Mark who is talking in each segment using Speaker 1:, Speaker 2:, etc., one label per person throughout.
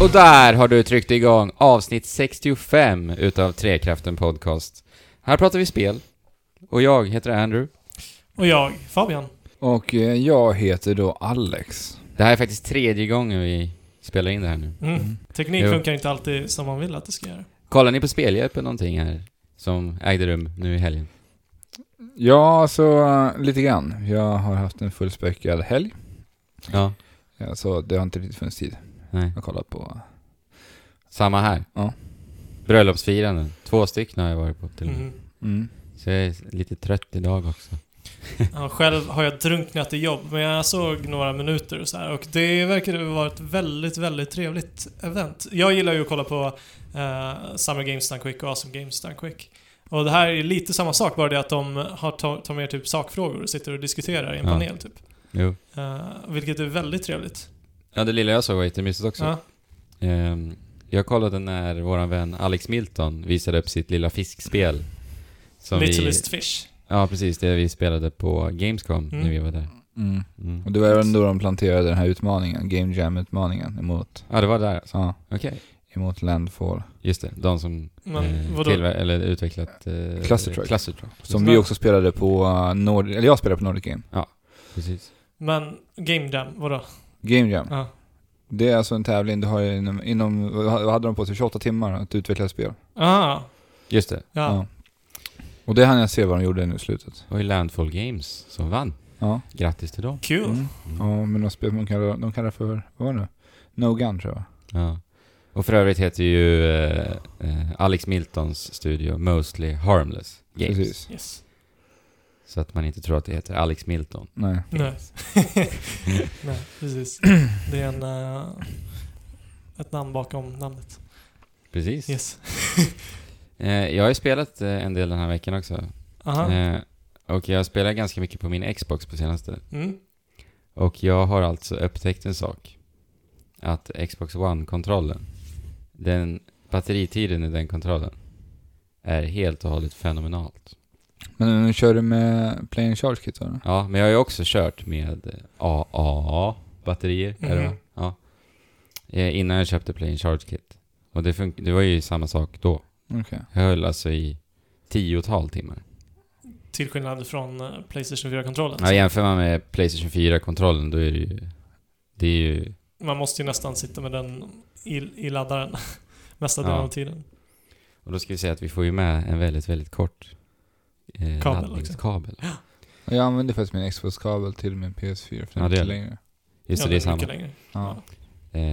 Speaker 1: Och där har du tryckt igång avsnitt 65 utav Trekraften Podcast. Här pratar vi spel. Och jag heter Andrew.
Speaker 2: Och jag, Fabian.
Speaker 3: Och eh, jag heter då Alex.
Speaker 1: Det här är faktiskt tredje gången vi spelar in det här nu.
Speaker 2: Mm. Teknik
Speaker 1: Jo.
Speaker 2: funkar inte alltid som man vill att det ska göra.
Speaker 1: Kollar ni på Spelhjälpen någonting här? Som ägde rum nu i helgen.
Speaker 3: Ja, så eh, lite grann. Jag har haft en fullspäckad helg.
Speaker 1: Ja.
Speaker 3: Ja, så det har inte riktigt funnits tid.
Speaker 1: Nej.
Speaker 3: Jag har kollat på...
Speaker 1: Samma här.
Speaker 3: Ja.
Speaker 1: Bröllopsfiranden. Två stycken har jag varit på till och med.
Speaker 2: Mm.
Speaker 3: Mm.
Speaker 1: Så jag är lite trött idag också.
Speaker 2: Ja, själv har jag drunknat i jobb, men jag såg några minuter och så här. Och det verkade vara ett väldigt, väldigt trevligt event. Jag gillar ju att kolla på eh, Summer Games Done Quick och Awesome Games Done Quick. Och det här är lite samma sak, bara det att de har ta- tar med typ sakfrågor och sitter och diskuterar i en
Speaker 1: Ja.
Speaker 2: panel typ.
Speaker 1: Jo.
Speaker 2: Eh, vilket är väldigt trevligt.
Speaker 1: Ja, det lilla jag såg var jättemysigt också.
Speaker 2: Ja.
Speaker 1: Ehm, jag kollade när våran vän Alex Milton visade upp sitt lilla fiskspel. Som
Speaker 2: Littlest Fish.
Speaker 1: Ja, precis. Det vi spelade på Gamescom
Speaker 2: Mm.
Speaker 1: när vi var där.
Speaker 3: Mm.
Speaker 1: Mm.
Speaker 3: Och det var även då de planterade den här utmaningen, Game Jam-utmaningen, emot,
Speaker 1: Ja, det var där. alltså.
Speaker 3: ja,
Speaker 1: Okej.
Speaker 3: emot Landfall.
Speaker 1: Just det. De som
Speaker 2: Men
Speaker 1: eh,
Speaker 2: vadå?
Speaker 1: tillver- eller utvecklat eh,
Speaker 3: Cluster Truck.
Speaker 1: Cluster Truck.
Speaker 3: Som vi också spelade på eh, Nord... Eller jag spelade på Nordic Game.
Speaker 1: Precis.
Speaker 2: Men Game Jam, vadå?
Speaker 3: Game Jam.
Speaker 2: Ja.
Speaker 3: Det är alltså en tävling du har inom... inom vad hade de på sig? 28 timmar att utveckla ett spel.
Speaker 2: Ah,
Speaker 1: Just det.
Speaker 2: ja.
Speaker 3: Och det hann jag se vad de gjorde nu i slutet.
Speaker 1: Och i Landfall Games som vann.
Speaker 3: Ja.
Speaker 1: Grattis till dem.
Speaker 2: Kul.
Speaker 3: Mm. Ja, men de, spel, de, kallar, de kallar för, vad var det nu? No Gun tror jag.
Speaker 1: Ja. Och för övrigt heter ju eh, eh, Alex Miltons studio Mostly Harmless Games.
Speaker 3: Precis.
Speaker 2: Yes.
Speaker 1: Så att man inte tror att det heter Alex Milton.
Speaker 3: Nej.
Speaker 2: Nej. Nej, precis. Det är en, eh, ett namn bakom namnet.
Speaker 1: Precis.
Speaker 2: Yes.
Speaker 1: Eh, jag har ju spelat eh, en del den här veckan också.
Speaker 2: Aha.
Speaker 1: Eh, och jag spelar ganska mycket på min Xbox på senaste.
Speaker 2: Mm.
Speaker 1: Och jag har alltså upptäckt en sak. Att Xbox One-kontrollen, den batteritiden i den kontrollen är helt och hållet fenomenalt.
Speaker 3: Men nu kör du med Play and Charge Kit va?
Speaker 1: Ja, men jag har ju också kört med eh, AAA-batterier. är det va?
Speaker 2: Mhm.
Speaker 1: Ja. Eh, Innan jag köpte Play and Charge Kit. Och det, fun- det var ju samma sak då.
Speaker 3: Okej.
Speaker 1: Jag höll alltså i tiotal timmar.
Speaker 2: Till skillnad från eh, Playstation 4-kontrollen.
Speaker 1: Ja, jämför man med Playstation 4-kontrollen, då är det ju... Det är ju...
Speaker 2: Man måste ju nästan sitta med den i, i laddaren mesta delen
Speaker 1: Ja.
Speaker 2: av tiden.
Speaker 1: Och då ska vi säga att vi får ju med en väldigt, väldigt kort eh,
Speaker 2: Kabel också.
Speaker 1: laddningskabel.
Speaker 3: Och Jag använder faktiskt min Xbox-kabel till min PS4 för den
Speaker 1: Ja,
Speaker 3: är
Speaker 1: det
Speaker 3: inte
Speaker 1: är
Speaker 3: längre.
Speaker 1: Just det,
Speaker 2: Ja,
Speaker 1: det är
Speaker 2: mycket
Speaker 1: samma.
Speaker 2: längre.
Speaker 3: Ja.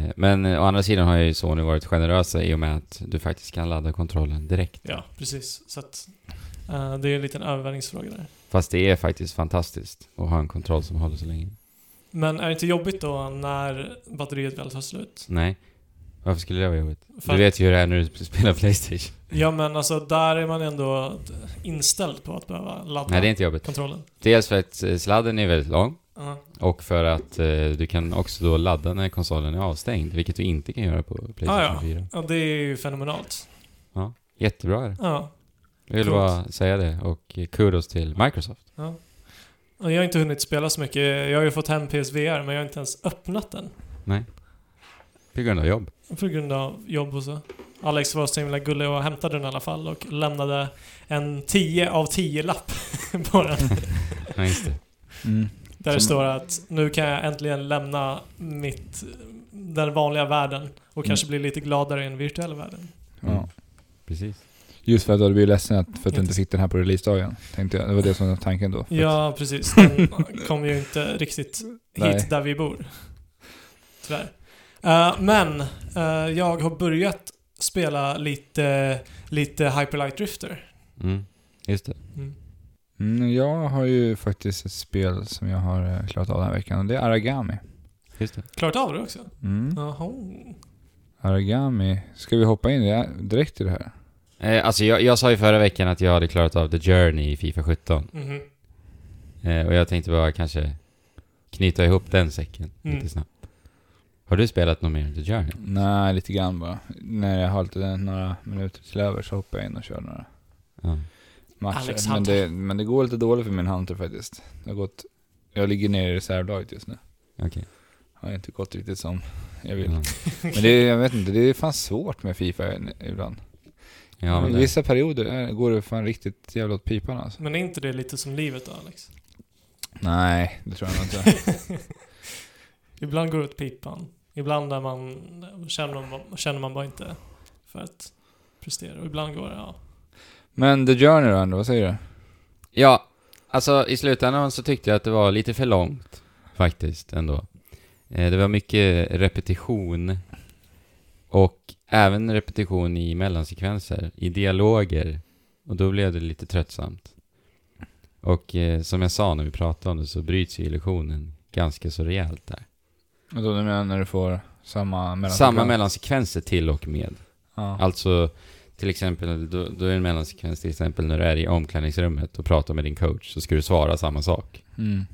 Speaker 1: Eh, men eh, å andra sidan har ju Sony varit generösa i och med att du faktiskt kan ladda kontrollen direkt.
Speaker 2: Ja, precis. Så att, eh, det är en liten övervägningsfråga där.
Speaker 1: Fast det är faktiskt fantastiskt att ha en kontroll som håller så länge.
Speaker 2: Men är det inte jobbigt då när batteriet väl tar slut?
Speaker 1: Nej. Varför skulle det vara jobbigt?
Speaker 2: För-
Speaker 1: Du vet ju hur det är när du spelar Playstation.
Speaker 2: Ja, men alltså där är man ändå inställd på att behöva ladda
Speaker 1: Nej, det är inte jobbigt.
Speaker 2: kontrollen.
Speaker 1: Dels för att eh, sladden är väldigt lång
Speaker 2: Ja.
Speaker 1: och för att eh, du kan också då ladda när konsolen är avstängd, vilket du inte kan göra på Playstation
Speaker 2: Ah, ja.
Speaker 1: 4.
Speaker 2: Ja, det är ju fenomenalt.
Speaker 1: Jättebra är det.
Speaker 2: Ja.
Speaker 1: Jag vill
Speaker 2: Coolt.
Speaker 1: bara säga det och eh, kudos till Microsoft.
Speaker 2: Och jag har inte hunnit spela så mycket. Jag har ju fått hem PSVR, men jag har inte ens öppnat den.
Speaker 1: På grund av jobb.
Speaker 2: På grund av jobb och så. Alex var så himla gullig och hämtade den i alla fall och lämnade en 10 av 10-lapp på den.
Speaker 1: Nej, just det.
Speaker 3: Mm.
Speaker 2: Där det
Speaker 3: Som-
Speaker 2: står att nu kan jag äntligen lämna mitt, den vanliga världen och kanske bli lite gladare i den virtuella världen.
Speaker 1: Mm.
Speaker 3: Ja.
Speaker 1: Precis.
Speaker 3: Just för att du blir ledsen att- för att du
Speaker 2: Inte-
Speaker 3: inte fick den här på releasedagen. Tänkte jag. Det var det som var tanken då. För att-
Speaker 2: Ja, precis. Den kom ju inte riktigt hit
Speaker 3: Nej.
Speaker 2: där vi bor. Tyvärr. Eh, men eh, jag har börjat spela lite, lite Hyperlight Drifter.
Speaker 1: Mm. Just det.
Speaker 2: Mm.
Speaker 3: Mm, jag har ju faktiskt ett spel som jag har eh, klarat av den här veckan och det är Aragami.
Speaker 1: Just det.
Speaker 2: Klart av det också?
Speaker 3: Mm.
Speaker 2: Jaha.
Speaker 3: Aragami. Ska vi hoppa in i det- direkt i det här?
Speaker 1: Eh, alltså jag, jag sa ju förra veckan att jag hade klarat av The Journey i Fifa 17.
Speaker 2: Mhm.
Speaker 1: Eh, och jag tänkte bara kanske knyta ihop den säcken
Speaker 2: Mm.
Speaker 1: lite snabbt. Har du spelat något mer än The Journey?
Speaker 3: Nej, lite grann bara. När jag har lite några minuter till över så hoppar jag in och kör några.
Speaker 1: Ja.
Speaker 2: Alex
Speaker 3: matcher. Men
Speaker 2: Hunter.
Speaker 3: det, men det går lite dåligt för min Hunter faktiskt. Det har gått, jag ligger nere i reservlaget just nu.
Speaker 1: Okej.
Speaker 3: Ja, har inte gått riktigt som jag vill.
Speaker 1: Ja.
Speaker 3: Men det, jag vet inte, det är fan svårt med Fifa ibland.
Speaker 1: Ja, men
Speaker 3: I
Speaker 1: det,
Speaker 3: vissa perioder är, går det fan riktigt jävla åt pipan alltså.
Speaker 2: Men är inte det lite som livet då, Alex?
Speaker 3: Nej, det tror jag nog inte.
Speaker 2: Ibland går det åt pipan. Ibland är man, känner, man, känner man bara inte för att prestera. Och ibland går det, ja.
Speaker 3: Men The Journey då ändå, vad säger du?
Speaker 1: ja, alltså i slutändan så tyckte jag att det var lite för långt faktiskt ändå. Eh, Det var mycket repetition och även repetition i mellansekvenser, i dialoger. Och då blev det lite tröttsamt. Och eh, som jag sa när vi pratade om det så bryts ju illusionen ganska så rejält där.
Speaker 3: Och då du menar när du får samma mellan...
Speaker 1: Samma mellansekvenser till och med.
Speaker 3: Ja.
Speaker 1: Alltså, till exempel, då, då är det en mellansekvens till exempel när du är i omklädningsrummet och pratar med din coach så ska du svara samma sak.
Speaker 3: Mm.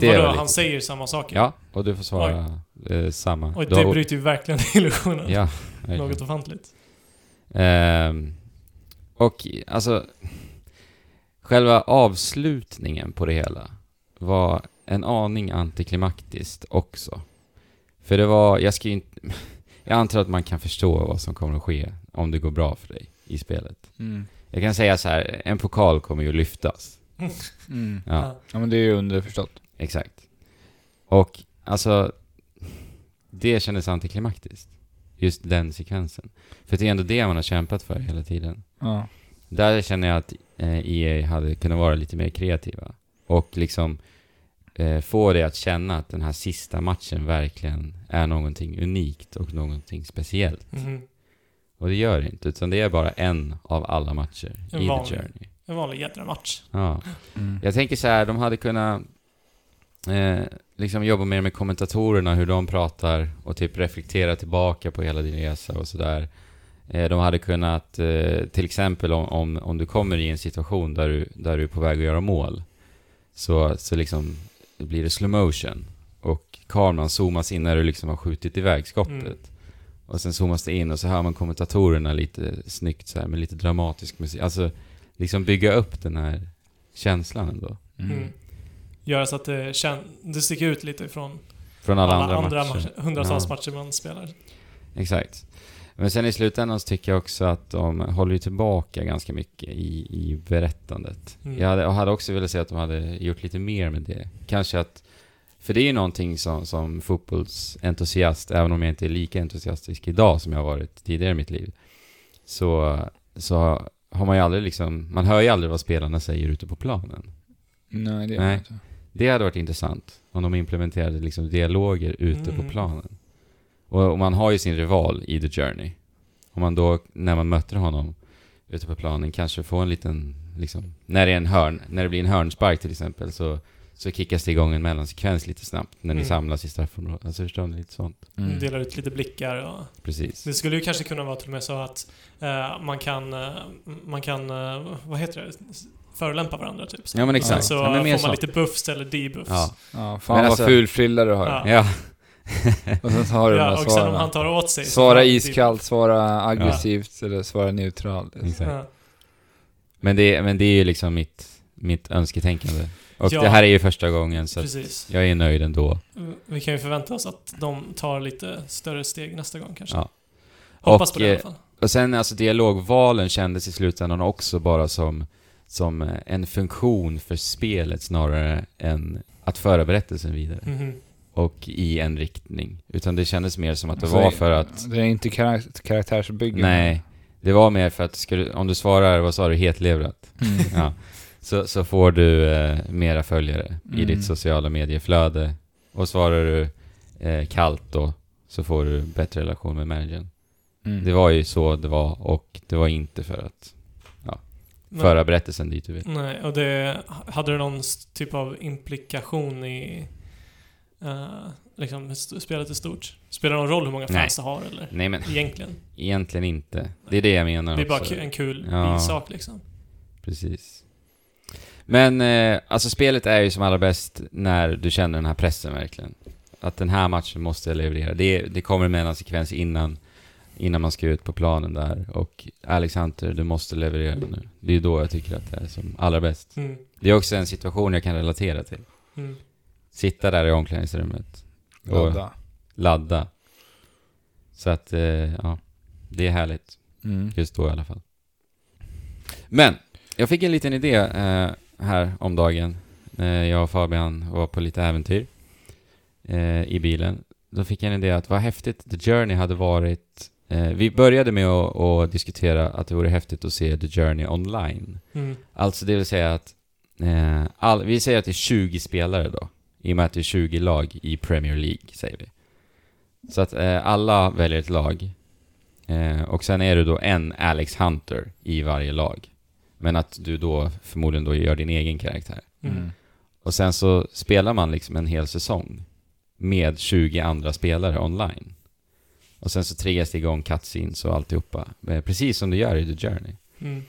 Speaker 1: Det är
Speaker 2: Vadå,
Speaker 1: väl
Speaker 2: han
Speaker 1: lite-
Speaker 2: säger samma saker?
Speaker 1: Ja, och du får svara eh, samma.
Speaker 2: Och
Speaker 1: Du
Speaker 2: det
Speaker 1: har-
Speaker 2: bryter ju verkligen illusionen.
Speaker 1: Ja, verkligen.
Speaker 2: Något ofantligt.
Speaker 1: Ehm, och alltså, själva avslutningen på det hela var en aning antiklimaktiskt också. För det var, jag ska ju inte, jag antar att man kan förstå vad som kommer att ske om det går bra för dig i spelet.
Speaker 3: Mm.
Speaker 1: Jag kan säga så här, en pokal kommer ju att lyftas.
Speaker 3: Mm.
Speaker 1: Ja.
Speaker 3: Ja men det är ju underförstått.
Speaker 1: Exakt. Och alltså, det kändes antiklimaktiskt. Just den sekvensen. För det är ändå det man har kämpat för hela tiden.
Speaker 3: Ja.
Speaker 1: Där känner jag att eh, EA hade kunnat vara lite mer kreativa. Och liksom eh, få det att känna att den här sista matchen verkligen är någonting unikt och någonting speciellt.
Speaker 2: Mhm.
Speaker 1: Och det gör det inte, utan det är bara en av alla matcher
Speaker 2: En
Speaker 1: i
Speaker 2: vanlig.
Speaker 1: The Journey.
Speaker 2: En vanlig jädra match.
Speaker 1: Ja.
Speaker 3: Mm.
Speaker 1: Jag tänker så här, de hade kunnat eh, liksom jobba mer med kommentatorerna, hur de pratar och typ reflektera tillbaka på hela din resa och sådär. Eh, de hade kunnat, eh, till exempel om, om, om du kommer i en situation där du, där du är på väg att göra mål, så, så liksom blir det slow motion och kameran zoomas in när du liksom har skjutit iväg skottet.
Speaker 2: Mm.
Speaker 1: Och sen zoomas det in och så hör man kommentatorerna lite snyggt så här med lite dramatisk musik. Alltså, liksom bygga upp den här känslan ändå.
Speaker 2: Mm. Göra så att det, kän- det sticker ut lite från
Speaker 1: Från alla, andra, matcher.
Speaker 2: matcher. hundratals
Speaker 1: Ja.
Speaker 2: matcher man spelar.
Speaker 1: Exakt. Men sen i slutändan så tycker jag också att de håller ju tillbaka ganska mycket i, i berättandet.
Speaker 2: Mm.
Speaker 1: Jag, hade, jag hade också velat se att de hade gjort lite mer med det. Kanske att, för det är ju någonting som, som fotbollsentusiast, även om jag inte är lika entusiastisk idag som jag har varit tidigare i mitt liv, så, så har man ju aldrig liksom, man hör ju aldrig vad spelarna säger ute på planen.
Speaker 3: Nej det är
Speaker 1: Nej.
Speaker 3: det inte.
Speaker 1: Det hade varit intressant om de implementerade liksom dialoger ute
Speaker 2: Mm.
Speaker 1: på planen. Och, och man har ju sin rival i The Journey. Om man då, när man möter honom ute på planen, kanske får en liten, liksom, när det, är en hörn, när det blir en hörnspark till exempel, så, så kickas det igång en mellansekvens lite snabbt när ni
Speaker 2: Mm.
Speaker 1: samlas i straffområdet. Alltså förstår ni? Lite sånt.
Speaker 3: Mm.
Speaker 2: Delar ut lite blickar och...
Speaker 1: Precis.
Speaker 2: Det skulle ju kanske kunna vara till och med så att eh, man kan, eh, man kan eh, vad heter det, förolämpa varandra typ. Så.
Speaker 1: Ja men exakt.
Speaker 2: Sen så
Speaker 1: ja, men
Speaker 2: får
Speaker 1: mer
Speaker 2: man
Speaker 1: sånt.
Speaker 2: lite buffs eller debuffs.
Speaker 1: Ja.
Speaker 3: Ja, fan
Speaker 1: Men
Speaker 3: vad
Speaker 1: alltså-
Speaker 3: ful frilla du har.
Speaker 2: Ja.
Speaker 1: ja.
Speaker 3: Och sen så har du de
Speaker 2: Ja,
Speaker 3: här
Speaker 2: och sen om han
Speaker 3: svaren.
Speaker 2: tar åt sig. så typ- får
Speaker 3: Svara
Speaker 2: han
Speaker 3: iskallt, svara aggressivt eller svara neutralt.
Speaker 2: debuff.
Speaker 1: Exakt.
Speaker 2: Ja.
Speaker 1: Men, det, men det är ju liksom mitt, mitt önsketänkande. Och
Speaker 2: Ja.
Speaker 1: det här är ju första gången så att
Speaker 2: Precis.
Speaker 1: jag är nöjd ändå.
Speaker 2: Vi kan ju förvänta oss att de tar lite större steg nästa gång kanske.
Speaker 1: Ja.
Speaker 2: Hoppas
Speaker 1: Och,
Speaker 2: på det i alla
Speaker 1: eh,
Speaker 2: fall.
Speaker 1: Och sen alltså dialogvalen kändes i slutändan också bara som, som eh, en funktion för spelet snarare än att föra berättelsen vidare.
Speaker 2: Mhm.
Speaker 1: Och i en riktning. Utan det kändes mer som att det
Speaker 3: Alltså,
Speaker 1: var för att,
Speaker 3: Det är inte karak- karaktärsbygge.
Speaker 1: nej, det var mer för att ska du, om du svarar, vad sa du, hetlevrat?
Speaker 3: Mm.
Speaker 1: Ja. Så, så får du eh, mera följare i
Speaker 3: Mm.
Speaker 1: ditt sociala medieflöde. Och svarar du eh, kallt då, så får du bättre relation med managern.
Speaker 3: Mm.
Speaker 1: Det var ju så det var och det var inte för att
Speaker 2: Men-
Speaker 1: föra berättelsen dit du vill.
Speaker 2: Nej, och det... Hade det någon s- typ av implikation i... eh, liksom st- spelet i stort? Spelar det någon roll hur många fans det har eller?
Speaker 1: Nej men
Speaker 2: Egentligen.
Speaker 1: egentligen inte. Det är det jag menar
Speaker 2: Det är bara
Speaker 1: också.
Speaker 2: ku- en kul
Speaker 1: Ja.
Speaker 2: bisak liksom.
Speaker 1: Precis. Men eh, alltså spelet är ju som allra bäst när du känner den här pressen verkligen. Att den här matchen måste jag leverera. Det, det kommer med en sekvens innan, innan man ska ut på planen där. Och Alex Hunter, du måste leverera nu. Det är ju då jag tycker att det är som allra bäst.
Speaker 2: Mm.
Speaker 1: Det är också en situation jag kan relatera till.
Speaker 2: Mm.
Speaker 1: Sitta där i omklädningsrummet Och
Speaker 3: Ladda.
Speaker 1: ladda. Så att, eh, ja. Det är härligt.
Speaker 3: Mm.
Speaker 1: Just då i alla fall. Men, jag fick en liten idé eh, här om dagen när jag och Fabian var på lite äventyr eh, i bilen. Då fick jag en idé att vad häftigt The Journey hade varit. Eh, vi började med att, att diskutera att det vore häftigt att se The Journey online.
Speaker 2: Mm.
Speaker 1: Alltså det vill säga att, eh, all, vi säger att det är 20 spelare då, i och med att det är 20 lag i Premier League, säger vi. Så att eh, alla väljer ett lag, eh, och sen är det då en Alex Hunter i varje lag. Men att du då förmodligen då gör din egen karaktär.
Speaker 2: Mm.
Speaker 3: Mm.
Speaker 1: Och sen så spelar man liksom en hel säsong med 20 andra spelare online. Och sen så triggas det igång cutscenes och alltihopa. Eh, Precis som du gör i The Journey.
Speaker 2: Mm.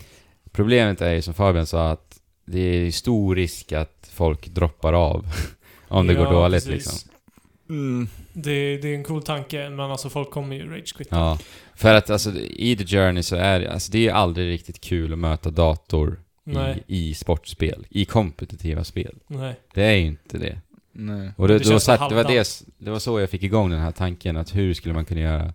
Speaker 1: Problemet är ju som Fabian sa att det är ju stor risk att folk droppar av om det
Speaker 2: Ja,
Speaker 1: går dåligt
Speaker 2: precis.
Speaker 1: liksom.
Speaker 2: Det, det är en cool tanke, men alltså folk kommer ju ragequit.
Speaker 1: Ja. För att alltså, i The Journey så är det- alltså, det är ju aldrig riktigt kul att möta dator
Speaker 2: Nej,
Speaker 1: i, i sportspel, i kompetitiva spel.
Speaker 2: nej.
Speaker 1: Det är ju inte det.
Speaker 3: Nej.
Speaker 1: Och det,
Speaker 2: Det
Speaker 1: det, var,
Speaker 2: känns
Speaker 1: satt, det, var
Speaker 2: halvdant.
Speaker 1: det, det var så jag fick igång den här tanken att hur skulle man kunna göra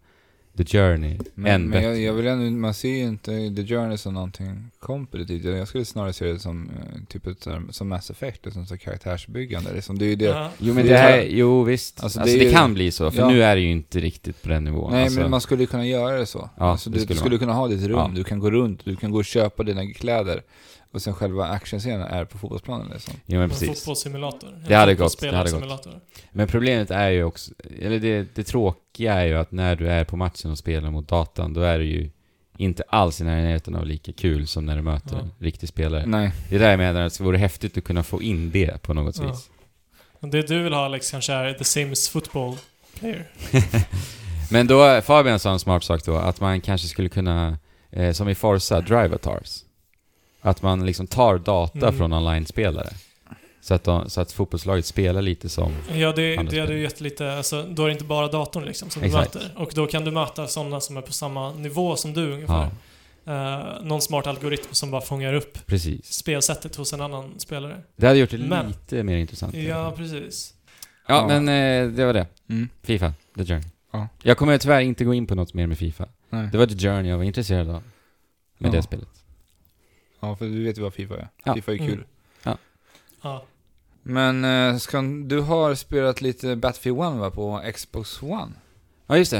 Speaker 1: The Journey
Speaker 3: Men,
Speaker 1: än
Speaker 3: men
Speaker 1: bättre?
Speaker 3: jag, jag vill ändå, man ser ju inte The Journey som någonting kompetitivt. Jag jag skulle snarare se det som eh, typ ett, så här- som Mass Effect, liksom, som karaktärsbyggande. Liksom. Det är ju det.
Speaker 2: Ja.
Speaker 1: Jo men
Speaker 3: Det
Speaker 1: det
Speaker 3: är-
Speaker 1: här, jo visst. Alltså,
Speaker 3: Alltså,
Speaker 1: det,
Speaker 3: det är ju-
Speaker 1: kan bli så, för
Speaker 3: Ja.
Speaker 1: nu är det ju inte riktigt på den nivån.
Speaker 3: Nej,
Speaker 1: alltså,
Speaker 3: men man skulle ju kunna göra det så.
Speaker 1: Ja,
Speaker 3: alltså,
Speaker 1: det
Speaker 3: du du
Speaker 1: skulle
Speaker 3: skulle,
Speaker 1: man.
Speaker 3: kunna ha ditt rum,
Speaker 1: Ja.
Speaker 3: du kan gå runt, du kan gå och köpa dina kläder. Och sen själva actionscenen är på fotbollsplanen liksom.
Speaker 1: jo, men
Speaker 2: En
Speaker 1: precis.
Speaker 2: fotbollssimulator.
Speaker 1: Det hade
Speaker 2: En
Speaker 1: gått, det hade gått.
Speaker 2: fotbollsspelarsimulator.
Speaker 1: Men problemet är ju också, eller det, det tråkiga är ju att när du är på matchen och spelar mot datan, då är det ju inte alls i närheten av lika kul som när du möter
Speaker 2: Ja. Mm.
Speaker 1: en riktig spelare.
Speaker 3: Nej.
Speaker 1: Det är där jag menar att det vore häftigt att kunna få in det på något
Speaker 2: Ja.
Speaker 1: vis.
Speaker 2: Men Det du vill ha Alex kanske är The Sims football player.
Speaker 1: Men då, Fabian sa en smart sak då, att man kanske skulle kunna, eh, som i Forza, drivatars. Att man liksom tar data
Speaker 2: Mm.
Speaker 1: från online-spelare. Så att, de, så att fotbollslaget spelar lite som...
Speaker 2: Ja, det,
Speaker 1: Andra
Speaker 2: det hade
Speaker 1: spel.
Speaker 2: ju gett lite, alltså, då är det inte bara datorn liksom som
Speaker 1: Exakt.
Speaker 2: du möter. Och då kan du möta sådana som är på samma nivå som du ungefär.
Speaker 1: Ja,
Speaker 2: Eh, någon smart algoritm som bara fångar upp
Speaker 1: precis.
Speaker 2: spelsättet hos en annan spelare.
Speaker 1: Det hade gjort det
Speaker 2: Men-
Speaker 1: lite mer intressant.
Speaker 2: Ja, precis.
Speaker 1: Ja,
Speaker 3: Ja.
Speaker 1: men eh, det var det.
Speaker 3: Mm.
Speaker 1: Fifa, The Journey.
Speaker 3: Ja.
Speaker 1: Jag kommer tyvärr inte gå in på något mer med Fifa.
Speaker 3: Nej.
Speaker 1: Det var The Journey jag var intresserad av. Med
Speaker 3: Ja.
Speaker 1: det spelet.
Speaker 3: Ja, för du vet ju vad Fifa är.
Speaker 1: Ja.
Speaker 3: Fifa är kul.
Speaker 2: Mm.
Speaker 1: Ja.
Speaker 2: Ja.
Speaker 3: Men eh, ska, du har spelat lite Battlefield 1 va, på Xbox One?
Speaker 1: Ja, just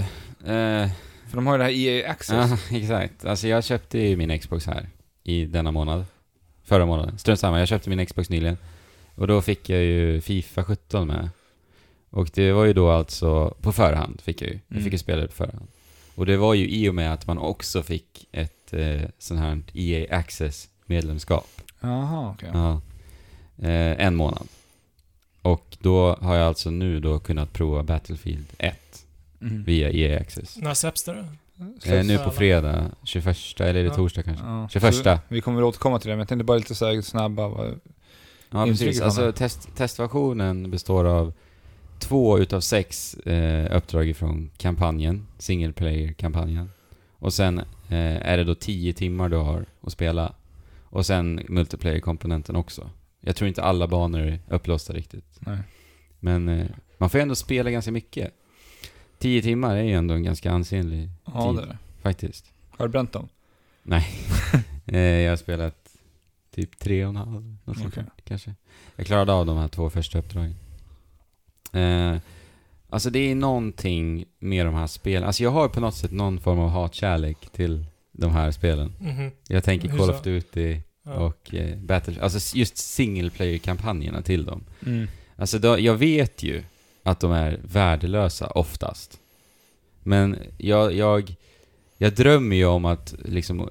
Speaker 1: det. Eh,
Speaker 3: För de har ju det här EA Access.
Speaker 1: ja, exakt. Alltså jag köpte ju min Xbox här i denna månad. Förra månaden. Strunt samma, jag köpte min Xbox nyligen. Och då fick jag ju Fifa 17 med. Och det var ju då alltså på förhand fick jag ju. Jag
Speaker 3: Mm.
Speaker 1: fick ju spela det på förhand. Och det var ju i och med att man också fick ett eh, sån här EA Access-medlemskap.
Speaker 3: Jaha, okej.
Speaker 1: Ja. Eh, en månad. Och då har jag alltså nu då kunnat prova Battlefield 1
Speaker 3: Mm.
Speaker 1: via EA Access.
Speaker 2: När släpps det då?
Speaker 1: Eh, nu på
Speaker 2: så alla-
Speaker 1: fredag, 21, eller är det
Speaker 2: Ja.
Speaker 1: torsdag kanske?
Speaker 3: Ja.
Speaker 1: 21.
Speaker 3: Så Vi kommer väl återkomma till det, men jag tänkte bara lite så här snabba. vad-
Speaker 1: Ja,
Speaker 3: Intrycket
Speaker 1: precis.
Speaker 3: från
Speaker 1: Alltså
Speaker 3: det.
Speaker 1: test, testversionen består av två utav sex eh, uppdrag ifrån kampanjen, single player-kampanjen. Och sen eh, är det då 10 timmar du har att spela. Och sen multiplayer-komponenten också. Jag tror inte alla banor är upplåsta riktigt.
Speaker 3: Nej.
Speaker 1: Men eh, man får ju ändå spela ganska mycket. 10 timmar är ju ändå en ganska ansenlig,
Speaker 3: Ja,
Speaker 1: Tid.
Speaker 3: det är det.
Speaker 1: faktiskt.
Speaker 3: Har du bränt dem?
Speaker 1: Eh, jag har spelat typ tre och en halv, något sånt
Speaker 3: Okej.
Speaker 1: där, kanske. Jag klarade av de här två första uppdragen. Eh, alltså det är någonting med de här spelen. Alltså jag har på något sätt någon form av hatkärlek till de här spelen.
Speaker 2: Mhm.
Speaker 1: Jag tänker
Speaker 2: Hur
Speaker 1: Call
Speaker 2: så?
Speaker 1: of Duty
Speaker 2: Ja.
Speaker 1: och eh, Battle... Alltså s- just single player-kampanjerna till dem.
Speaker 3: Mm.
Speaker 1: Alltså då, jag vet ju att de är värdelösa oftast. Men jag, jag, jag drömmer ju om att liksom,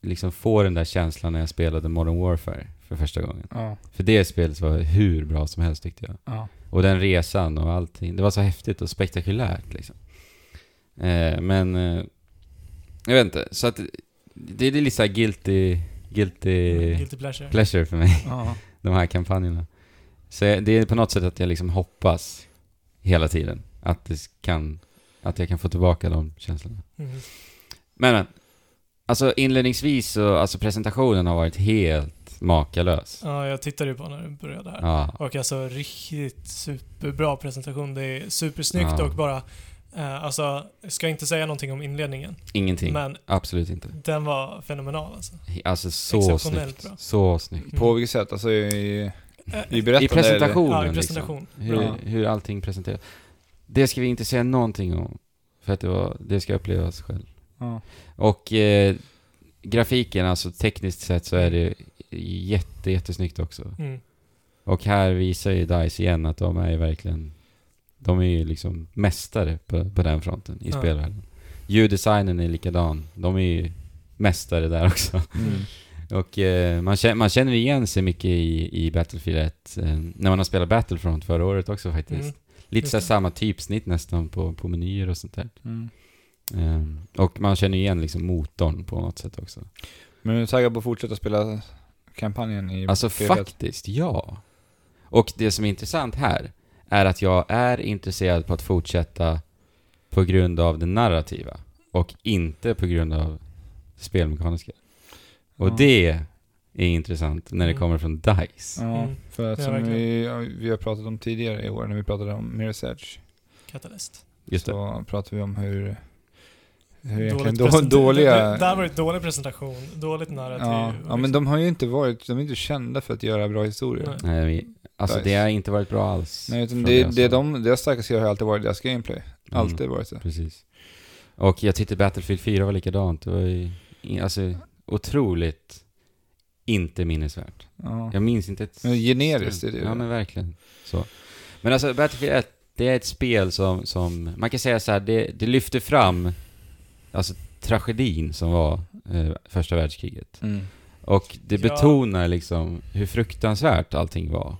Speaker 1: liksom få den där känslan när jag spelade Modern Warfare för första gången.
Speaker 3: Ja,
Speaker 1: För det spelet var hur bra som helst tyckte jag.
Speaker 3: ja.
Speaker 1: Och den resan och allting. Det var så häftigt och spektakulärt liksom. Eh, men... Eh, jag vet inte. Så att det, det är lite såhär guilty, guilty
Speaker 2: Mm, Guilty pleasure.
Speaker 1: pleasure för mig
Speaker 3: ja.
Speaker 1: de här kampanjerna. Så jag- det är på något sätt att jag liksom hoppas hela tiden att, det kan, att jag kan få tillbaka de känslorna.
Speaker 2: Mhm.
Speaker 1: Men, men alltså inledningsvis så, alltså presentationen har varit helt helt makalös.
Speaker 2: Ja, jag tittade ju på när det började här.
Speaker 1: Ja.
Speaker 2: Och alltså riktigt superbra presentation. Det är supersnyggt
Speaker 1: Ja.
Speaker 2: och bara... Eh, alltså, jag ska inte säga någonting om inledningen,
Speaker 1: Ingenting.
Speaker 2: men
Speaker 1: Absolut inte.
Speaker 2: den var fenomenal alltså.
Speaker 1: Alltså så
Speaker 2: Exceptionellt
Speaker 1: snyggt.
Speaker 2: bra.
Speaker 1: Så snyggt.
Speaker 3: På vilket sätt? Alltså i, i berättande?
Speaker 1: I presentationen
Speaker 2: Mm. Eh, Ja, i
Speaker 1: liksom.
Speaker 2: Mm. presentation.
Speaker 1: Hur,
Speaker 3: Ja.
Speaker 1: hur allting presenteras. Det ska vi inte säga någonting om. För att det, var, det ska upplevas själv.
Speaker 3: Eller?
Speaker 1: Och eh, grafiken, alltså tekniskt sett så är det jätte, jättesnyggt också.
Speaker 2: Mm.
Speaker 1: Och här visar ju DICE igen att de är ju verkligen, de är ju liksom mästare på, på den fronten i
Speaker 2: Ja.
Speaker 1: spelvärlden. Ljuddesignen är likadan, de är ju mästare där också.
Speaker 3: Ja. Mm.
Speaker 1: Och eh, man, känner, man känner igen sig mycket i, i Battlefield 1, eh, när man har spelat Battlefront förra året också faktiskt.
Speaker 2: Mm.
Speaker 1: Lite så här
Speaker 2: Just det.
Speaker 1: samma typsnitt nästan på, på menyer och sånt där.
Speaker 3: Mm.
Speaker 1: Eh, och man känner igen liksom motorn på något sätt också.
Speaker 3: Men är du taggad på att fortsätta spela kampanjen i
Speaker 1: Alltså
Speaker 3: spelet?
Speaker 1: faktiskt, ja. Och det som är intressant här är att jag är intresserad på att fortsätta på grund av det narrativa och inte på grund av det spelmekaniska. Och
Speaker 3: Ja.
Speaker 1: det är intressant när det
Speaker 2: Mm.
Speaker 1: kommer från DICE.
Speaker 3: Ja,
Speaker 2: Mm.
Speaker 3: för att
Speaker 2: Ja,
Speaker 3: som
Speaker 2: verkligen.
Speaker 3: vi, ja, vi har pratat om tidigare i år när vi pratade om Mirror's Edge.
Speaker 2: Katalyst.
Speaker 1: Just det.
Speaker 3: så pratade vi om hur, hur egentligen
Speaker 2: Dåligt
Speaker 3: då,
Speaker 2: presenter-
Speaker 3: dåliga...
Speaker 2: Det där var ju dålig presentation, dåligt narrativ.
Speaker 3: ja, ja, men de har ju inte varit, de är inte kända för att göra bra historier.
Speaker 2: liksom. Nej.
Speaker 3: Nej.
Speaker 1: Nej, vi, alltså
Speaker 3: DICE.
Speaker 1: det har inte varit bra alls.
Speaker 3: utan
Speaker 1: från
Speaker 3: det,
Speaker 1: jag
Speaker 3: det,
Speaker 1: såg.
Speaker 3: de, deras starkaste grej har alltid varit deras gameplay.
Speaker 1: Mm.
Speaker 3: Alltid varit det.
Speaker 1: Precis. Och jag tyckte Battlefield 4 var likadant. Det var ju, i- alltså, otroligt inte minnesvärt.
Speaker 3: Ja.
Speaker 1: Jag minns inte ett...
Speaker 3: Men generiskt är det ju
Speaker 1: Mm. Ja
Speaker 3: det.
Speaker 1: men verkligen. Så. Men alltså Battlefield 1, det är ett spel som, som man kan säga så här, det, det lyfter fram alltså tragedin som var eh, första världskriget.
Speaker 3: Mm.
Speaker 1: Och det
Speaker 2: Ja.
Speaker 1: betonar liksom hur fruktansvärt allting var.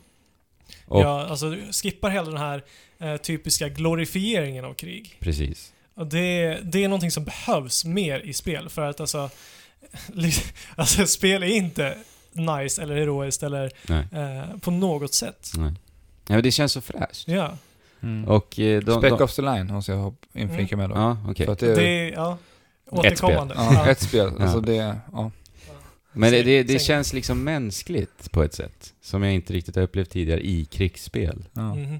Speaker 1: Och
Speaker 2: Ja, alltså skippar hela den här eh, typiska glorifieringen av krig.
Speaker 1: precis.
Speaker 2: Och det, det är någonting som behövs mer i spel för att alltså, li- alltså spel är inte nice eller heroiskt eller
Speaker 1: Nej.
Speaker 2: eh, på något sätt.
Speaker 1: Nej. Ja, men det känns så fräscht.
Speaker 2: Ja,
Speaker 3: Mm.
Speaker 1: Och eh, de...
Speaker 3: Spec
Speaker 1: de, Mm.
Speaker 3: Ops The Line måste jag hopp- inflika med då.
Speaker 1: Ja, okej.
Speaker 3: För att det,
Speaker 2: det,
Speaker 3: är-
Speaker 2: är ja, återkommande.
Speaker 3: ja,
Speaker 2: Ja.
Speaker 3: ett spel. Alltså det, ja.
Speaker 1: Men det, det,
Speaker 2: Säng-
Speaker 1: det
Speaker 2: säng.
Speaker 1: känns liksom mänskligt på ett sätt. Som jag inte riktigt har upplevt tidigare i krigsspel.
Speaker 3: ja.
Speaker 2: Mhm.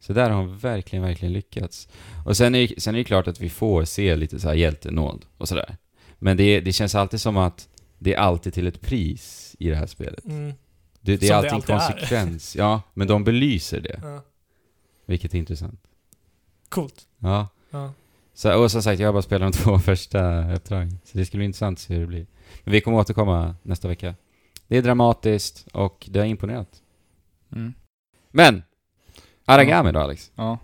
Speaker 1: Så där har hon verkligen, verkligen lyckats. Och sen är, sen är det klart att vi får se lite så här hjältenåd och sådär. Men det, det känns alltid som att det är alltid till ett pris i det här spelet.
Speaker 2: Mm.
Speaker 1: Det, det är
Speaker 2: Som
Speaker 1: alltid
Speaker 2: det
Speaker 1: en
Speaker 2: alltid är.
Speaker 1: konsekvens. Ja, men de belyser det,
Speaker 2: Ja.
Speaker 1: vilket är intressant.
Speaker 2: Coolt.
Speaker 1: Ja.
Speaker 2: Ja.
Speaker 1: Så, och som sagt, jag har bara spelat de två första uppdragen. Så det skulle bli intressant att se hur det blir. Men vi kommer återkomma nästa vecka. Det är dramatiskt och det har imponerat.
Speaker 3: Mm.
Speaker 1: Men! Aragami då, Alex?
Speaker 3: Ja.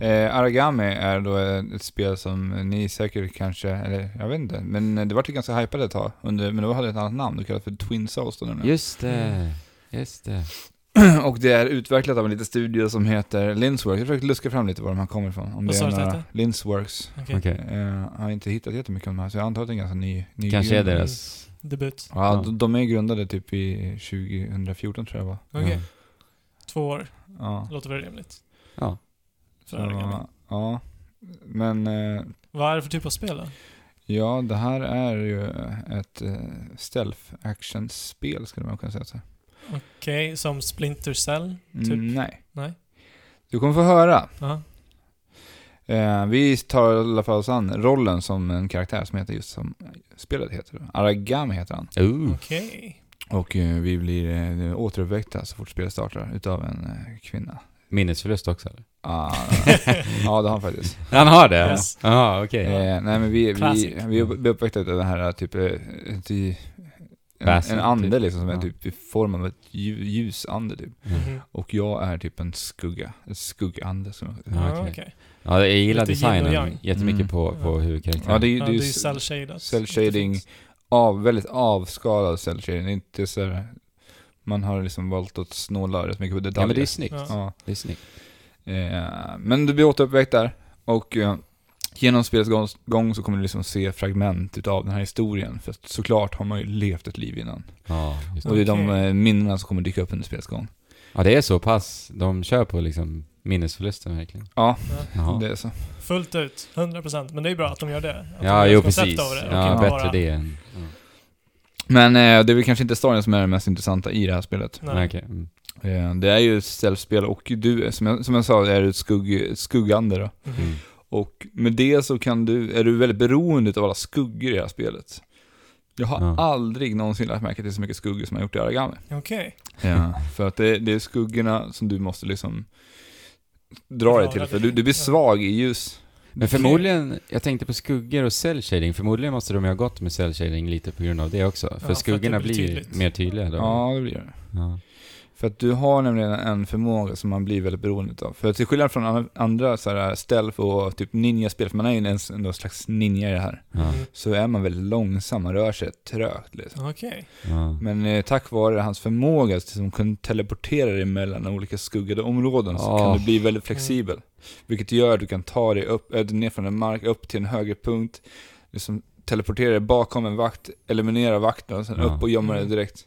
Speaker 3: Eh, Aragami är då ett spel som ni säkert kanske, eller jag vet inte, men det var ju ganska hypat ett tag. Under, men då hade det ett annat namn, det kallades för Twin Souls då nämligen.
Speaker 1: Just det. Just det.
Speaker 3: Och det är utvecklat av en liten studio som heter Linsworks. Jag försökte luska fram lite var de här kommer ifrån. Om
Speaker 2: Vad
Speaker 3: det
Speaker 2: sa
Speaker 3: är
Speaker 2: du att det
Speaker 3: några
Speaker 2: hette?
Speaker 3: Linsworks.
Speaker 2: Okej.
Speaker 1: Okej.
Speaker 3: Eh, jag har inte hittat jättemycket om de här, så jag antar att det är en ganska ny, ny
Speaker 1: Kanske är
Speaker 3: grund.
Speaker 1: deras...
Speaker 2: Debut.
Speaker 3: Ja,
Speaker 1: Ja.
Speaker 3: de- de är grundade typ i 2014 tror jag det var.
Speaker 2: Okej.
Speaker 1: Ja.
Speaker 2: Två år.
Speaker 3: Ja.
Speaker 2: Låter väl rimligt.
Speaker 1: Ja.
Speaker 2: För Aragami.
Speaker 3: Så, ja. Men eh,
Speaker 2: Vad är det för typ av spel då?
Speaker 3: Ja, det här är ju ett eh, stealth action-spel skulle man kunna säga. Så.
Speaker 2: Okej, som Splinter Cell?
Speaker 3: Mm,
Speaker 2: Typ.
Speaker 3: Nej.
Speaker 2: Nej.
Speaker 3: Du kommer få höra.
Speaker 2: Ja.
Speaker 3: Eh, vi tar i alla fall oss an rollen som en karaktär som heter just som spelet heter. Aragami heter han.
Speaker 1: Ooh.
Speaker 2: Okej.
Speaker 3: Och eh, vi blir eh, återuppväckta så fort spelet startar utav en eh, kvinna.
Speaker 1: Minnesförlust också eller?
Speaker 3: Ah, ja, det har han faktiskt.
Speaker 1: Han har det?
Speaker 2: Yes.
Speaker 1: Jaha, okej.
Speaker 3: Eh, nej, men vi, vi,
Speaker 2: Classic.
Speaker 3: vi blir uppväckta utav den här typ... eh, ett i- En,
Speaker 1: Väsen,
Speaker 3: en ande
Speaker 1: typ.
Speaker 3: liksom, som är
Speaker 1: Ja.
Speaker 3: typ i form av ett ljus, ljusande typ.
Speaker 2: Mhm.
Speaker 3: Och jag är typ en skugga, en skuggande som jag
Speaker 1: Ja,
Speaker 2: Ja,
Speaker 1: okej.
Speaker 2: okej.
Speaker 1: Ja, jag gillar
Speaker 2: Lite yin och
Speaker 1: designen
Speaker 2: yang.
Speaker 1: jättemycket
Speaker 3: Mm.
Speaker 1: på, på
Speaker 2: Ja.
Speaker 1: huvudkaraktären.
Speaker 3: Ja, det är ju
Speaker 2: Ja,
Speaker 3: det är ju
Speaker 2: cell shadat.
Speaker 3: cell shading. av, väldigt avskalad cell shading. Det är inte så här, man har liksom valt att snåla rätt mycket på
Speaker 1: Ja,
Speaker 3: detaljer.
Speaker 1: men det är snyggt.
Speaker 2: Ja.
Speaker 3: Ja.
Speaker 1: Det är snyggt.
Speaker 3: Eh, men du blir återuppväckt där och eh, genom spelets gång, gång så kommer du liksom se fragment utav den här historien. För att såklart har man ju levt ett liv innan.
Speaker 1: Ja, just
Speaker 3: Och
Speaker 1: det.
Speaker 3: det är de
Speaker 2: Okej.
Speaker 3: eh, minnena som kommer dyka upp under spelets gång.
Speaker 1: ja, det är så pass. De kör på liksom minnesförlusten verkligen.
Speaker 3: Ja,
Speaker 1: Jaha.
Speaker 3: det är så.
Speaker 2: Fullt ut, 100%. Men det är bra att de gör det. Att de
Speaker 1: Ja,
Speaker 2: gör
Speaker 1: jo
Speaker 2: ett koncept
Speaker 1: precis.
Speaker 2: av det och
Speaker 1: Ja,
Speaker 2: inte
Speaker 1: bättre
Speaker 2: bara
Speaker 1: det än... Ja.
Speaker 3: Men eh, det är väl kanske inte storyn som är det mest intressanta i det här spelet.
Speaker 2: Nej.
Speaker 1: Nej, okej. Mm.
Speaker 3: Eh, det är ju ett selfspel och du, som jag, som jag sa, är ett skugg, skuggande då.
Speaker 2: Mhm.
Speaker 1: Mm.
Speaker 3: Och med det så kan du, är du väldigt beroende av alla skuggor i det här spelet. Jag har
Speaker 1: Ja.
Speaker 3: aldrig någonsin lagt märke till så mycket skuggor som jag har gjort i Aragami.
Speaker 2: Okej.
Speaker 3: Ja. För att det, det är skuggorna som du måste liksom dra dig till, för du, du
Speaker 2: Ja.
Speaker 3: blir svag i ljus.
Speaker 1: Men förmodligen, jag tänkte på skuggor och cell shading, förmodligen måste de ju ha gått med cell shading lite på grund av det också. För
Speaker 2: för att
Speaker 1: skuggorna
Speaker 2: det blir
Speaker 1: blir
Speaker 2: tydligt.
Speaker 1: mer tydliga då.
Speaker 3: Ja, det blir det.
Speaker 1: Ja.
Speaker 3: För att du har nämligen en förmåga som man blir väldigt beroende av. För till skillnad från an- andra så här stealth och typ ninja-spel, för man är ju en, en slags ninja i det här,
Speaker 1: Ja.
Speaker 2: Mm.
Speaker 3: så är man väldigt långsam, man rör sig trögt liksom.
Speaker 2: Okej.
Speaker 1: Ja.
Speaker 3: Men eh, tack vare hans förmåga att liksom kunna teleportera dig mellan olika skuggade områden så
Speaker 1: Ja.
Speaker 3: kan du bli väldigt flexibel. Vilket gör att du kan ta dig upp, äh, ner från en mark upp till en högre punkt, liksom teleportera dig bakom en vakt, eliminera vakten och sen
Speaker 1: Ja.
Speaker 3: upp och gömma dig
Speaker 2: Mm.
Speaker 3: direkt.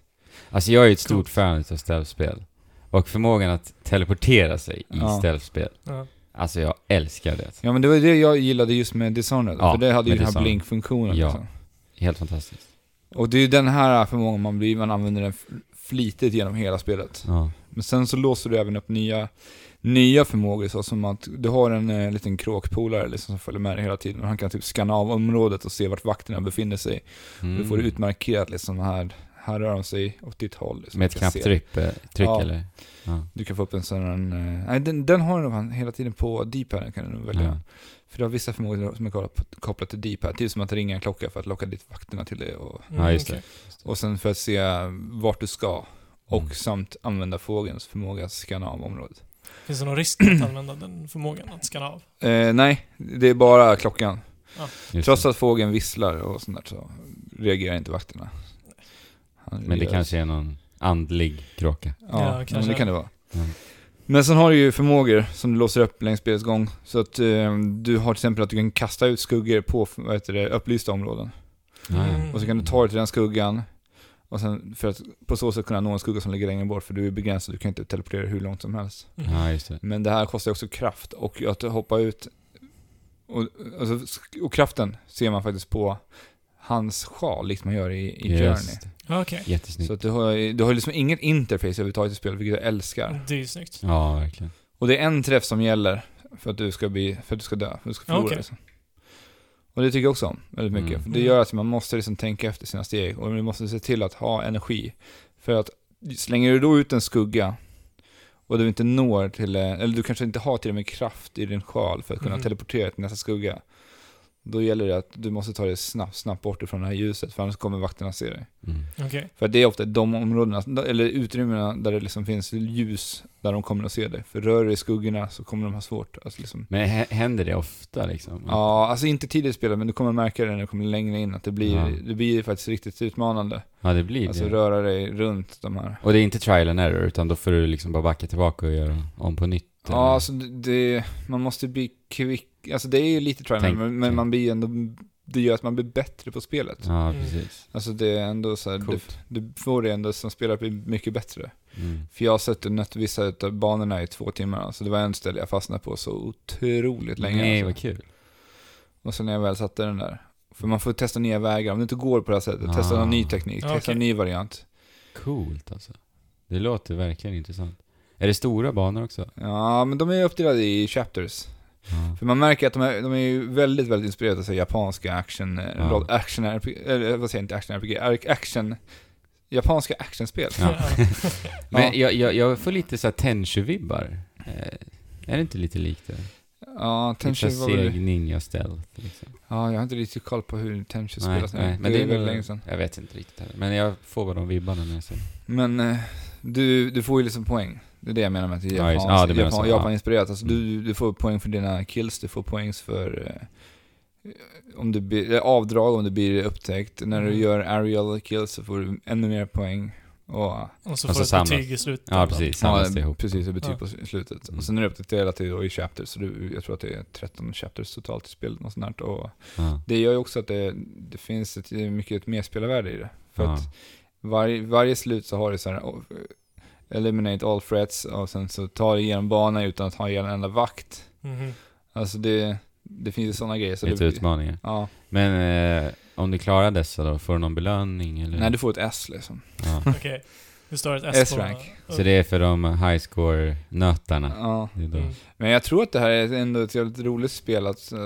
Speaker 1: Alltså jag är ju ett stort
Speaker 2: Coolt.
Speaker 1: fan av stealthspel. Och förmågan att teleportera sig i
Speaker 3: Ja.
Speaker 1: stealthspel.
Speaker 2: Ja. Mm,
Speaker 1: Alltså jag älskar det.
Speaker 3: Ja men det var ju det jag gillade just med Dishonored,
Speaker 1: Ja,
Speaker 3: för det hade ju
Speaker 1: med
Speaker 3: den här
Speaker 1: Dishonored.
Speaker 3: blinkfunktionen.
Speaker 1: Ja.
Speaker 3: Liksom.
Speaker 1: Helt fantastiskt.
Speaker 3: Och det är ju den här förmågan man blir, man använder den f- flitigt genom hela spelet.
Speaker 1: Ja.
Speaker 3: Men sen så låser du även upp nya, nya förmågor, så som att du har en eh, liten kråkpolare liksom, som följer med dig hela tiden. Och han kan typ skanna av området och se vart vakterna befinner sig.
Speaker 1: Mm.
Speaker 3: Du får det utmarkerat liksom, här, här rör de sig åt ditt håll. Liksom,
Speaker 1: Med ett
Speaker 3: Du kan se.
Speaker 1: knapptryck eh, tryck,
Speaker 3: Ja.
Speaker 1: eller? Ja.
Speaker 3: Du kan få upp en sån här, eh, nej den, den har du fan hela tiden på D-paden kan du nog välja.
Speaker 1: Ja.
Speaker 3: För du har vissa förmågor som är kopplat- kopplat till D-pad, typ som att ringa en klocka för att locka dit vakterna till dig. Och,
Speaker 2: Mm,
Speaker 1: Ja, just
Speaker 2: okej.
Speaker 3: och sen för att se vart du ska. Och
Speaker 1: Mm.
Speaker 3: samt använda fågelns förmåga att skanna av området.
Speaker 2: Finns det någon risk att använda den förmågan att skanna av?
Speaker 3: Eh, nej, det är bara klockan.
Speaker 1: Just
Speaker 3: Trots
Speaker 1: det.
Speaker 3: att fågeln visslar och sånt där så reagerar inte vakterna. Han
Speaker 1: Men det
Speaker 3: reagerar-
Speaker 1: kanske är någon andlig kråka.
Speaker 2: Ja,
Speaker 3: Ja, ja
Speaker 2: kanske.
Speaker 3: det kan det vara.
Speaker 1: Mm.
Speaker 3: Men sen har du ju förmågor som du låser upp längs spelets gång. Så att eh, du har till exempel att du kan kasta ut skuggor på vad heter det, upplysta områden.
Speaker 1: Ja, ja.
Speaker 2: Mm.
Speaker 3: Och så kan du ta dig till den skuggan. Och sen för att på så sätt kunna nå en skugga som ligger längre bort, för du är begränsad, du kan inte teleportera hur långt som helst.
Speaker 2: Mm.
Speaker 1: ja, just det.
Speaker 3: Men det här kostar också kraft och att hoppa ut och, alltså, och kraften ser man faktiskt på hans sjal, likt man gör i, i Journey.
Speaker 1: Just det.
Speaker 2: Ja, Okej.
Speaker 1: Jättesnyggt.
Speaker 3: Så att du har, du har liksom inget interface överhuvudtaget i spelet, vilket jag älskar.
Speaker 2: Det är ju snyggt.
Speaker 1: Ja, verkligen.
Speaker 3: Och det är en träff som gäller för att du ska, bli, för att du ska dö, för att du ska förlora.
Speaker 2: Okej.
Speaker 3: Liksom. Och det tycker jag också om väldigt mycket.
Speaker 1: Mm.
Speaker 3: För det gör att man måste liksom tänka efter sina steg och du måste se till att ha energi. För att slänger du då ut en skugga och du inte når till, eh, eller du kanske inte har till och med kraft i din sjal för att kunna
Speaker 2: Mm.
Speaker 3: teleportera till nästa skugga. Då gäller det att du måste ta dig snabbt, snabbt bort ifrån det här ljuset för annars kommer vakterna se dig.
Speaker 1: Mm.
Speaker 2: Okej.
Speaker 3: För att det är ofta de områdena, eller utrymmena där det liksom finns ljus, där de kommer att se dig. För rör du dig i skuggorna så kommer de ha svårt att liksom...
Speaker 1: Men hä- händer det ofta liksom?
Speaker 3: Ja, alltså inte tidigt i spelet, men du kommer märka det när du kommer längre in, att det blir,
Speaker 1: Ja.
Speaker 3: det blir faktiskt riktigt utmanande.
Speaker 1: Ja, det blir
Speaker 3: Alltså
Speaker 1: Mm. det.
Speaker 3: röra dig runt de här.
Speaker 1: Och det är inte trial and error, utan då får du liksom bara backa tillbaka och göra om på nytt? eller?
Speaker 3: Ja, alltså det- det, man måste bli kvick, alltså det är ju lite trial and
Speaker 1: Tänk-
Speaker 3: error, men, men man blir ju ändå, det gör att man blir bättre på spelet.
Speaker 1: Ja,
Speaker 2: Mm.
Speaker 1: precis.
Speaker 3: Alltså det är ändå så här, du,
Speaker 1: Coolt.
Speaker 3: du får det ändå som spelare bli mycket bättre.
Speaker 1: Mm.
Speaker 3: För jag har suttit nött vissa utav banorna i två timmar, alltså det var en ställe jag fastnade på så otroligt länge.
Speaker 1: Nej,
Speaker 3: alltså.
Speaker 1: vad kul.
Speaker 3: Och sen när jag väl satte den där. För man får testa nya vägar, om det inte går på det här sättet, testa
Speaker 1: Ah.
Speaker 3: någon ny teknik,
Speaker 2: Ja,
Speaker 3: testa en
Speaker 2: okej.
Speaker 3: ny variant.
Speaker 1: Coolt alltså. Det låter verkligen intressant. Är det stora banor också?
Speaker 3: Ja, men de är uppdelade i chapters.
Speaker 1: Ja.
Speaker 3: För man märker att de är, de är ju väldigt, väldigt inspirerade av så här japanska action,
Speaker 1: Ja.
Speaker 3: ja. action RPG, eller eh, vad säger jag, inte action RPG, ar- action, japanska actionspel.
Speaker 1: Ja.
Speaker 2: Ja.
Speaker 1: Men jag, jag, jag får lite så här Tenshu-vibbar. Eh, är det inte lite likt det?
Speaker 3: Ja, Tenchi
Speaker 1: lite
Speaker 3: var väl...
Speaker 1: seg ninja-stealth liksom.
Speaker 3: Ja, jag har inte riktigt koll på hur Tenchi
Speaker 1: Nej,
Speaker 3: spelas nu.
Speaker 1: nej, men
Speaker 3: det,
Speaker 1: det
Speaker 3: är
Speaker 1: är
Speaker 3: väldigt
Speaker 1: nog-
Speaker 3: länge sedan.
Speaker 1: Jag vet inte riktigt heller. Men jag får bara de vibbarna när jag ser det.
Speaker 3: Men eh, du, du får ju liksom poäng. Det är det jag menar med att det är
Speaker 1: Ja, just-
Speaker 3: japanskt,
Speaker 1: ja, det menar
Speaker 3: Japan,
Speaker 1: så, ja.
Speaker 3: Japan-inspirerat. Alltså,
Speaker 1: Mm.
Speaker 3: du, du får poäng för dina kills, du får poäng för eh, om du blir, eh, avdrag om du blir upptäckt. När du
Speaker 2: Mm.
Speaker 3: gör aerial kills så får du ännu mer poäng. Och,
Speaker 2: Och så
Speaker 1: Och så
Speaker 2: får du ett
Speaker 1: samlas.
Speaker 2: betyg i slutet.
Speaker 1: Ja, precis. Samlas det
Speaker 3: Typ. ja,
Speaker 1: ihop.
Speaker 3: precis, det betyg
Speaker 2: Ja.
Speaker 3: på slutet.
Speaker 1: Mm.
Speaker 3: Och sen är det uppdaterat till då i chapters, så du, jag tror att det är 13 chapters totalt i spelet. Och sånt där. Och
Speaker 1: Ja.
Speaker 3: det gör ju också att det, det finns ett, mycket ett merspelarvärde i det. För
Speaker 1: Ja.
Speaker 3: att varje, varje slut så har du så här oh, eliminate all threats och sen så tar du igenom banan utan att ha ihjäl en enda vakt.
Speaker 2: Mhm.
Speaker 3: Alltså det, det finns ju sådana grejer. Så
Speaker 1: Lite
Speaker 3: det,
Speaker 1: utmaningar.
Speaker 3: ja,
Speaker 1: Men eh, om du klarar dessa då, får du någon belöning eller?
Speaker 3: Nej, du får ett S liksom.
Speaker 1: ja.
Speaker 2: Okej. Det står ett S, på-
Speaker 3: S-rank.
Speaker 1: Så det är för de highscore-nötarna?
Speaker 3: Ja.
Speaker 1: Det är då.
Speaker 2: Mm.
Speaker 3: Men jag tror att det här är ändå ett jävligt roligt spel att, eh,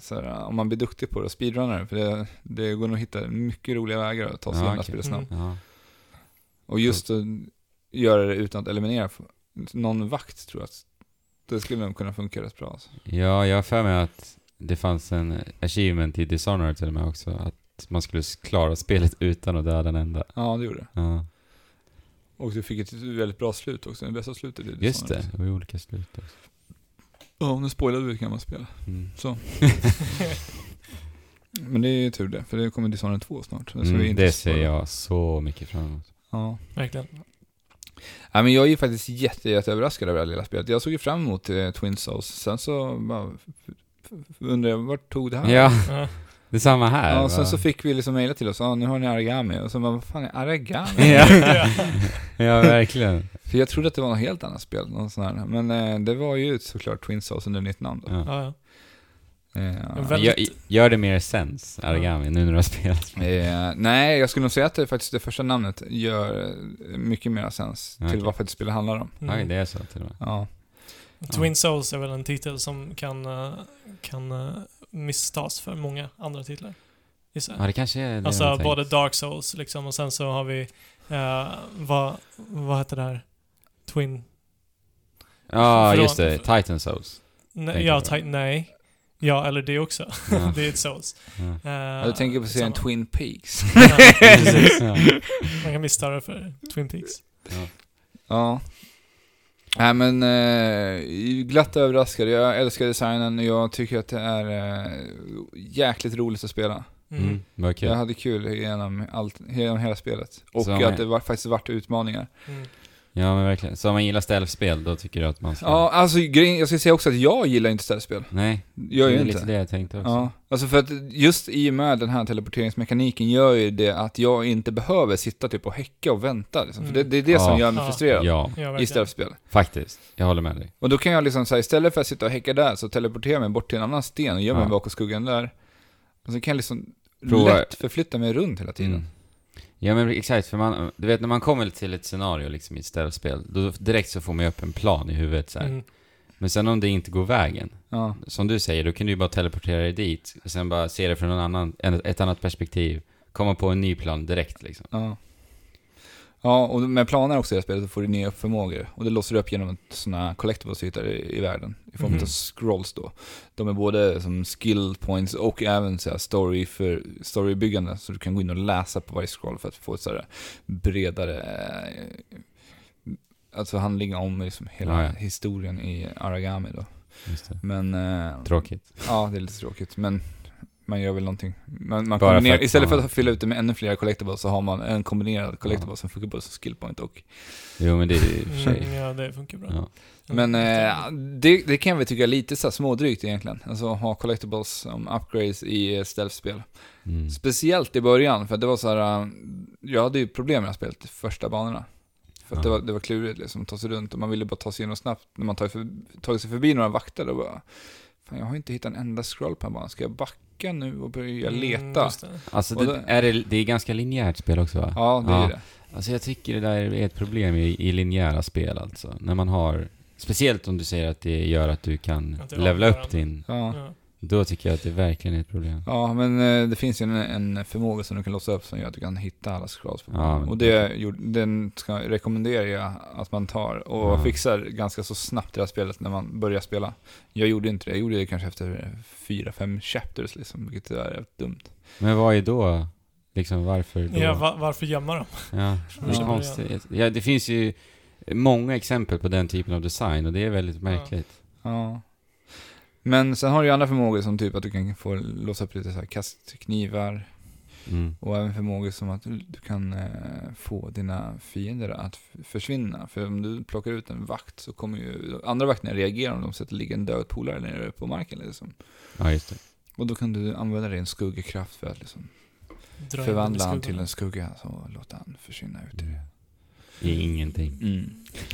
Speaker 3: så här, om man blir duktig på det och speedrunnar det, för det, det går nog att hitta mycket roliga vägar att ta sig
Speaker 1: Ja,
Speaker 3: igenom det här
Speaker 1: okej.
Speaker 3: spelet snabbt.
Speaker 2: Mm.
Speaker 1: Ja.
Speaker 3: Och just att göra det utan att eliminera f- någon vakt tror jag att det skulle nog kunna funka rätt bra. Alltså.
Speaker 1: ja, jag har för mig att det fanns en achievement i Dishonored till och med också, att man skulle s- klara spelet utan att döda en enda.
Speaker 3: Ja, det gjorde det.
Speaker 1: Ja.
Speaker 3: Och du fick ett väldigt bra slut också, det bästa slutet i
Speaker 1: Just
Speaker 3: Dishonored.
Speaker 1: det, det var ju olika slut också.
Speaker 3: Ja, nu spoilade vi ett gammalt spel.
Speaker 1: Mm.
Speaker 3: Så. Men det är ju tur det, för det kommer Dishonored 2 snart. så vi
Speaker 1: Mm,
Speaker 3: inte
Speaker 1: det
Speaker 3: spoilar.
Speaker 1: ser jag så mycket fram emot.
Speaker 3: Ja.
Speaker 2: Verkligen.
Speaker 3: Ja, men jag är ju faktiskt jätte, jätte överraskad över det här lilla spelet. Jag såg ju fram emot eh, Twin Souls, sen så bara, f- f- undrar jag vart tog det här?
Speaker 1: Ja,
Speaker 2: Ja.
Speaker 1: det är samma här.
Speaker 3: Ja,
Speaker 1: va?
Speaker 3: och sen så fick vi liksom mejla till oss, ja nu har ni Aragami, och så bara, vad fan är Aragami?
Speaker 1: ja. ja, verkligen.
Speaker 3: För jag trodde att det var något helt annat spel, någon sån här. men eh, det var ju såklart Twin Souls under nytt namn då.
Speaker 1: Ja.
Speaker 2: Ja, ja.
Speaker 3: Eh,
Speaker 2: Väl-
Speaker 1: Gör,
Speaker 2: Väldigt-
Speaker 1: gör det mer sens, Aragami, nu när du har spelat?
Speaker 3: eh, nej, jag skulle nog säga att det faktiskt det första namnet gör eh, mycket mer sens
Speaker 1: Okej.
Speaker 3: till vad faktiskt spelet handlar om.
Speaker 2: Mm.
Speaker 1: Oj, det är så till och med.
Speaker 3: Ja,
Speaker 2: Twin Souls är väl en titel som kan, eh, kan eh, misstas för många andra titlar. Gissar jag.
Speaker 1: Ja, det kanske är det jag
Speaker 2: Alltså
Speaker 1: har tänkt.
Speaker 2: både Dark Souls liksom och sen så har vi, eh, vad, vad heter det här? Twin...
Speaker 1: Ja,
Speaker 2: Förlåt.
Speaker 1: just det. Titan Souls.
Speaker 2: Nej,
Speaker 1: Tänker
Speaker 2: ja,
Speaker 1: du på?
Speaker 2: ti- nej. Ja, eller det också.
Speaker 1: Ja.
Speaker 2: det är ett Souls.
Speaker 1: Ja.
Speaker 2: Eh,
Speaker 3: jag tänker på serien
Speaker 2: samma.
Speaker 3: Twin Peaks.
Speaker 2: Ja, precis.
Speaker 1: Ja.
Speaker 2: Man kan missta det för Twin Peaks.
Speaker 3: Ja. Nej men, eh, glatt överraskad. Jag älskar designen och jag tycker att det är eh, jäkligt roligt att spela.
Speaker 2: Mm.
Speaker 1: Mm, vad kul.
Speaker 3: Jag hade kul genom, allt, genom hela spelet. Och
Speaker 1: Så man-
Speaker 3: att det var, faktiskt vart utmaningar.
Speaker 2: Mm.
Speaker 1: Ja, men verkligen. Så om man gillar stealth-spel, då tycker du att man ska...
Speaker 3: Ja, alltså grejen, jag ska säga också att jag gillar inte ställspel.
Speaker 1: Nej,
Speaker 3: Jag
Speaker 1: det
Speaker 3: gör
Speaker 1: är
Speaker 3: ju
Speaker 1: lite
Speaker 3: inte.
Speaker 1: det jag tänkte också.
Speaker 3: Ja, alltså för att just i och med den här teleporteringsmekaniken gör ju det att jag inte behöver sitta typ och häcka och vänta liksom. För det,
Speaker 2: Mm.
Speaker 3: det är det
Speaker 1: Ja.
Speaker 3: som gör mig
Speaker 2: Ja.
Speaker 3: frustrerad
Speaker 1: Ja,
Speaker 2: Ja,
Speaker 3: i
Speaker 2: verkligen.
Speaker 3: ställspel.
Speaker 1: faktiskt. Jag håller med dig.
Speaker 3: Och då kan jag liksom säga istället för att sitta och häcka där så teleporterar jag mig bort till en annan sten och gömmer
Speaker 1: Ja.
Speaker 3: mig bakom skuggan där. Och så kan jag liksom
Speaker 1: Prova-
Speaker 3: lätt förflytta mig runt hela tiden.
Speaker 1: Mm. Ja men exakt, för man, du vet när man kommer till ett scenario liksom i ett stealth-spel, då direkt så får man ju upp en plan i huvudet så här.
Speaker 2: Mm.
Speaker 1: Men sen om det inte går vägen,
Speaker 3: Ja.
Speaker 1: som du säger, då kan du ju bara teleportera dig dit, och sen bara se det från en annan, en, ett annat perspektiv, komma på en ny plan direkt liksom.
Speaker 3: Ja. Ja, och med planer också i det här spelet så får du nya förmågor. Och det låser du upp genom att sådana collectibles du hittar i, i världen. I form
Speaker 2: Mhm.
Speaker 3: av scrolls då. De är både som skill points och även så här story för storybyggande. Så du kan gå in och läsa på varje scroll för att få ett så här bredare eh, alltså handling om liksom hela
Speaker 1: Ja, ja.
Speaker 3: historien i Aragami då.
Speaker 1: Just det.
Speaker 3: Men eh,
Speaker 1: Tråkigt.
Speaker 3: ja, det är lite tråkigt. Men man gör väl någonting. Man, man
Speaker 1: Bara
Speaker 3: kombinerar,
Speaker 1: för att-
Speaker 3: istället för
Speaker 1: ja.
Speaker 3: att fylla ut det med ännu fler collectibles så har man en kombinerad collectible som funkar både som skillpoint och...
Speaker 1: Jo men det är ju i och för sig.
Speaker 2: Mm, ja, det funkar bra. Mm,
Speaker 1: Ja.
Speaker 3: Men eh, det, det kan vi tycka är lite så här smådrygt egentligen. Alltså ha collectibles som upgrades i eh, stealth-spel.
Speaker 1: Mm.
Speaker 3: Speciellt i början, för det var så här... eh, Jag hade ju problem med det här spelet i första banorna. För att det,
Speaker 1: Ja.
Speaker 3: var, det var klurigt liksom, att ta sig runt och man ville bara ta sig igenom snabbt. När man tagit, för, tagit sig förbi några vakter då bara... Fan, jag har inte hittat en enda scroll på den här banan. Ska jag backa nu och börja leta?
Speaker 2: Mm, just det.
Speaker 1: Alltså
Speaker 3: Och
Speaker 1: det,
Speaker 3: då-
Speaker 1: är det, det är ganska linjärt spel också va?
Speaker 3: Ja, det är ju det.
Speaker 1: Alltså jag tycker det där är ett problem i, i linjära spel alltså. När man har, speciellt om du säger att det gör att du kan
Speaker 2: Att det
Speaker 1: levla upp
Speaker 2: avgör.
Speaker 1: din,
Speaker 3: Ja.
Speaker 2: Ja.
Speaker 1: då tycker jag att det verkligen är ett problem.
Speaker 3: ja, men eh, det finns ju en, en förmåga som du kan låsa upp som gör att du kan hitta alla scrolls. På
Speaker 1: Ja, men-
Speaker 3: och det gjorde- den ska, rekommenderar jag att man tar och
Speaker 1: Ja.
Speaker 3: fixar ganska så snabbt det här spelet när man börjar spela. Jag gjorde inte det, jag gjorde det kanske efter fyra, fem chapters liksom, vilket tyvärr är rätt dumt.
Speaker 1: Men vad är då, liksom varför då?
Speaker 2: Ja, va, varför gömma dem?
Speaker 1: Ja, det, är
Speaker 3: Ja.
Speaker 1: konstigt. Ja, det finns ju många exempel på den typen av design och det är väldigt märkligt.
Speaker 3: Ja. Men sen har du ju andra förmågor som typ att du kan få låsa upp lite så här kastknivar,
Speaker 1: Mm.
Speaker 3: Och även förmågor som att du du kan eh, få dina fiender att f- försvinna. För om du plockar ut en vakt så kommer ju andra vakterna reagera om de ser att det ligger en död polare nere på marken liksom.
Speaker 1: Ja, just det.
Speaker 3: Och då kan du använda din skuggekraft för att liksom
Speaker 2: Dra in dem i
Speaker 3: förvandla han till
Speaker 2: skuggorna.
Speaker 3: en skugga och låta han försvinna ut i
Speaker 1: Mm.
Speaker 3: det.
Speaker 1: Det är ingenting.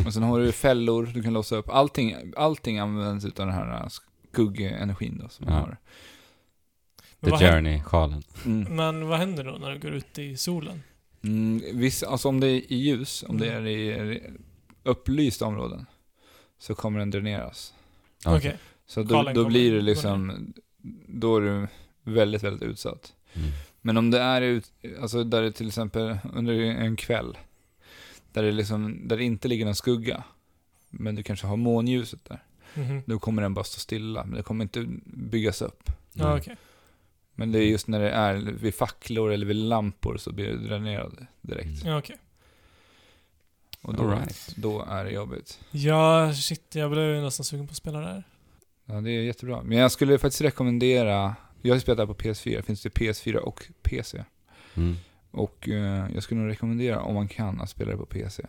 Speaker 3: Och sen har du fällor, du kan låsa upp. Allting, allting används utav den här eh, skuggenergin då som man
Speaker 1: Ja.
Speaker 3: har.
Speaker 1: The
Speaker 2: Vad händer-
Speaker 1: Journey-sjalen.
Speaker 3: Mm.
Speaker 2: Men vad händer då när du går ut i solen?
Speaker 3: Mm, viss, alltså om det är i ljus, om det är i i upplysta områden, så kommer den dräneras.
Speaker 1: Ja.
Speaker 2: Okej.
Speaker 3: Så då,
Speaker 2: Skalen
Speaker 3: då
Speaker 2: kommer-
Speaker 3: blir det liksom, då är du väldigt, väldigt utsatt.
Speaker 1: Mm.
Speaker 3: Men om det är ut, alltså där det till exempel under en kväll, där det, liksom, där det inte ligger någon skugga, men du kanske har månljuset där,
Speaker 2: Mhm.
Speaker 3: då kommer den bara stå stilla, men det kommer inte byggas upp.
Speaker 1: Mm.
Speaker 2: Ja, okej.
Speaker 3: Men det är just när det är vid facklor eller vid lampor så blir det dränerade direkt.
Speaker 1: Mm.
Speaker 2: Ja, okej.
Speaker 3: Och då,
Speaker 1: All right.
Speaker 3: då är det jobbigt.
Speaker 2: Ja, shit, jag blev ju nästan sugen på att spela det här.
Speaker 3: Ja, det är jättebra. Men jag skulle faktiskt rekommendera, jag har ju spelat det här på PS4, finns det PS4 och PC.
Speaker 1: Mm.
Speaker 3: Och eh, jag skulle nog rekommendera, om man kan, att spela det på PC.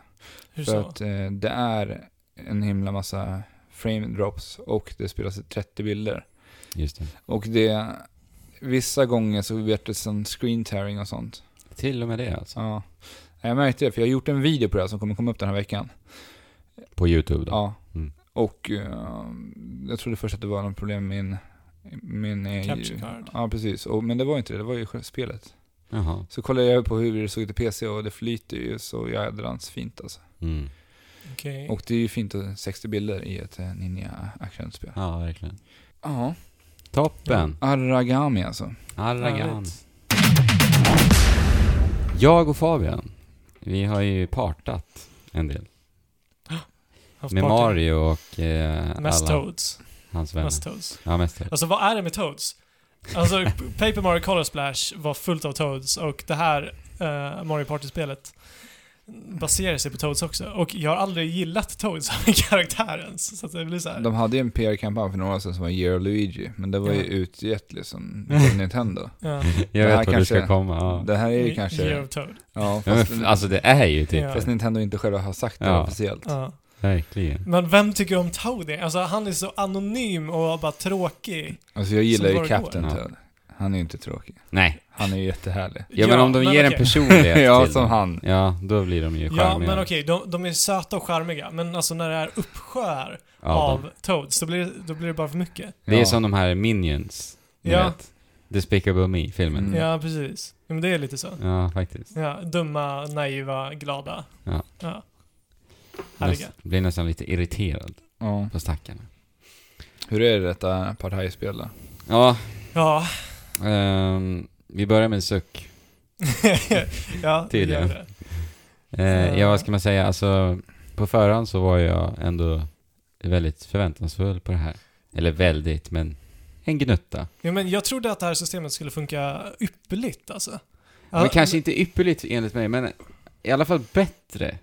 Speaker 2: Hur
Speaker 3: För
Speaker 2: så?
Speaker 3: att eh, det är en himla massa frame drops och det spelas i 30 bilder.
Speaker 1: Just det.
Speaker 3: Och det, vissa gånger så vart det som screen tearing och sånt.
Speaker 1: Till och med det alltså.
Speaker 3: Ja. Jag märkte det, för jag har gjort en video på det här som kommer komma upp den här veckan.
Speaker 1: På YouTube då.
Speaker 3: Ja.
Speaker 1: Mm.
Speaker 3: Och eh, jag trodde först att det var något problem med min... min eh,
Speaker 2: Capture card.
Speaker 3: Ja, precis. Och, men det var inte det, det var ju själva spelet.
Speaker 1: Jaha.
Speaker 3: Så kollade jag på hur det såg ut i PC och det flyter ju så jädrans fint alltså.
Speaker 1: Mm.
Speaker 2: Okej.
Speaker 3: Och det är ju fint att 60 bilder i ett eh, ninja actionspel.
Speaker 1: Ja, verkligen.
Speaker 3: Ja,
Speaker 1: Toppen!
Speaker 3: Aragami alltså.
Speaker 1: Arragan.
Speaker 2: Härligt.
Speaker 1: Jag och Fabian, vi har ju partat en del.
Speaker 2: Haft
Speaker 1: Med
Speaker 2: party.
Speaker 1: Mario och eh,
Speaker 2: Mest
Speaker 1: alla
Speaker 2: Toads.
Speaker 1: hans vänner.
Speaker 2: Mest Toads.
Speaker 1: Ja, mest Toad.
Speaker 2: Alltså vad är det med Toads? Alltså, Paper Mario Color Splash var fullt av Toads och det här eh, Mario Party-spelet baserar sig på Toads också. Och jag har aldrig gillat Toads som en karaktär ens. Så att det blir så här.
Speaker 3: De hade ju en PR-kampanj för några år sedan som var Year of Luigi, men det var ju
Speaker 2: Ja.
Speaker 3: utgett liksom av Nintendo.
Speaker 2: ja.
Speaker 1: Jag
Speaker 3: Det här
Speaker 1: vet var du ska
Speaker 3: kanske-
Speaker 1: komma. Ja.
Speaker 3: Det här är ju
Speaker 2: Year
Speaker 3: kanske...
Speaker 2: of Toad.
Speaker 3: Ja,
Speaker 1: Ja, men,
Speaker 3: fast,
Speaker 1: f- alltså det är ju typ
Speaker 2: Ja.
Speaker 1: det.
Speaker 3: fast Nintendo inte själva har sagt det
Speaker 1: Ja.
Speaker 3: officiellt.
Speaker 2: Ja.
Speaker 1: Verkligen.
Speaker 2: Men vem tycker om Toad? egentligen? Alltså han är så anonym och bara tråkig.
Speaker 3: Alltså jag gillar
Speaker 2: Som
Speaker 3: ju
Speaker 2: bara
Speaker 3: Captain
Speaker 1: går.
Speaker 3: Toad. Han är ju inte tråkig.
Speaker 1: Nej.
Speaker 3: Han är ju jättehärlig.
Speaker 1: Ja, men om de ger en
Speaker 2: okej.
Speaker 1: personlighet
Speaker 3: ja,
Speaker 1: till
Speaker 3: som
Speaker 1: dem,
Speaker 3: han.
Speaker 1: Ja, då blir de ju
Speaker 2: Ja,
Speaker 1: charmiga.
Speaker 2: men okej, de, de är söta och charmiga, men alltså när det är uppsjöar
Speaker 1: Ja,
Speaker 2: av
Speaker 1: de-
Speaker 2: Toads, då blir, det, då blir det bara för mycket.
Speaker 1: Det är
Speaker 3: Ja.
Speaker 1: som de här Minions. Ni
Speaker 2: Ja.
Speaker 1: vet. Despicable Me-filmen.
Speaker 3: Mm.
Speaker 2: Ja, precis. Ja, men det är lite så.
Speaker 1: Ja, faktiskt.
Speaker 2: Ja, dumma, naiva, glada.
Speaker 1: Ja.
Speaker 2: ja. Härliga.
Speaker 1: Näst, blir nästan lite irriterad
Speaker 3: Ja.
Speaker 1: på stackarna.
Speaker 3: Hur är det detta partajspel då?
Speaker 1: Ja,
Speaker 2: Ja.
Speaker 1: ehm, vi börjar med en suck.
Speaker 2: ja, det
Speaker 1: Tydligen.
Speaker 2: gör det.
Speaker 1: Eh, ja, vad ska man säga? Alltså, på förhand så var jag ändå väldigt förväntansfull på det här. Eller väldigt, men en gnutta.
Speaker 2: Ja, men jag trodde att det här systemet skulle funka ypperligt alltså.
Speaker 1: men
Speaker 2: Ja,
Speaker 1: kanske inte ypperligt enligt mig, men i alla fall bättre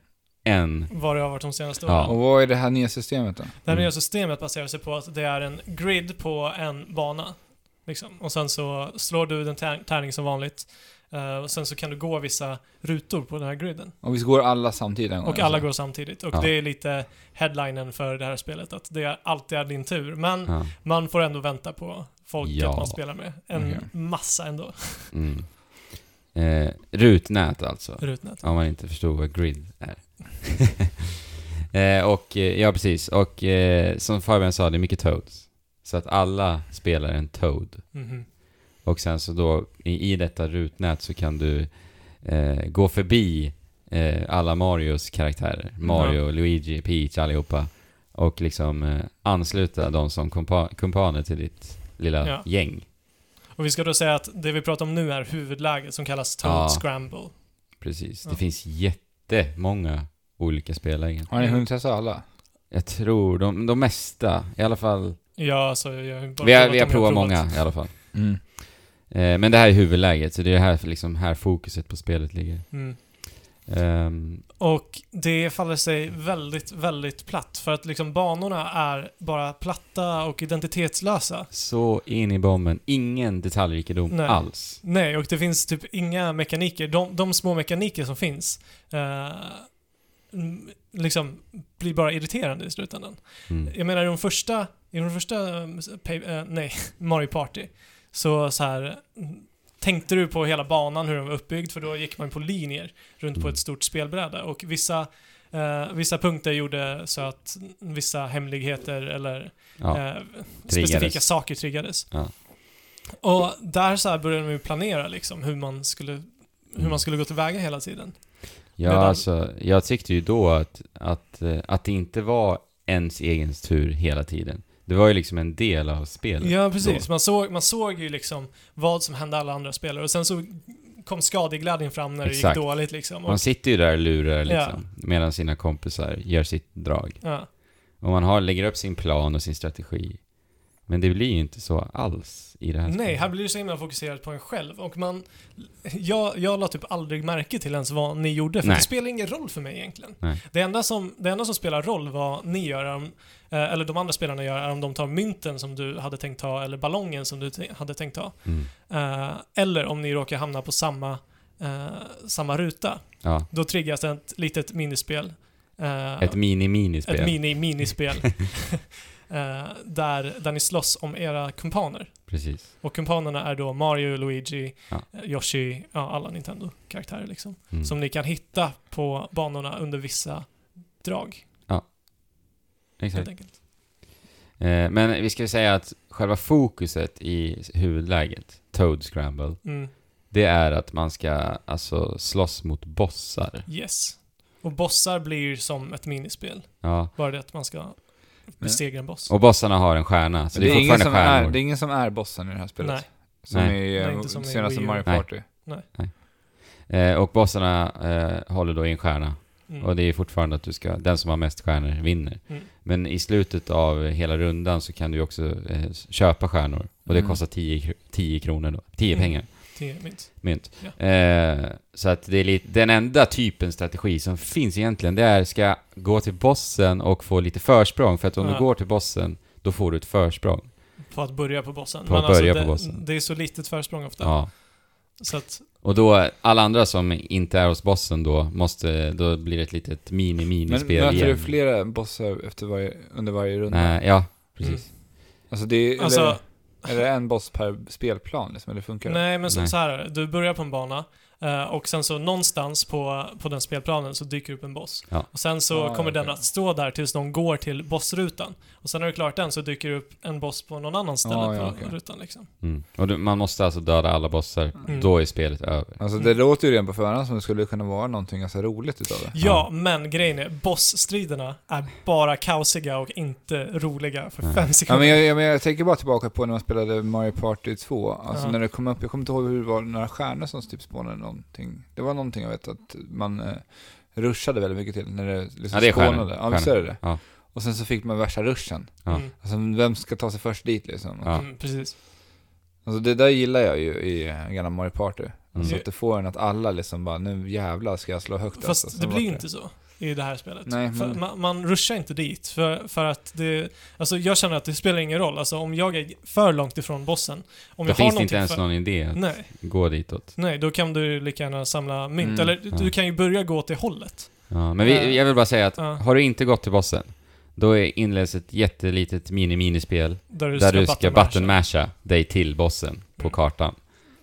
Speaker 1: än...
Speaker 2: Vad det har varit de senaste
Speaker 1: Ja.
Speaker 2: åren.
Speaker 3: Och vad är det här nya systemet då?
Speaker 2: Det här nya
Speaker 1: Mm.
Speaker 2: systemet baserar sig på att det är en grid på en bana. Liksom. Och sen så slår du den tär- tärning som vanligt. Eh, och sen så kan du gå vissa rutor på den här griden.
Speaker 3: Och visst går alla samtidigt en gång?
Speaker 2: Och alla
Speaker 3: alltså?
Speaker 2: går samtidigt. Och
Speaker 1: Ja.
Speaker 2: det är lite headlinen för det här spelet, att det är alltid är din tur. Men
Speaker 1: Ja.
Speaker 2: man får ändå vänta på folket
Speaker 1: Ja.
Speaker 2: man spelar med. En
Speaker 3: Okej.
Speaker 2: massa ändå,
Speaker 1: Mm. Eh, rutnät alltså.
Speaker 2: rutnät.
Speaker 1: Om man inte förstod vad grid är. eh, och, eh, ja precis. Och eh, som Fabian sa, det är mycket toads. Så att alla spelar en toad.
Speaker 2: Mhm.
Speaker 1: Och sen så då, i, i detta rutnät så kan du eh, gå förbi eh, alla Marios karaktärer. Mario, Luigi, Peach, allihopa. Och liksom eh, ansluta de som kompa- kumpaner till ditt lilla
Speaker 2: Ja.
Speaker 1: gäng.
Speaker 2: Och vi ska då säga att det vi pratar om nu är huvudläget som kallas Toad
Speaker 1: Ja.
Speaker 2: Scramble.
Speaker 1: Precis.
Speaker 2: Ja.
Speaker 1: Det finns jättemånga olika spellägen.
Speaker 3: Har ni hunnit testa alla?
Speaker 1: Jag tror de, de mesta, i alla fall.
Speaker 2: Ja, så jag har ju bara
Speaker 1: Vi har, vi har
Speaker 2: provat dem jag
Speaker 1: provat många i alla fall.
Speaker 3: Mm.
Speaker 1: Eh, men det här är huvudläget, så det är här, liksom, här fokuset på spelet ligger.
Speaker 2: Mm.
Speaker 1: Ehm,
Speaker 2: Och det faller sig väldigt, väldigt platt för att liksom banorna är bara platta och identitetslösa.
Speaker 1: så in i bomben, ingen detaljrikedom
Speaker 2: Nej.
Speaker 1: alls.
Speaker 2: Nej, och det finns typ inga mekaniker. De, de små mekaniker som finns eh, m- liksom blir bara irriterande i slutändan.
Speaker 1: Mm.
Speaker 2: Jag menar i de första, i de första eh, pa- eh, nej, Mario Party så, så här mm, tänkte du på hela banan hur den var uppbyggd för då gick man på linjer runt på
Speaker 1: Mm.
Speaker 2: ett stort spelbräde och vissa, eh, vissa punkter gjorde så att vissa hemligheter eller
Speaker 1: Ja.
Speaker 2: eh, specifika
Speaker 1: Triggades.
Speaker 2: saker triggades.
Speaker 1: Ja.
Speaker 2: Och där så här började de ju planera liksom hur man skulle, hur
Speaker 1: Mm.
Speaker 2: man skulle gå tillväga hela tiden.
Speaker 1: Ja,
Speaker 2: Medan-
Speaker 1: alltså, jag tyckte ju då att, att, eh, att det inte var ens egen tur hela tiden. Det var ju liksom en del av spelet.
Speaker 2: Ja, precis. Man såg, man såg ju liksom vad som hände alla andra spelare och sen så kom skadeglädjen fram när det
Speaker 1: Exakt.
Speaker 2: gick dåligt liksom. Och,
Speaker 1: Man sitter ju där och lurar liksom, medan sina kompisar gör sitt drag.
Speaker 2: ja.
Speaker 1: Och man har, lägger upp sin plan och sin strategi. Men det blir ju inte så alls i det här
Speaker 2: Nej,
Speaker 1: spelet.
Speaker 2: här blir det så himla fokuserat på en själv och man... Jag, jag la typ aldrig märke till ens vad ni gjorde för
Speaker 1: Nej.
Speaker 2: det spelar ingen roll för mig egentligen.
Speaker 1: Nej.
Speaker 2: Det enda, som, det enda som spelar roll vad ni gör, om, eh, eller de andra spelarna gör, är om de tar mynten som du hade tänkt ta eller ballongen som du te- hade tänkt ta.
Speaker 1: Mm.
Speaker 2: Eh, eller om ni råkar hamna på samma, eh, samma ruta.
Speaker 1: Ja,
Speaker 2: Då triggas ett litet minispel. Eh,
Speaker 1: ett mini-minispel.
Speaker 2: ett mini-minispel. eh, där, där ni slåss om era kumpaner.
Speaker 1: Precis.
Speaker 2: Och kumpanerna är då Mario, Luigi,
Speaker 1: Ja.
Speaker 2: eh, Yoshi, ja, alla Nintendo-karaktärer liksom.
Speaker 1: Mm.
Speaker 2: Som ni kan hitta på banorna under vissa drag, helt
Speaker 1: Exakt.
Speaker 2: enkelt.
Speaker 1: Eh, men vi ska ju säga att själva fokuset i huvudläget, Toad Scramble,
Speaker 2: Mm.
Speaker 1: det är att man ska alltså slåss mot bossar.
Speaker 2: Yes. Och bossar blir som ett minispel.
Speaker 1: Ja.
Speaker 2: Bara det att man ska besegra en boss.
Speaker 1: Och bossarna har en stjärna, så
Speaker 3: Men
Speaker 1: det, är
Speaker 3: ingen
Speaker 1: fortfarande
Speaker 3: som är,
Speaker 1: stjärnor.
Speaker 3: det är ingen som är bossen i det här spelet.
Speaker 2: Nej.
Speaker 3: Som
Speaker 1: Nej.
Speaker 3: i eh,
Speaker 2: Nej, inte som i
Speaker 3: senaste
Speaker 2: Wii U.
Speaker 3: Mario
Speaker 1: Nej.
Speaker 3: Party.
Speaker 1: Eh, och bossarna eh, håller då i en stjärna.
Speaker 2: Mm.
Speaker 1: Och det är fortfarande att du ska, den som har mest stjärnor vinner.
Speaker 2: Mm.
Speaker 1: Men i slutet av hela rundan så kan du ju också eh, s- köpa stjärnor. Och det
Speaker 3: Mm.
Speaker 1: kostar 10, kr- 10 kronor då. 10
Speaker 2: Mm.
Speaker 1: pengar,
Speaker 2: Tio mynt.
Speaker 1: mynt.
Speaker 2: Ja.
Speaker 1: Eh, så att det är lite, den enda typen strategi som finns egentligen, det är ska jag gå till bossen och få lite försprång. För att om
Speaker 2: Ja.
Speaker 1: du går till bossen, då får du ett försprång.
Speaker 2: På att börja på bossen. alltså
Speaker 1: På att börja
Speaker 2: det,
Speaker 1: på bossen.
Speaker 2: det är så litet försprång ofta.
Speaker 1: Ja.
Speaker 2: Så att,
Speaker 1: Och då, alla andra som inte är hos bossen då, måste, då blir det ett litet
Speaker 3: Men
Speaker 1: mini-minispel
Speaker 3: möter
Speaker 1: igen.
Speaker 3: du flera bossar efter varje, under varje runda?
Speaker 1: Nej, ja, precis.
Speaker 3: Alltså det är,
Speaker 2: alltså,
Speaker 3: eller, eller en boss per spelplan liksom, eller funkar det?
Speaker 2: nej men som
Speaker 1: Nej.
Speaker 2: så här, du börjar på en bana eh, och sen så någonstans på, på den spelplanen så dyker upp en boss.
Speaker 1: Ja.
Speaker 2: Och sen så
Speaker 3: Ah,
Speaker 2: kommer den
Speaker 3: okej.
Speaker 2: att stå där tills någon går till bossrutan. Och sen när du klarat den så dyker det upp en boss på någon annan ställe
Speaker 3: Ah, ja,
Speaker 2: på
Speaker 3: okej.
Speaker 2: rutan liksom.
Speaker 1: Mm. Och du, man måste alltså döda alla bossar,
Speaker 2: Mm.
Speaker 1: då är spelet över.
Speaker 3: Alltså det låter ju redan på förhand som det skulle kunna vara någonting ganska roligt utav det.
Speaker 2: Ja, men grejen är, bossstriderna är bara kaosiga och inte roliga för
Speaker 1: Nej.
Speaker 2: fem
Speaker 3: Ja,
Speaker 2: sekunder.
Speaker 3: men jag, jag, men jag tänker bara tillbaka på när man spelade Mario Party 2, alltså
Speaker 2: Ja.
Speaker 3: när det kom upp, jag kommer inte ihåg hur det var, några stjärnor som typ spånade någonting. Det var någonting jag vet att man eh, rushade väldigt mycket till när det liksom
Speaker 1: Ja, det är stjärnor.
Speaker 3: spånade. Ja, visst är det det.
Speaker 1: Ja.
Speaker 3: Och sen så fick man värsta ruschen.
Speaker 1: Ja.
Speaker 2: Mm,
Speaker 3: Alltså vem ska ta sig först dit liksom?
Speaker 1: Ja.
Speaker 2: mm, precis.
Speaker 3: Alltså det där gillar jag ju i eh, gamla Mario Party. Alltså
Speaker 1: Mm.
Speaker 3: att det får en att alla liksom bara, nu jävlar ska jag slå högt alltså.
Speaker 2: Fast
Speaker 3: Så
Speaker 2: det
Speaker 3: vart
Speaker 2: blir inte så i det här spelet.
Speaker 3: Nej, men-
Speaker 2: för, man, man rushar inte dit för, för att det... Alltså jag känner att det spelar ingen roll. Alltså om jag är för långt ifrån bossen. Om
Speaker 1: Då
Speaker 2: jag
Speaker 1: finns
Speaker 2: har
Speaker 1: det
Speaker 2: någonting
Speaker 1: inte ens
Speaker 2: för, Mm.
Speaker 1: någon idé att
Speaker 2: Nej,
Speaker 1: gå ditåt.
Speaker 2: nej, då kan du lika gärna samla mynt.
Speaker 3: Mm,
Speaker 2: Eller du,
Speaker 1: ja.
Speaker 2: du kan ju börja gå till hållet.
Speaker 1: Ja, men vi,
Speaker 2: Eh,
Speaker 1: jag vill bara säga att
Speaker 2: ja.
Speaker 1: har du inte gått till bossen, då är inleds ett jättelitet mini-minispel
Speaker 2: Där du
Speaker 1: där
Speaker 2: ska,
Speaker 1: du ska
Speaker 2: buttonmasha.
Speaker 1: button-masha dig till bossen på
Speaker 2: Mm.
Speaker 1: kartan.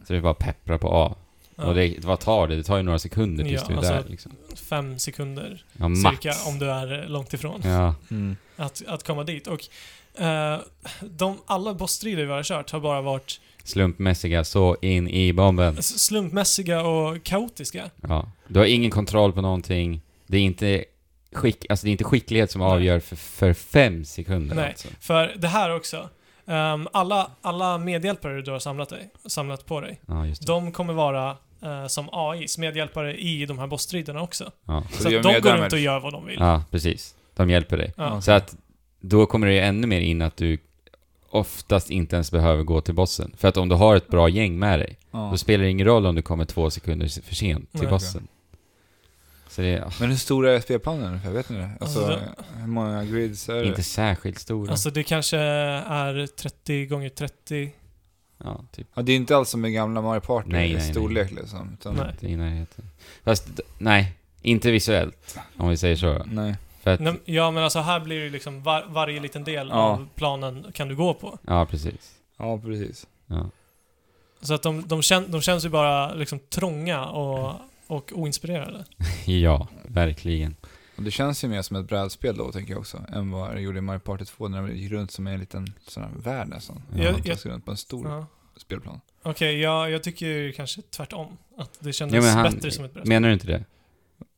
Speaker 1: Så det är bara att peppra på A.
Speaker 2: Ja,
Speaker 1: Och det, vad tar det? Det tar ju några sekunder tills
Speaker 2: Ja,
Speaker 1: du är
Speaker 2: alltså,
Speaker 1: där liksom.
Speaker 2: Fem sekunder
Speaker 1: Ja, max.
Speaker 2: cirka om du är eh, långt ifrån.
Speaker 1: Ja,
Speaker 3: det- Mm.
Speaker 2: Att, att komma dit. Och eh, de, alla bossstrider vi har kört har bara varit
Speaker 1: slumpmässiga så in i bomben.
Speaker 2: s- slumpmässiga och kaotiska.
Speaker 1: Ja. Du har ingen kontroll på någonting. Det är inte, skick, alltså det är inte skicklighet som
Speaker 2: Nej.
Speaker 1: avgör för, för fem sekunder
Speaker 2: Nej.
Speaker 1: alltså.
Speaker 2: För det här också. ehm, alla, alla medhjälpare du har samlat, dig, samlat på dig,
Speaker 1: Ja, just det.
Speaker 2: de kommer vara eh, som AIs, medhjälpare i de här bossstriderna också.
Speaker 1: Ja.
Speaker 3: Så
Speaker 2: Så,
Speaker 3: det gör
Speaker 2: att de
Speaker 3: mer
Speaker 2: går
Speaker 3: damage.
Speaker 2: runt och gör vad de vill.
Speaker 1: ja, precis. De hjälper dig.
Speaker 2: Ja.
Speaker 1: Så att då kommer det ju ännu mer in att du oftast inte ens behöver gå till bossen. För att om du har ett bra gäng med dig,
Speaker 3: Ja.
Speaker 1: då spelar det ingen roll om du kommer två sekunder se- för sent till
Speaker 2: Nej.
Speaker 1: bossen. Så det är ah,
Speaker 3: Men hur stora är spelplanen ungefär? Vet ni det? Alltså,
Speaker 2: Alltså, det-
Speaker 3: hur många grids är det?
Speaker 1: inte särskilt stora.
Speaker 2: Alltså det kanske är 30 gånger 30.
Speaker 1: Ja, typ
Speaker 3: Ja, det är inte alls som i gamla Mario Party
Speaker 1: Nej,
Speaker 3: i
Speaker 1: nej, nej.
Speaker 3: storlek liksom. Utan,
Speaker 2: Nej.
Speaker 1: inte i närheten. Fast, d- nej. Inte visuellt, om vi säger så.
Speaker 3: nej.
Speaker 1: För att,
Speaker 2: Nej, Ja men alltså här blir det liksom var, varje liten del
Speaker 3: Ja.
Speaker 2: av planen kan du gå på.
Speaker 1: ja, precis.
Speaker 3: Ja, precis.
Speaker 1: Ja.
Speaker 2: Så att de, de, kän, de känns ju bara liksom trånga och, och oinspirerade.
Speaker 1: Ja, verkligen.
Speaker 3: Och det känns ju mer som ett brädspel då, tänker jag också, än vad det gjorde i Mario Party 2 när de gick runt som en liten sån här värld nästan.
Speaker 1: Ja.
Speaker 2: Jag-
Speaker 3: Man tassade runt på en stor
Speaker 2: Ja.
Speaker 3: spelplan.
Speaker 2: Okej, jag, jag tycker kanske tvärtom. Att det kändes
Speaker 1: Ja, men han-
Speaker 2: bättre som ett brädspel.
Speaker 1: Menar du inte det?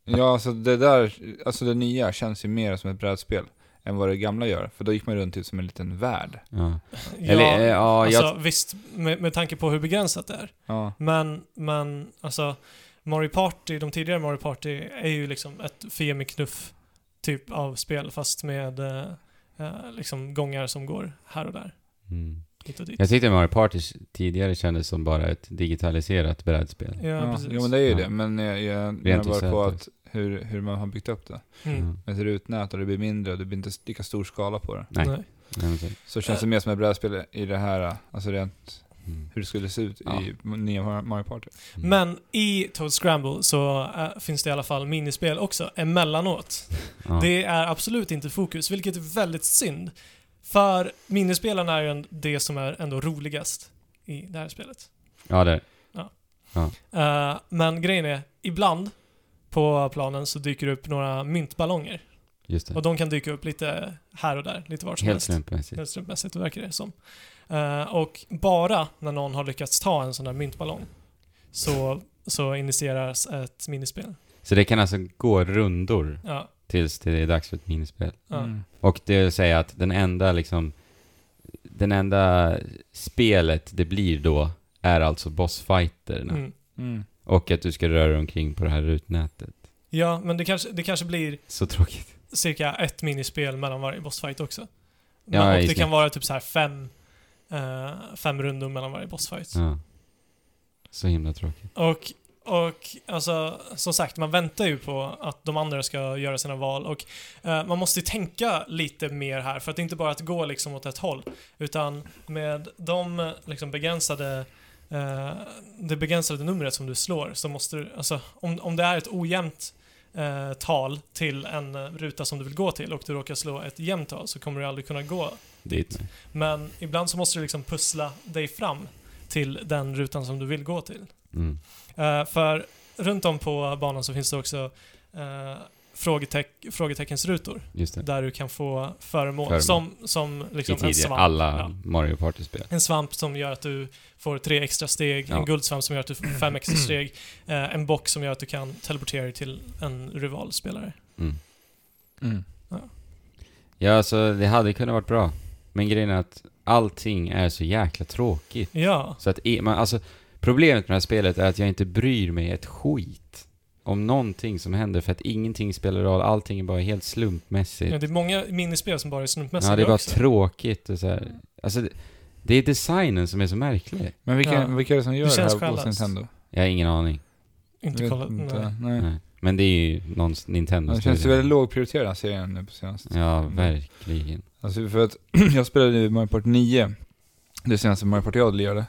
Speaker 3: Ja, alltså det där, alltså det nya känns ju mer som ett brädspel än vad det gamla gör. För då gick man runt typ som en liten värld.
Speaker 1: Ja.
Speaker 2: Ja,
Speaker 1: Eller, eh, ja,
Speaker 2: alltså,
Speaker 1: jag-
Speaker 2: visst, med, med tanke på hur begränsat det är.
Speaker 3: Ja.
Speaker 2: Men, men alltså, Mario Party, de tidigare Mario Party är ju liksom ett Fia med knuff typ av spel, fast med eh, eh, liksom gångar som går här och där.
Speaker 1: Mm.
Speaker 2: Hit och dit.
Speaker 1: Jag tyckte Mario Party tidigare kändes som bara ett digitaliserat brädspel.
Speaker 2: Ja,
Speaker 3: Ja,
Speaker 2: precis.
Speaker 3: jo men det är ju
Speaker 1: Ja.
Speaker 3: det, men jag, jag menar
Speaker 1: Rent
Speaker 3: bara på
Speaker 1: visuellt.
Speaker 3: att hur, hur man har byggt upp det.
Speaker 2: mm.
Speaker 1: Ja.
Speaker 3: Med ett rutnät och det blir mindre och det blir inte lika stor skala på det.
Speaker 1: Nej.
Speaker 2: Nej.
Speaker 1: Ja, men typ.
Speaker 3: Så
Speaker 2: Eh.
Speaker 3: känns det mer som ett brädspel i det här, alltså rent
Speaker 1: Mm.
Speaker 3: hur det skulle se ut
Speaker 1: Ja.
Speaker 3: i nya Mar- Mario Party.
Speaker 1: Mm.
Speaker 2: Men i Toad Scramble så eh, finns det i alla fall minispel också, emellanåt.
Speaker 1: Ja.
Speaker 2: Det är absolut inte fokus, vilket är väldigt synd. För minispelarna är ju en- det som är ändå roligast i det här spelet.
Speaker 1: Ja, det
Speaker 2: Eh, men grejen är, ibland på planen så dyker det upp några myntballonger.
Speaker 1: Just
Speaker 2: Och
Speaker 1: det.
Speaker 2: de kan dyka upp lite här och där, lite var som
Speaker 1: Helt
Speaker 2: helst.
Speaker 1: slumpmässigt.
Speaker 2: Helt slumpmässigt verkar det som. Eh, och bara när någon har lyckats ta en sån där myntballong så, så initieras ett minispel.
Speaker 1: Så det kan alltså gå rundor
Speaker 2: Ja,
Speaker 1: tills det är dags för ett minispel.
Speaker 2: ja.
Speaker 3: Mm.
Speaker 1: Och det vill säga att den enda liksom, den enda spelet det blir då är alltså bossfighterna.
Speaker 2: Mm.
Speaker 3: Mm.
Speaker 1: Och att du ska röra dig omkring på det här rutnätet.
Speaker 2: ja men det kanske, det kanske blir
Speaker 1: Så tråkigt.
Speaker 2: cirka ett minispel mellan varje bossfight också.
Speaker 1: Ja,
Speaker 2: Men,
Speaker 1: i
Speaker 2: och det
Speaker 1: snitt.
Speaker 2: kan vara typ så här fem, eh, fem rundor mellan varje bossfight.
Speaker 1: Ja. Så himla tråkigt.
Speaker 2: Och, och alltså, som sagt, man väntar ju på att de andra ska göra sina val och eh, man måste ju tänka lite mer här för att det är inte bara att gå liksom åt ett håll utan med de eh, liksom begränsade eh, det begränsade numret som du slår så måste du, alltså om, om det är ett ojämnt eh, tal till en eh, ruta som du vill gå till och du råkar slå ett jämnt tal så kommer du aldrig kunna gå
Speaker 1: Dit.
Speaker 2: men ibland så måste du liksom pussla dig fram till den rutan som du vill gå till.
Speaker 1: Mm.
Speaker 2: Eh, för runt om på banan så finns det också eh, frågeteck- frågeteckensrutor
Speaker 1: Just det.
Speaker 2: där du kan få föremål,
Speaker 1: Föremål.
Speaker 2: som, som
Speaker 1: I
Speaker 2: liksom en
Speaker 1: tidigare
Speaker 2: svamp.
Speaker 1: alla
Speaker 2: Ja.
Speaker 1: Mario Party-spel.
Speaker 2: En svamp som gör att du får tre extra steg,
Speaker 1: Ja.
Speaker 2: en guldsvamp som gör att du får fem extra steg, eh, en box som gör att du kan teleportera dig till en rivalspelare.
Speaker 1: Mm.
Speaker 3: Mm.
Speaker 1: Ja, alltså det hade kunnat varit bra. Men grejen är att allting är så jäkla tråkigt.
Speaker 2: Ja,
Speaker 1: Så att e- man, alltså, problemet med det här spelet är att jag inte bryr mig ett skit om någonting som händer för att ingenting spelar roll, allting är bara helt slumpmässigt.
Speaker 2: Ja, det är många minispel som bara är slumpmässiga
Speaker 1: ja, det är bara
Speaker 2: också.
Speaker 1: tråkigt och så här. Alltså, det, det är designen som är så märklig.
Speaker 3: Men vilka,
Speaker 2: Ja.
Speaker 3: vilka är det som gör
Speaker 2: Det
Speaker 3: det,
Speaker 2: känns
Speaker 3: här hos
Speaker 2: själlöst.
Speaker 3: Nintendo?
Speaker 1: Jag har ingen aning.
Speaker 2: Inte
Speaker 3: Vet
Speaker 2: kollat, nej.
Speaker 3: Nej.
Speaker 1: Nej. Men det är ju någon Nintendo
Speaker 3: Den känns ju väldigt lågprioriterad den här serien nu på senaste.
Speaker 1: Ja, verkligen.
Speaker 3: Alltså för att jag spelade ju Mario Party 9, det senaste Mario Party jag hade lirat.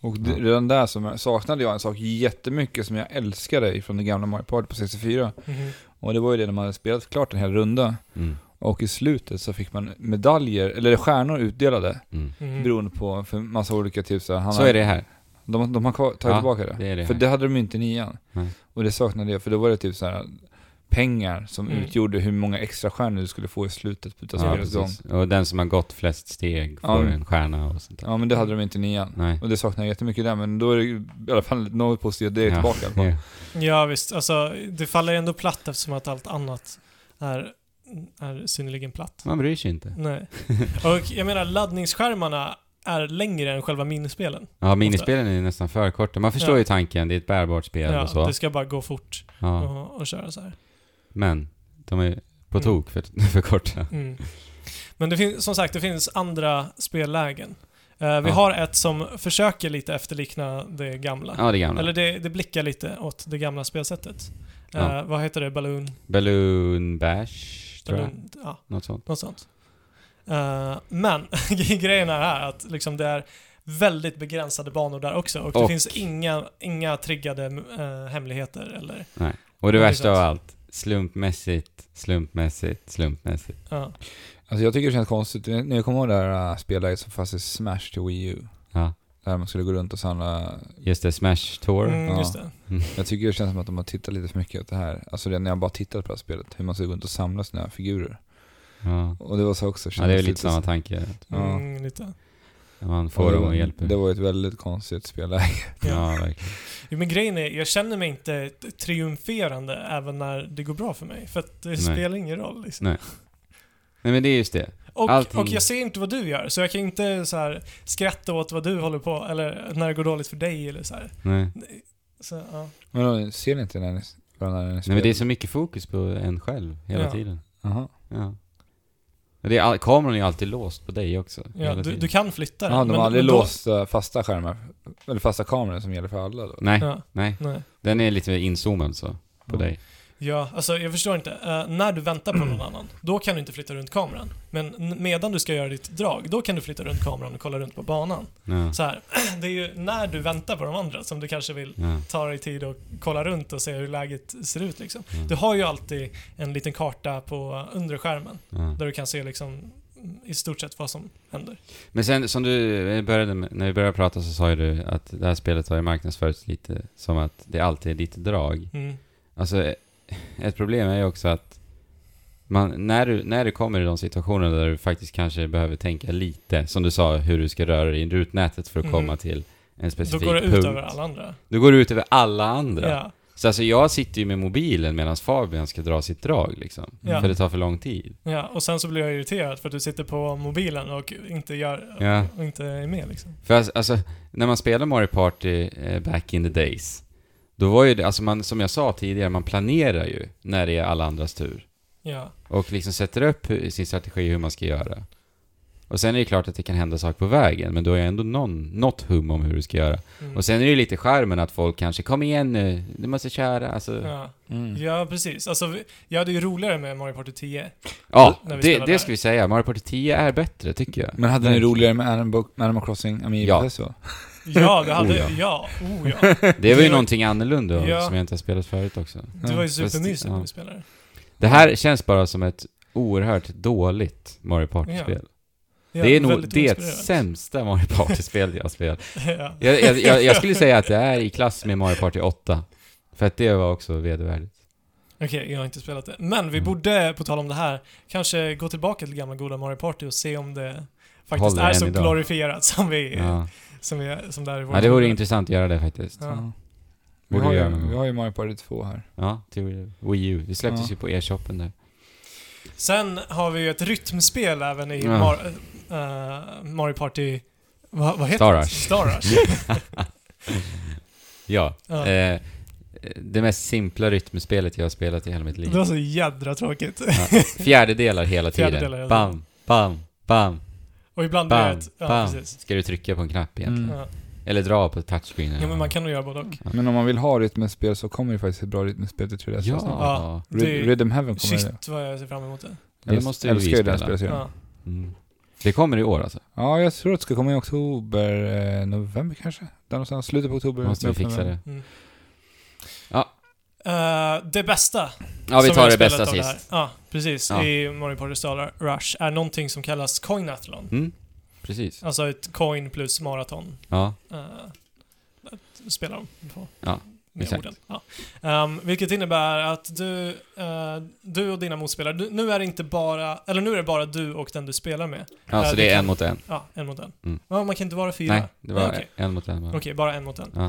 Speaker 3: Och det,
Speaker 1: Ja.
Speaker 3: redan där så saknade jag en sak jättemycket som jag älskade från det gamla Mario Party på 64.
Speaker 2: Mhm.
Speaker 3: Och det var ju det när man hade spelat klart en hel runda.
Speaker 1: Mm.
Speaker 3: Och i slutet så fick man medaljer, eller stjärnor utdelade.
Speaker 1: Mm.
Speaker 2: Mhm.
Speaker 3: Beroende på för massa olika tips. Så, här, han
Speaker 1: Så
Speaker 3: har-
Speaker 1: är det här.
Speaker 3: De, de har kvar, tagit
Speaker 1: Ja,
Speaker 3: tillbaka det.
Speaker 1: det är det
Speaker 3: för
Speaker 1: här.
Speaker 3: det hade de ju inte i nian.
Speaker 1: Nej.
Speaker 3: Och det saknade jag, för då var det typ så här pengar som
Speaker 2: Mm.
Speaker 3: utgjorde hur många extra stjärnor du skulle få i slutet utav
Speaker 1: Ja,
Speaker 3: spelets gång.
Speaker 1: precis. Och den som har gått flest steg
Speaker 3: Ja.
Speaker 1: får en stjärna och sånt där.
Speaker 3: Ja, men det hade de inte i nian.
Speaker 1: Nej.
Speaker 3: Och det saknar jag jättemycket där, men då är det ju i alla fall något positivt, det är
Speaker 1: Ja.
Speaker 3: tillbaka i alla fall.
Speaker 1: Ja.
Speaker 2: Ja visst, alltså det faller ändå platt eftersom att allt annat är, är synnerligen platt.
Speaker 1: Man bryr sig inte.
Speaker 2: Nej. Och jag menar laddningsskärmarna är längre än själva minispelen.
Speaker 1: Ja, minispelen är ju nästan för korta. Man förstår
Speaker 2: Ja.
Speaker 1: ju tanken, det är ett bärbart spel och
Speaker 2: Ja,
Speaker 1: så.
Speaker 2: det ska bara gå fort
Speaker 1: Ja.
Speaker 2: och, och köra så här.
Speaker 1: Men, de är på
Speaker 2: Mm.
Speaker 1: tok för, för korta.
Speaker 2: Mm. Men det finns, som sagt, det finns andra spellägen. Eh, vi
Speaker 1: Ja.
Speaker 2: har ett som försöker lite efterlikna det gamla.
Speaker 1: Ja, det gamla.
Speaker 2: Eller det, det blickar lite åt det gamla spelsättet. Eh,
Speaker 1: Ja.
Speaker 2: Vad heter det? Balloon?
Speaker 1: Balloon Bash, tror jag.
Speaker 2: Balloon ja.
Speaker 1: Något sånt.
Speaker 2: Något sånt. Eh, men grejen är här att liksom det är väldigt begränsade banor där också och det
Speaker 1: Och-
Speaker 2: finns inga, inga triggade eh, hemligheter eller...
Speaker 1: Och det
Speaker 2: Ja, det är
Speaker 1: värsta
Speaker 2: sant.
Speaker 1: av allt, slumpmässigt, slumpmässigt, slumpmässigt.
Speaker 2: ja.
Speaker 3: Alltså jag tycker det känns konstigt, när jag kommer ihåg det här äh, spelläget som fanns i Smash till Wii U.
Speaker 1: Ja.
Speaker 3: Där man skulle gå runt och samla...
Speaker 1: Just det, Smash Tour.
Speaker 2: mm,
Speaker 3: Ja.
Speaker 2: just det.
Speaker 3: Jag tycker det känns som att de har tittat lite för mycket på det här. Alltså det, när jag bara tittat på det här spelet, hur man ska gå runt och samla sina figurer.
Speaker 1: Ja.
Speaker 3: Och det var så också,
Speaker 1: ja, det är
Speaker 3: kändes
Speaker 1: väl lite samma tanke.
Speaker 3: Ja.
Speaker 2: Mm, lite.
Speaker 1: Man får dem att hjälpa.
Speaker 3: Det var ett väldigt konstigt spelläge.
Speaker 1: Ja, verkligen.
Speaker 2: Jo, men grejen är, jag känner mig inte t- triumferande även när det går bra för mig. För att det
Speaker 1: Nej.
Speaker 2: spelar ingen roll. Liksom.
Speaker 1: Nej. Nej men det är just det.
Speaker 2: Och,
Speaker 1: Allting-
Speaker 2: och jag ser inte vad du gör, så jag kan inte så här, skratta åt vad du håller på eller när det går dåligt för dig eller så här.
Speaker 1: Nej.
Speaker 2: Så, ja.
Speaker 3: Men då, ser ni inte när ni, varandra när ni
Speaker 1: Nej men det är så mycket fokus på en själv hela
Speaker 2: Ja.
Speaker 1: tiden.
Speaker 3: Aha.
Speaker 1: Ja. Men det är all, kameran är ju alltid låst på dig också.
Speaker 2: Ja,
Speaker 1: hela
Speaker 2: du,
Speaker 1: tiden.
Speaker 2: du kan flytta
Speaker 3: Ja,
Speaker 2: den,
Speaker 3: de
Speaker 2: men-
Speaker 3: har aldrig
Speaker 2: men då-
Speaker 3: låsta fasta skärmar, eller fasta kameror som gäller för alla då?
Speaker 1: Nej,
Speaker 2: Ja,
Speaker 1: nej.
Speaker 2: nej.
Speaker 1: Den är lite inzoomad så, på
Speaker 3: Ja.
Speaker 1: dig.
Speaker 2: Ja, alltså jag förstår inte. Eh, när du väntar på någon annan, då kan du inte flytta runt kameran. Men n- medan du ska göra ditt drag, då kan du flytta runt kameran och kolla runt på banan.
Speaker 1: Ja.
Speaker 2: Så här, det är ju när du väntar på de andra som du kanske vill
Speaker 1: Ja.
Speaker 2: ta dig tid och kolla runt och se hur läget ser ut liksom.
Speaker 1: Mm.
Speaker 2: Du har ju alltid en liten karta på undre skärmen
Speaker 1: Ja.
Speaker 2: där du kan se liksom i stort sett vad som händer.
Speaker 1: Men sen som du eh, började med, när vi började prata så sa ju du att det här spelet har ju marknadsförts lite som att det alltid är ditt drag.
Speaker 2: Mm.
Speaker 1: Alltså, eh, ett problem är ju också att man, när, du, när du kommer i de situationer där du faktiskt kanske behöver tänka lite, som du sa, hur du ska röra dig i rutnätet för att
Speaker 2: Mhm.
Speaker 1: komma till en
Speaker 2: Då
Speaker 1: specifik
Speaker 2: går det ut
Speaker 1: punkt.
Speaker 2: över alla andra.
Speaker 1: Då går det ut över alla andra.
Speaker 2: Ja.
Speaker 1: Så alltså jag sitter ju med mobilen medan Fabian ska dra sitt drag liksom.
Speaker 2: Ja.
Speaker 1: För det tar för lång tid.
Speaker 2: ja, och sen så blir jag irriterad för att du sitter på mobilen och inte, gör,
Speaker 1: Ja.
Speaker 2: och inte är med liksom.
Speaker 1: För alltså, alltså, när man spelar Mario Party eh, back in the days, då var ju det, alltså man, som jag sa tidigare, man planerar ju när det är alla andras tur.
Speaker 2: Ja.
Speaker 1: Och liksom sätter upp hu- sin strategi hur man ska göra. Och sen är det klart att det kan hända saker på vägen, men då är ändå någon, något hum om hur du ska göra.
Speaker 2: Mm.
Speaker 1: Och sen är det ju lite charmen att folk kanske, kom igen nu, du måste köra, alltså. Ja,
Speaker 2: ja.
Speaker 3: Mm.
Speaker 2: ja, precis. Alltså, vi- jag hade ju roligare med Mario Party 10. När vi
Speaker 1: det,
Speaker 2: spelar
Speaker 1: det
Speaker 2: där.
Speaker 1: ska vi säga. Mario Party 10 är bättre, tycker jag.
Speaker 3: Men hade ni
Speaker 1: Verkligen.
Speaker 3: roligare med Animal, Animal Crossing Amiibo
Speaker 1: Ja.
Speaker 3: Festival?
Speaker 2: Ja, det hade...
Speaker 1: Oh,
Speaker 2: ja.
Speaker 1: ja.
Speaker 2: ja. Oh, ja.
Speaker 1: Det var ju
Speaker 2: Det-
Speaker 1: någonting annorlunda
Speaker 2: Ja.
Speaker 1: som jag inte har spelat förut också.
Speaker 2: Det var ju
Speaker 1: Ja, fast-
Speaker 2: supermysigt när
Speaker 1: Mm. ja.
Speaker 2: vi spelade.
Speaker 1: Det här känns bara som ett oerhört dåligt Mario Party-spel.
Speaker 2: Ja,
Speaker 1: det är nog
Speaker 2: väldigt
Speaker 1: det
Speaker 2: oinspirerat.
Speaker 1: sämsta Mario Party-spel jag har spelat.
Speaker 2: ja.
Speaker 1: Jag, jag, jag, jag skulle säga att det är i klass med Mario Party 8. För att det var också vedervärdigt.
Speaker 2: Okej, jag har inte spelat det. Men vi
Speaker 1: Mm.
Speaker 2: borde, på tal om det här, kanske gå tillbaka till gamla goda Mario Party och se om det faktiskt
Speaker 1: Håller
Speaker 2: är
Speaker 1: än
Speaker 2: så
Speaker 1: idag.
Speaker 2: glorifierat som vi...
Speaker 1: Ja.
Speaker 2: Som, vi som det är i vår
Speaker 1: ja, det vore
Speaker 2: tid.
Speaker 1: intressant att göra det faktiskt.
Speaker 2: Ja.
Speaker 3: Vi,
Speaker 1: Borde
Speaker 3: har
Speaker 1: vi
Speaker 3: ju,
Speaker 1: göra någon gång.
Speaker 3: vi har ju Mario Party 2 här.
Speaker 1: Ja, till Wii U. Det släpptes
Speaker 3: Ja.
Speaker 1: ju på e-shoppen där.
Speaker 2: Sen har vi ju ett rytmspel även i
Speaker 1: Ja.
Speaker 2: Mar- eh, Mario Party... Va, vad heter
Speaker 1: Star
Speaker 2: det?
Speaker 1: Rush.
Speaker 2: Star Rush.
Speaker 1: Ja.
Speaker 2: Ja.
Speaker 1: Eh, det mest simpla rytmspelet jag har spelat i hela mitt liv.
Speaker 2: Det var så jädra tråkigt.
Speaker 1: Ja. Fjärdedelar hela tiden.
Speaker 2: Fjärdedelar hela
Speaker 1: Bam, bam, bam,
Speaker 2: Och ibland blir det
Speaker 1: bam,
Speaker 2: ett... Ja,
Speaker 1: bam.
Speaker 2: precis.
Speaker 1: Ska du trycka på en knapp egentligen?
Speaker 3: Mm.
Speaker 2: Ja.
Speaker 1: Eller dra på ett touchscreen.
Speaker 2: ja, men man kan nog göra både och.
Speaker 3: Men om man vill ha rytmspel så kommer ju faktiskt ett bra rytmspel till 3DS.
Speaker 1: Ja.
Speaker 3: alltså.
Speaker 2: Ja.
Speaker 3: Ry-
Speaker 2: Det-
Speaker 3: Rhythm Heaven kommer ju.
Speaker 2: Shit vad jag ser fram emot det.
Speaker 1: Det
Speaker 3: Jag
Speaker 1: måste ju
Speaker 3: älskar
Speaker 1: vi
Speaker 3: ju den
Speaker 1: spela.
Speaker 3: spelserien. Ja.
Speaker 2: Ja.
Speaker 1: Mm. Det kommer i år alltså.
Speaker 3: ja, jag tror att det ska komma i oktober, eh, november kanske? Där någonstans, slutet på oktober.
Speaker 1: Måste vi
Speaker 3: början på
Speaker 1: fixa det.
Speaker 3: november.
Speaker 2: Mm.
Speaker 1: Ja.
Speaker 2: Eh, det bästa
Speaker 1: Ja, vi
Speaker 2: som
Speaker 1: tar
Speaker 2: jag
Speaker 1: det
Speaker 2: spelat
Speaker 1: bästa
Speaker 2: av här.
Speaker 1: sist.
Speaker 2: Ja, precis.
Speaker 1: Ja.
Speaker 2: I Mario Party Star Rush är någonting som kallas Coinathlon.
Speaker 1: Mm. Precis.
Speaker 2: Alltså ett coin plus maraton.
Speaker 1: Ja.
Speaker 2: eh, att spela dem på.
Speaker 1: Ja,
Speaker 2: med
Speaker 1: exakt.
Speaker 2: orden. Ja. Ehm, vilket innebär att du, eh, du och dina motspelare, du, nu är det inte bara, eller nu är det bara du och den du spelar med.
Speaker 1: Alltså
Speaker 2: Ja,
Speaker 1: det
Speaker 2: det
Speaker 1: är
Speaker 2: kan-
Speaker 1: en mot en.
Speaker 2: Ja, en mot en.
Speaker 1: Mm.
Speaker 2: Ja, man kan inte vara fyra.
Speaker 1: Nej, det var
Speaker 2: Ja, okej.
Speaker 1: en mot en bara.
Speaker 2: Okej, bara en mot en.
Speaker 1: Ja.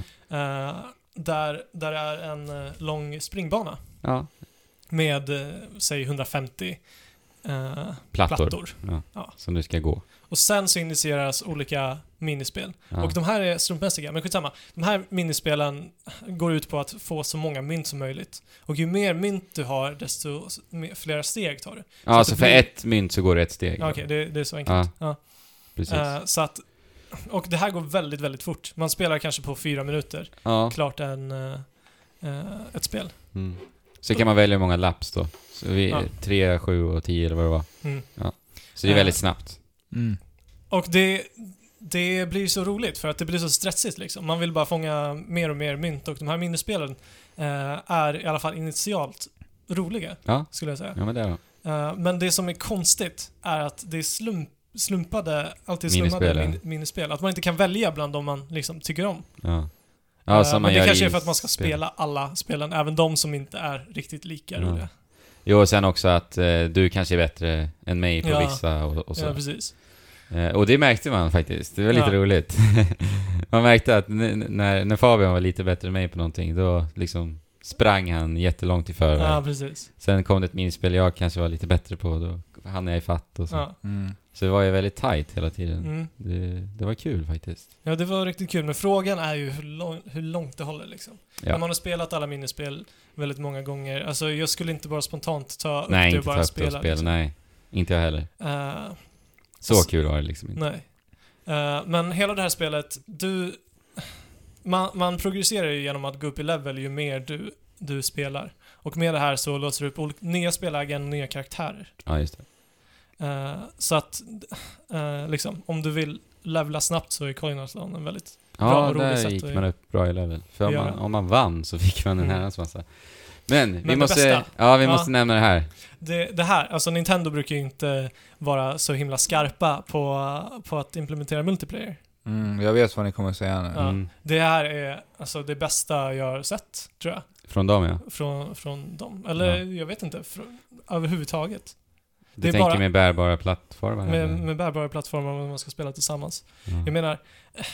Speaker 2: Eh, där, där är en eh, lång springbana
Speaker 1: Ja.
Speaker 2: med, eh, säg 150 eh,
Speaker 1: Plattor.
Speaker 2: plattor.
Speaker 1: Ja.
Speaker 2: Ja.
Speaker 1: Som du ska gå.
Speaker 2: Och sen så initieras olika minispel.
Speaker 1: Ja.
Speaker 2: Och de här är slumpmässiga, men skitsamma. De här minispelen går ut på att få så många mynt som möjligt. Och ju mer mynt du har, desto s- mer- flera steg tar du.
Speaker 1: ja, alltså
Speaker 2: det
Speaker 1: för
Speaker 2: blir-
Speaker 1: ett mynt så går det ett steg.
Speaker 2: Ja, Okej, det, det är så enkelt.
Speaker 1: Ja,
Speaker 2: Ja.
Speaker 1: precis.
Speaker 2: Eh, så att, och det här går väldigt, väldigt fort. Man spelar kanske på fyra minuter,
Speaker 1: ja.
Speaker 2: klart en, eh, eh, ett spel.
Speaker 1: Mm. Så kan man välja hur många laps då. Så vi,
Speaker 2: Ja.
Speaker 1: Tre, sju och tio eller vad det var.
Speaker 2: Mm.
Speaker 1: Så det är
Speaker 2: Eh.
Speaker 1: väldigt snabbt.
Speaker 3: Mm.
Speaker 2: Och det, det blir så roligt för att det blir så stressigt liksom. Man vill bara fånga mer och mer mynt och de här minispelen eh, är i alla fall initialt roliga,
Speaker 1: Ja.
Speaker 2: skulle jag säga.
Speaker 1: Ja, men det då.
Speaker 2: Eh, men det som är konstigt är att det är slump, slumpade, alltid slumpade
Speaker 1: Minispel, ja.
Speaker 2: min, minispel. Att man inte kan välja bland de man liksom tycker om.
Speaker 1: Ja.
Speaker 2: Eh,
Speaker 1: Ja, som man
Speaker 2: men det
Speaker 1: gör
Speaker 2: kanske
Speaker 1: i
Speaker 2: är för att man ska
Speaker 1: spel.
Speaker 2: spela alla spelen, även de som inte är riktigt lika
Speaker 1: Ja.
Speaker 2: roliga.
Speaker 1: Jo, och sen också att eh, du kanske är bättre än mig på
Speaker 2: Ja.
Speaker 1: vissa och, och så.
Speaker 2: Ja, precis.
Speaker 1: Eh, Och det märkte man faktiskt. Det var lite
Speaker 2: Ja.
Speaker 1: roligt. man märkte att n- n- när, när Fabian var lite bättre än mig på någonting, då liksom sprang han jättelångt i förväg.
Speaker 2: Ja, precis.
Speaker 1: Sen kom det ett minspel jag kanske var lite bättre på, då hann jag ifatt och så.
Speaker 2: Ja.
Speaker 3: Mm.
Speaker 1: Så det var ju väldigt tight hela tiden.
Speaker 2: Mm.
Speaker 1: Det, det var kul faktiskt.
Speaker 2: ja, det var riktigt kul. Men frågan är ju hur, lång, hur långt det håller liksom.
Speaker 1: Ja.
Speaker 2: När man har spelat alla minispel väldigt många gånger. Alltså jag skulle inte bara spontant ta upp
Speaker 1: nej,
Speaker 2: det och
Speaker 1: inte ta
Speaker 2: bara
Speaker 1: upp spela, och
Speaker 2: spela.
Speaker 1: spela.
Speaker 2: liksom.
Speaker 1: Nej, inte jag heller.
Speaker 2: Eh,
Speaker 1: Så
Speaker 2: Alltså,
Speaker 1: kul var det liksom inte.
Speaker 2: Nej. Eh, men hela det här spelet, du... Man, man progresserar ju genom att gå upp i level ju mer du, du spelar. Och med det här så låser du upp olika, nya spellägen och nya karaktärer.
Speaker 1: Ja, just det.
Speaker 2: Eh, så att, eh, liksom, om du vill levla snabbt så är Coinatlon en väldigt... Bra
Speaker 1: Ja,
Speaker 2: och roligt
Speaker 1: där
Speaker 2: sätt
Speaker 1: gick
Speaker 2: att-
Speaker 1: man upp bra i level. För om
Speaker 2: att
Speaker 1: man,
Speaker 2: göra.
Speaker 1: om man vann så fick man en
Speaker 2: Mm.
Speaker 1: herrans massa. Men, vi
Speaker 2: det
Speaker 1: måste...
Speaker 2: bästa.
Speaker 1: Ja, vi
Speaker 2: Ja.
Speaker 1: måste nämna det här.
Speaker 2: Det, det här, alltså Nintendo brukar ju inte vara så himla skarpa på, på att implementera multiplayer.
Speaker 3: Mm, jag vet vad ni kommer att säga nu.
Speaker 2: Ja.
Speaker 1: Mm.
Speaker 2: Det här är alltså det bästa jag har sett, tror jag,
Speaker 1: Från dem ja.
Speaker 2: från, från dem. Eller
Speaker 1: Ja.
Speaker 2: jag vet inte, från, överhuvudtaget.
Speaker 1: Du
Speaker 2: Det är
Speaker 1: tänker
Speaker 2: bara-
Speaker 1: med bärbara plattformar?
Speaker 2: Med,
Speaker 1: eller?
Speaker 2: med bärbara plattformar om man ska spela tillsammans.
Speaker 1: ja.
Speaker 2: Jag menar, eh,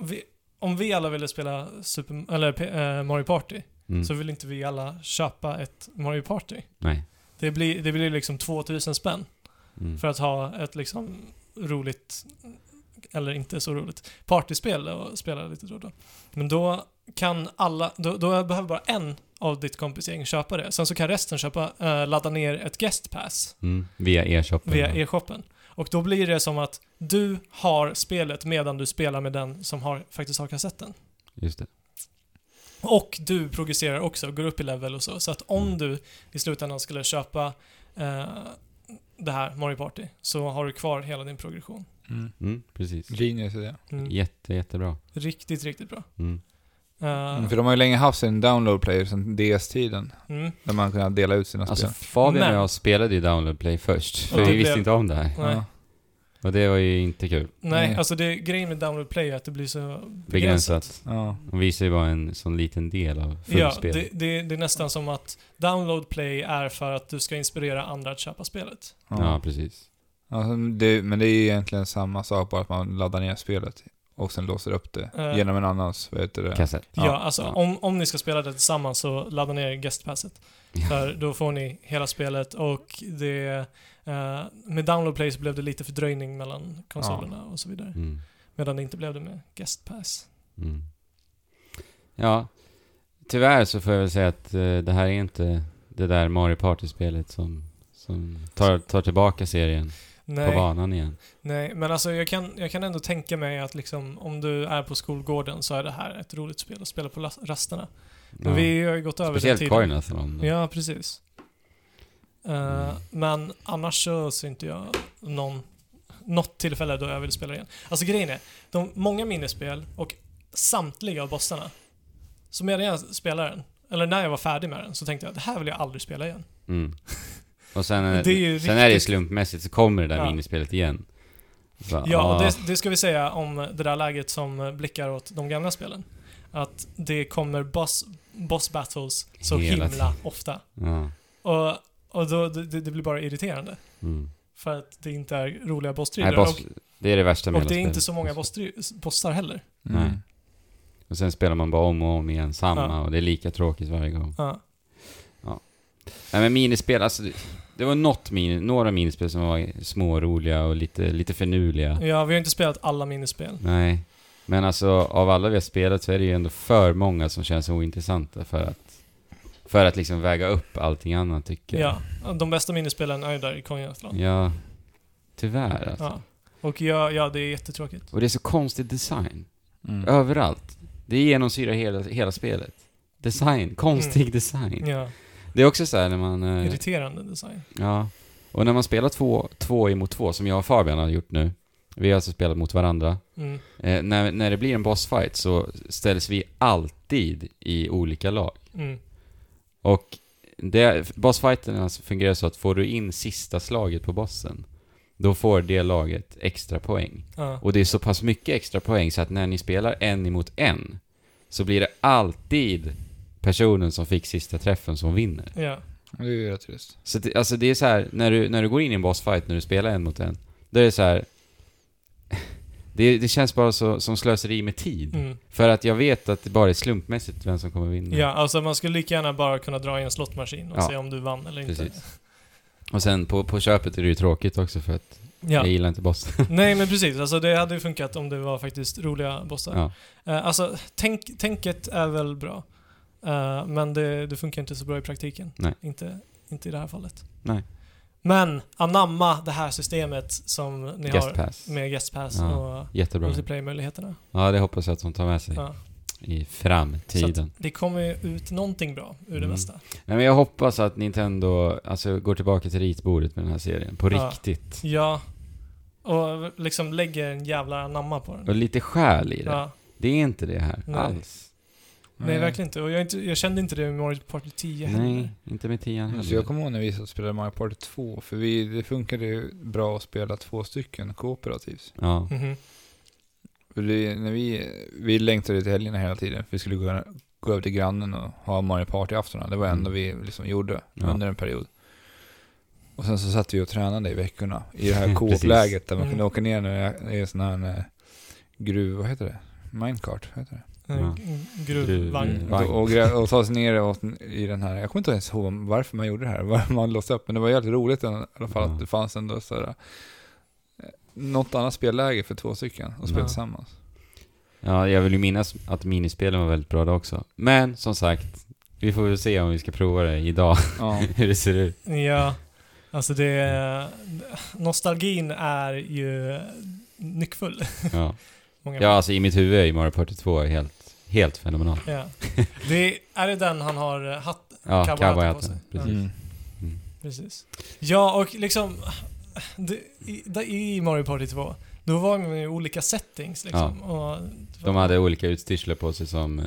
Speaker 2: vi, om vi alla ville spela Super, eller, P- eh, Mario Party
Speaker 1: mm.
Speaker 2: så vill inte vi alla köpa ett Mario Party.
Speaker 1: Nej.
Speaker 2: Det blir, det blir liksom 2000 spänn
Speaker 1: Mm.
Speaker 2: för att ha ett liksom roligt, eller inte så roligt, partyspel och spela lite då och då. Men då kan alla, då, då behöver bara en av ditt kompisgäng köpa det. Sen så kan resten köpa, eh, ladda ner ett guest pass
Speaker 1: Mm. Via e-shoppen?
Speaker 2: via e-
Speaker 1: ja.
Speaker 2: e-shoppen. Och då blir det som att du har spelet medan du spelar med den som har, faktiskt har kassetten.
Speaker 1: Just det.
Speaker 2: Och du progresserar också, går upp i level och så. Så att om
Speaker 1: Mm.
Speaker 2: du i slutändan skulle köpa eh, det här, Mario Party, så har du kvar hela din progression.
Speaker 3: Mm.
Speaker 1: Mm. Precis.
Speaker 3: Genius idé.
Speaker 2: Mm.
Speaker 1: Jätte, jättebra.
Speaker 2: Riktigt, riktigt bra.
Speaker 1: Mm.
Speaker 2: Eh,
Speaker 3: Mm, för de har ju länge haft sin download player sedan DS-tiden.
Speaker 2: mm.
Speaker 3: Där man kunnat dela ut sina
Speaker 1: Alltså
Speaker 3: spel.
Speaker 1: Fabian
Speaker 2: Men-
Speaker 1: och jag spelade ju Download Play först, för
Speaker 2: Och
Speaker 1: vi
Speaker 2: det
Speaker 1: visste
Speaker 2: blev-
Speaker 1: inte om det här.
Speaker 2: nej.
Speaker 3: Ja.
Speaker 1: Och det var ju inte kul.
Speaker 2: Nej,
Speaker 3: Nej.
Speaker 2: alltså det, grejen med Download Play är att det blir så begränsat.
Speaker 1: Begränsat.
Speaker 3: ja.
Speaker 1: De visar ju bara en sån liten del av
Speaker 2: Ja,
Speaker 1: fullspel.
Speaker 2: det, det, det är nästan som att Download Play är för att du ska inspirera andra att köpa spelet.
Speaker 1: Ja,
Speaker 3: ja.
Speaker 1: precis.
Speaker 3: Alltså, det, men det är ju egentligen samma sak, bara att man laddar ner spelet och sen låser upp det
Speaker 2: Eh.
Speaker 3: genom en annans, vad heter det?
Speaker 1: Kassett.
Speaker 2: Ja,
Speaker 3: Ja,
Speaker 2: alltså
Speaker 1: ja.
Speaker 2: Om, om ni ska spela det tillsammans så ladda ner guestpasset. För då får ni hela spelet och det... Eh, med download play så blev det lite fördröjning mellan konsolerna och så vidare.
Speaker 1: Mm.
Speaker 2: Medan det inte blev det med guestpass.
Speaker 1: Mm. Ja, tyvärr så får jag väl säga att eh, det här är inte det där Mario Party-spelet som, som tar, tar tillbaka serien på
Speaker 2: Nej,
Speaker 1: banan igen.
Speaker 2: nej, men alltså jag kan, jag kan ändå tänka mig att liksom om du är på skolgården så är det här ett roligt spel att spela på las- rasterna. Men
Speaker 1: Ja.
Speaker 2: vi har ju gått över
Speaker 1: Speciellt
Speaker 2: den tiden.
Speaker 1: Coinathlon. då.
Speaker 2: Ja, precis. Eh,
Speaker 1: Mm.
Speaker 2: Men annars så ser inte jag någon, något tillfälle då jag vill spela igen. Alltså grejen är, de, många minispel och samtliga av bossarna, så medan jag spelar den, eller när jag var färdig med den, så tänkte jag det här vill jag aldrig spela igen.
Speaker 1: Mm. Och sen, är,
Speaker 2: Det är ju
Speaker 1: sen är det ju
Speaker 2: riktigt-
Speaker 1: slumpmässigt så kommer det där
Speaker 2: Ja.
Speaker 1: minispelet igen. Så,
Speaker 2: Ja,
Speaker 1: ah,
Speaker 2: och det, det ska vi säga om det där läget som blickar åt de gamla spelen. Att det kommer boss, boss battles så
Speaker 1: Hela
Speaker 2: himla
Speaker 1: tiden.
Speaker 2: ofta.
Speaker 1: Ja.
Speaker 2: Och, och då, det, det blir bara irriterande.
Speaker 1: Mm.
Speaker 2: För att det inte är roliga
Speaker 1: Nej,
Speaker 2: bossstrider. Och-
Speaker 1: boss, det är det värsta med
Speaker 2: Och
Speaker 1: hela
Speaker 2: det är inte
Speaker 1: spelet.
Speaker 2: så många boss- bossar heller.
Speaker 3: Mm.
Speaker 1: Nej. Och sen spelar man bara om och om igen, samma,
Speaker 2: Ja.
Speaker 1: och det är lika tråkigt varje gång.
Speaker 2: Ja.
Speaker 1: Nej men minispel, alltså det, det var något mini, några minispel som var små och roliga och lite, lite förnuliga.
Speaker 2: ja, vi har inte spelat alla minispel.
Speaker 1: Nej. Men alltså, av alla vi har spelat så är det ju ändå för många som känns ointressanta för att, för att liksom väga upp allting annat tycker jag.
Speaker 2: Ja. De bästa minispelen är ju där i Konjunktland.
Speaker 1: Ja. Tyvärr alltså.
Speaker 2: Ja. Och ja, ja, det är jättetråkigt.
Speaker 1: Och det är så konstig design.
Speaker 3: Mm.
Speaker 1: Överallt. Det genomsyrar hela, hela spelet. Design. Konstig design.
Speaker 2: Mm. Ja.
Speaker 1: Det är också så här när man... Eh,
Speaker 2: Irriterande design.
Speaker 1: ja. Och när man spelar två, två emot två, som jag och Fabian har gjort nu. Vi har alltså spelat mot varandra.
Speaker 2: Mm.
Speaker 1: Eh, när, när det blir en bossfight så ställs vi alltid i olika lag.
Speaker 2: Mm.
Speaker 1: Och det, bossfighterna fungerar så att får du in sista slaget på bossen, då får det laget extra poäng.
Speaker 2: Ja.
Speaker 1: Och det är så pass mycket extra poäng så att när ni spelar en emot en så blir det alltid personen som fick sista träffen som vinner.
Speaker 2: ja.
Speaker 3: Det är ju rätt trist.
Speaker 1: Så det, alltså det är så här, när du, när du går in i en bossfight när du spelar en mot en, då är det så här Det, det känns bara så, som slöseri med tid.
Speaker 2: Mm.
Speaker 1: För att jag vet att det bara är slumpmässigt vem som kommer vinna.
Speaker 2: Ja, alltså man skulle lika gärna bara kunna dra i en slottmaskin och
Speaker 1: Ja.
Speaker 2: se om du vann eller inte.
Speaker 1: Precis. Och sen på, på köpet är det ju tråkigt också för att
Speaker 2: Ja.
Speaker 1: jag gillar inte bossen.
Speaker 2: Nej men precis, alltså det hade ju funkat om det var faktiskt roliga bossar.
Speaker 1: Ja.
Speaker 2: Eh, alltså, tänk, tänket är väl bra. Eh, men det, det funkar inte så bra i praktiken.
Speaker 1: Nej.
Speaker 2: Inte, inte i det här fallet.
Speaker 1: Nej.
Speaker 2: Men anamma det här systemet som ni
Speaker 1: Guest
Speaker 2: har
Speaker 1: pass.
Speaker 2: med Guest Pass
Speaker 1: Ja.
Speaker 2: och
Speaker 1: Jättebra.
Speaker 2: multiplayer-möjligheterna.
Speaker 1: Ja, det hoppas jag att de tar med sig
Speaker 2: Ja.
Speaker 1: i
Speaker 2: Så
Speaker 1: framtiden.
Speaker 2: att det kommer ju ut någonting bra ur det
Speaker 1: Mm.
Speaker 2: mesta.
Speaker 1: Nej, men jag hoppas att Nintendo alltså, går tillbaka till ritbordet med den här serien. På
Speaker 2: Ja.
Speaker 1: riktigt.
Speaker 2: Ja. Och liksom lägger en jävla anamma på den.
Speaker 1: Och lite själ i det.
Speaker 2: Ja.
Speaker 1: Det är inte det här
Speaker 2: Nej.
Speaker 1: alls.
Speaker 2: Nej, verkligen inte. Och jag, är inte, jag kände inte det med Mario Party 10 heller.
Speaker 1: Nej, inte med tian heller.
Speaker 3: Mm, Så jag kommer ihåg när vi satt och spelade Mario Party 2, för vi, det funkade ju bra att spela två stycken kooperativt.
Speaker 1: Ja.
Speaker 2: Mhm.
Speaker 3: För det, när vi, vi längtade till helgerna hela tiden, för vi skulle gå, gå över till grannen och ha Mario Party-aftonar. Det var det enda vi liksom gjorde
Speaker 1: Mm. Ja.
Speaker 3: under en period. Och sen så satt vi och tränade i veckorna, i det här
Speaker 1: Precis.
Speaker 3: koop-läget där man kunde
Speaker 2: Mm.
Speaker 3: åka ner när det är sån här eh, gruv, vad heter det? Minecart, vad heter det?
Speaker 1: Ja.
Speaker 2: En Gruvvagn.
Speaker 1: Vagn.
Speaker 3: Och, och, grä- och ta sig ner åt, i den här, jag kommer inte ens ihåg varför man gjorde det här, varför man låste upp, men det var jävligt roligt i alla fall
Speaker 1: Ja.
Speaker 3: att det fanns ändå sådär, något annat spelläge för två stycken och spela
Speaker 2: Ja.
Speaker 3: tillsammans.
Speaker 1: ja, jag vill ju minnas att minispelen var väldigt bra då också. Men som sagt, vi får väl se om vi ska prova det idag,
Speaker 3: Ja.
Speaker 1: hur det ser ut.
Speaker 2: Ja, alltså det... Nostalgin är ju nyckfull.
Speaker 1: Ja,
Speaker 2: Många
Speaker 1: ja alltså i mitt huvud är ju Mario Party 2 helt, helt fenomenal.
Speaker 2: ja. Det är, är det den han har eh, hatt,
Speaker 1: Ja,
Speaker 2: Cowboyhatten på sig.
Speaker 1: cowboyhatten. Precis.
Speaker 3: Mm.
Speaker 2: precis. Ja, och liksom... Det, i, där- I Mario Party 2, då var man ju i olika settings liksom. Och,
Speaker 1: De hade olika utstyrslar på sig som,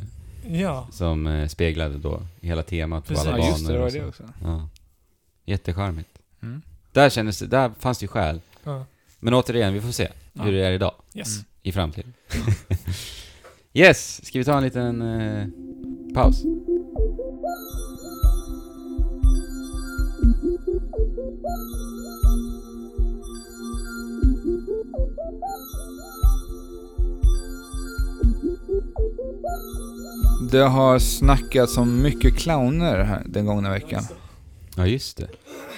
Speaker 2: Ja,
Speaker 1: som eh, speglade då hela temat på
Speaker 2: Precis.
Speaker 1: alla
Speaker 3: Ja
Speaker 1: banor.
Speaker 3: just det, det var
Speaker 1: och
Speaker 3: det
Speaker 1: så.
Speaker 3: också.
Speaker 1: Ja. Jättecharmigt.
Speaker 3: Mm.
Speaker 1: Där kändes det, där fanns det ju skäl.
Speaker 2: ja.
Speaker 1: Men återigen, vi får se hur
Speaker 3: Ja.
Speaker 1: det är idag.
Speaker 2: Yes.
Speaker 3: Mm.
Speaker 1: i framtiden. yes, ska vi ta en liten eh, paus?
Speaker 3: Det har snackats om mycket clowner här den gångna veckan.
Speaker 1: Ja, just det.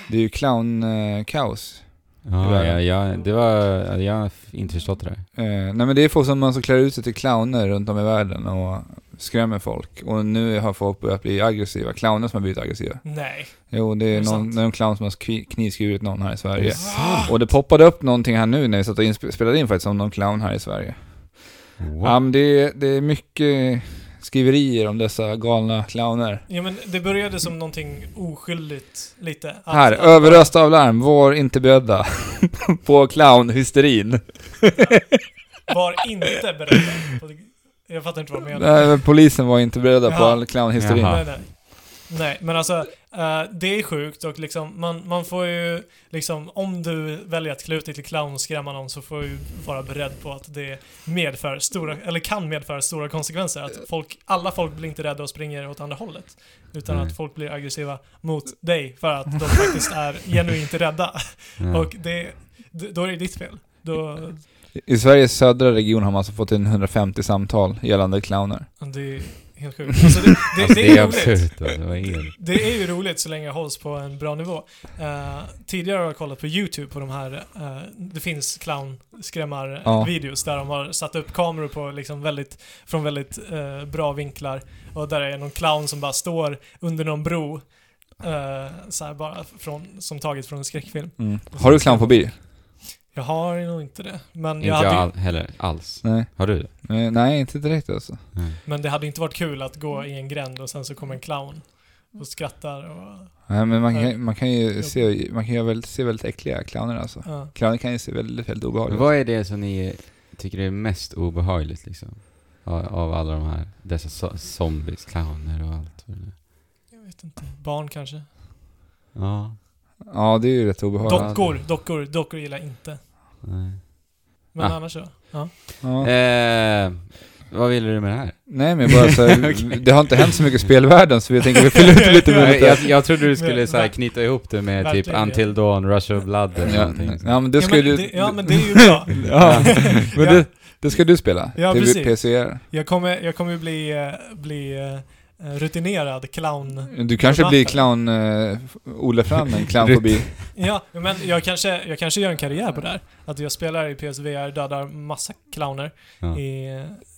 Speaker 3: Det är ju clownkaos.
Speaker 1: Ja, ja, ja, det var, ja, jag har inte förstått det där.
Speaker 3: Eh, nej men det är folk som man så klär ut sig till clowner runt om i världen och skrämmer folk. Och nu har folk börjat bli aggressiva, clowner som har blivit aggressiva.
Speaker 2: Nej.
Speaker 3: Jo, det
Speaker 2: Är
Speaker 3: är,
Speaker 2: det
Speaker 3: någon,
Speaker 2: sant?
Speaker 3: någon clown som har skri- knivskurit någon här i Sverige.
Speaker 2: Va?
Speaker 3: Och det poppade upp någonting här nu när vi satt och insp- spelade in faktiskt om någon clown här i Sverige. Ja,
Speaker 1: Wow.
Speaker 3: men det, är- det är mycket skriverier om dessa galna clowner.
Speaker 2: Ja men det började som någonting oskyldigt lite. Att-
Speaker 3: här,
Speaker 2: att-
Speaker 3: överösta av larm, var inte beredda på clownhysterin.
Speaker 2: Var inte beredda. på det- Jag fattar inte vad du menar.
Speaker 3: Nej, Polisen var inte beredda på
Speaker 2: Jaha.
Speaker 3: all clownhysterin.
Speaker 1: Jaha.
Speaker 2: Nej, nej. Nej, men alltså eh, det är sjukt och liksom man, man får ju liksom om du väljer att klä ut dig till clown och skrämma någon så får du ju vara beredd på att det medför stora, eller kan medföra stora konsekvenser. Att folk, alla folk blir inte rädda och springer åt andra hållet. Utan
Speaker 1: Nej.
Speaker 3: Mm.
Speaker 2: att folk blir aggressiva mot dig för att de faktiskt är genuint rädda.
Speaker 1: Ja.
Speaker 2: Och det, d- då är det ditt fel. Då, mm,
Speaker 3: I Sveriges södra region har man alltså fått in 150 samtal gällande clowner.
Speaker 2: det är helt sjukt. Alltså det, det,
Speaker 1: Alltså,
Speaker 2: det är roligt.
Speaker 1: absurt. alltså, vad är det?
Speaker 2: Det är ju roligt så länge jag hålls på en bra nivå. Eh, tidigare har jag kollat på YouTube på de här, eh, det finns
Speaker 3: Ja.
Speaker 2: clown-skrämmar-videos där de har satt upp kameror på liksom väldigt, från väldigt eh, bra vinklar och där är någon clown som bara står under någon bro eh, så här bara från, som taget från en skräckfilm.
Speaker 3: Mm. Har du clownfobi?
Speaker 2: Jag har nog inte det, men,
Speaker 1: Inte
Speaker 2: jag hade,
Speaker 1: jag
Speaker 2: ju-
Speaker 1: all, heller alls.
Speaker 3: Nej.
Speaker 1: Har du det?
Speaker 3: Eh, Nej, inte direkt alltså.
Speaker 2: men det hade inte varit kul att gå i en gränd och sen så kommer en clown och skrattar och...
Speaker 3: Nej, men man
Speaker 2: Nej.
Speaker 3: kan, man kan ju se, man kan ju väldigt, se väldigt äckliga clowner alltså.
Speaker 2: ja.
Speaker 3: Clowner kan ju se väldigt, väldigt
Speaker 1: Men
Speaker 3: obehagliga ut.
Speaker 1: vad är det som ni tycker är mest obehagligt liksom? Av, av alla de här, dessa so- zombies, clowner och allt vad det nu är.
Speaker 2: Jag vet inte. Barn kanske?
Speaker 1: Ja,
Speaker 3: Ja, det är ju rätt obehagligt.
Speaker 1: Dock-
Speaker 2: Dockor, dockor, dockor gillar jag inte.
Speaker 1: nej.
Speaker 2: Men
Speaker 1: Ah.
Speaker 2: annars så. Ja.
Speaker 3: Ja.
Speaker 1: Eh, Vad ville du med det här?
Speaker 3: Nej men bara så här, det har inte hänt så mycket i spelvärlden så vi tänker vi fyller ut lite med
Speaker 1: Jag,
Speaker 3: lite...
Speaker 1: jag, jag trodde du skulle
Speaker 2: Men-
Speaker 1: så här, knyta ihop det med typ
Speaker 2: Verkligen.
Speaker 1: Until Dawn, Rush of Blood eller
Speaker 3: Ja,
Speaker 1: någonting.
Speaker 3: ja men det ska
Speaker 2: ja, men,
Speaker 3: du...
Speaker 2: det, ja, men det är ju bra.
Speaker 3: Ja, men det, det ska du spela.
Speaker 2: Ja,
Speaker 3: det
Speaker 2: precis.
Speaker 3: är PCR.
Speaker 2: Jag kommer, jag kommer bli, eh, bli eh, rutinerad clown.
Speaker 3: Du kanske
Speaker 2: Författare.
Speaker 3: blir clown... Uh, odlar fram en clownfobi.
Speaker 2: Ja, men jag kanske, jag kanske gör en karriär på det här. Att jag spelar i PSVR, dödar massa clowner.
Speaker 1: Ja.
Speaker 2: I,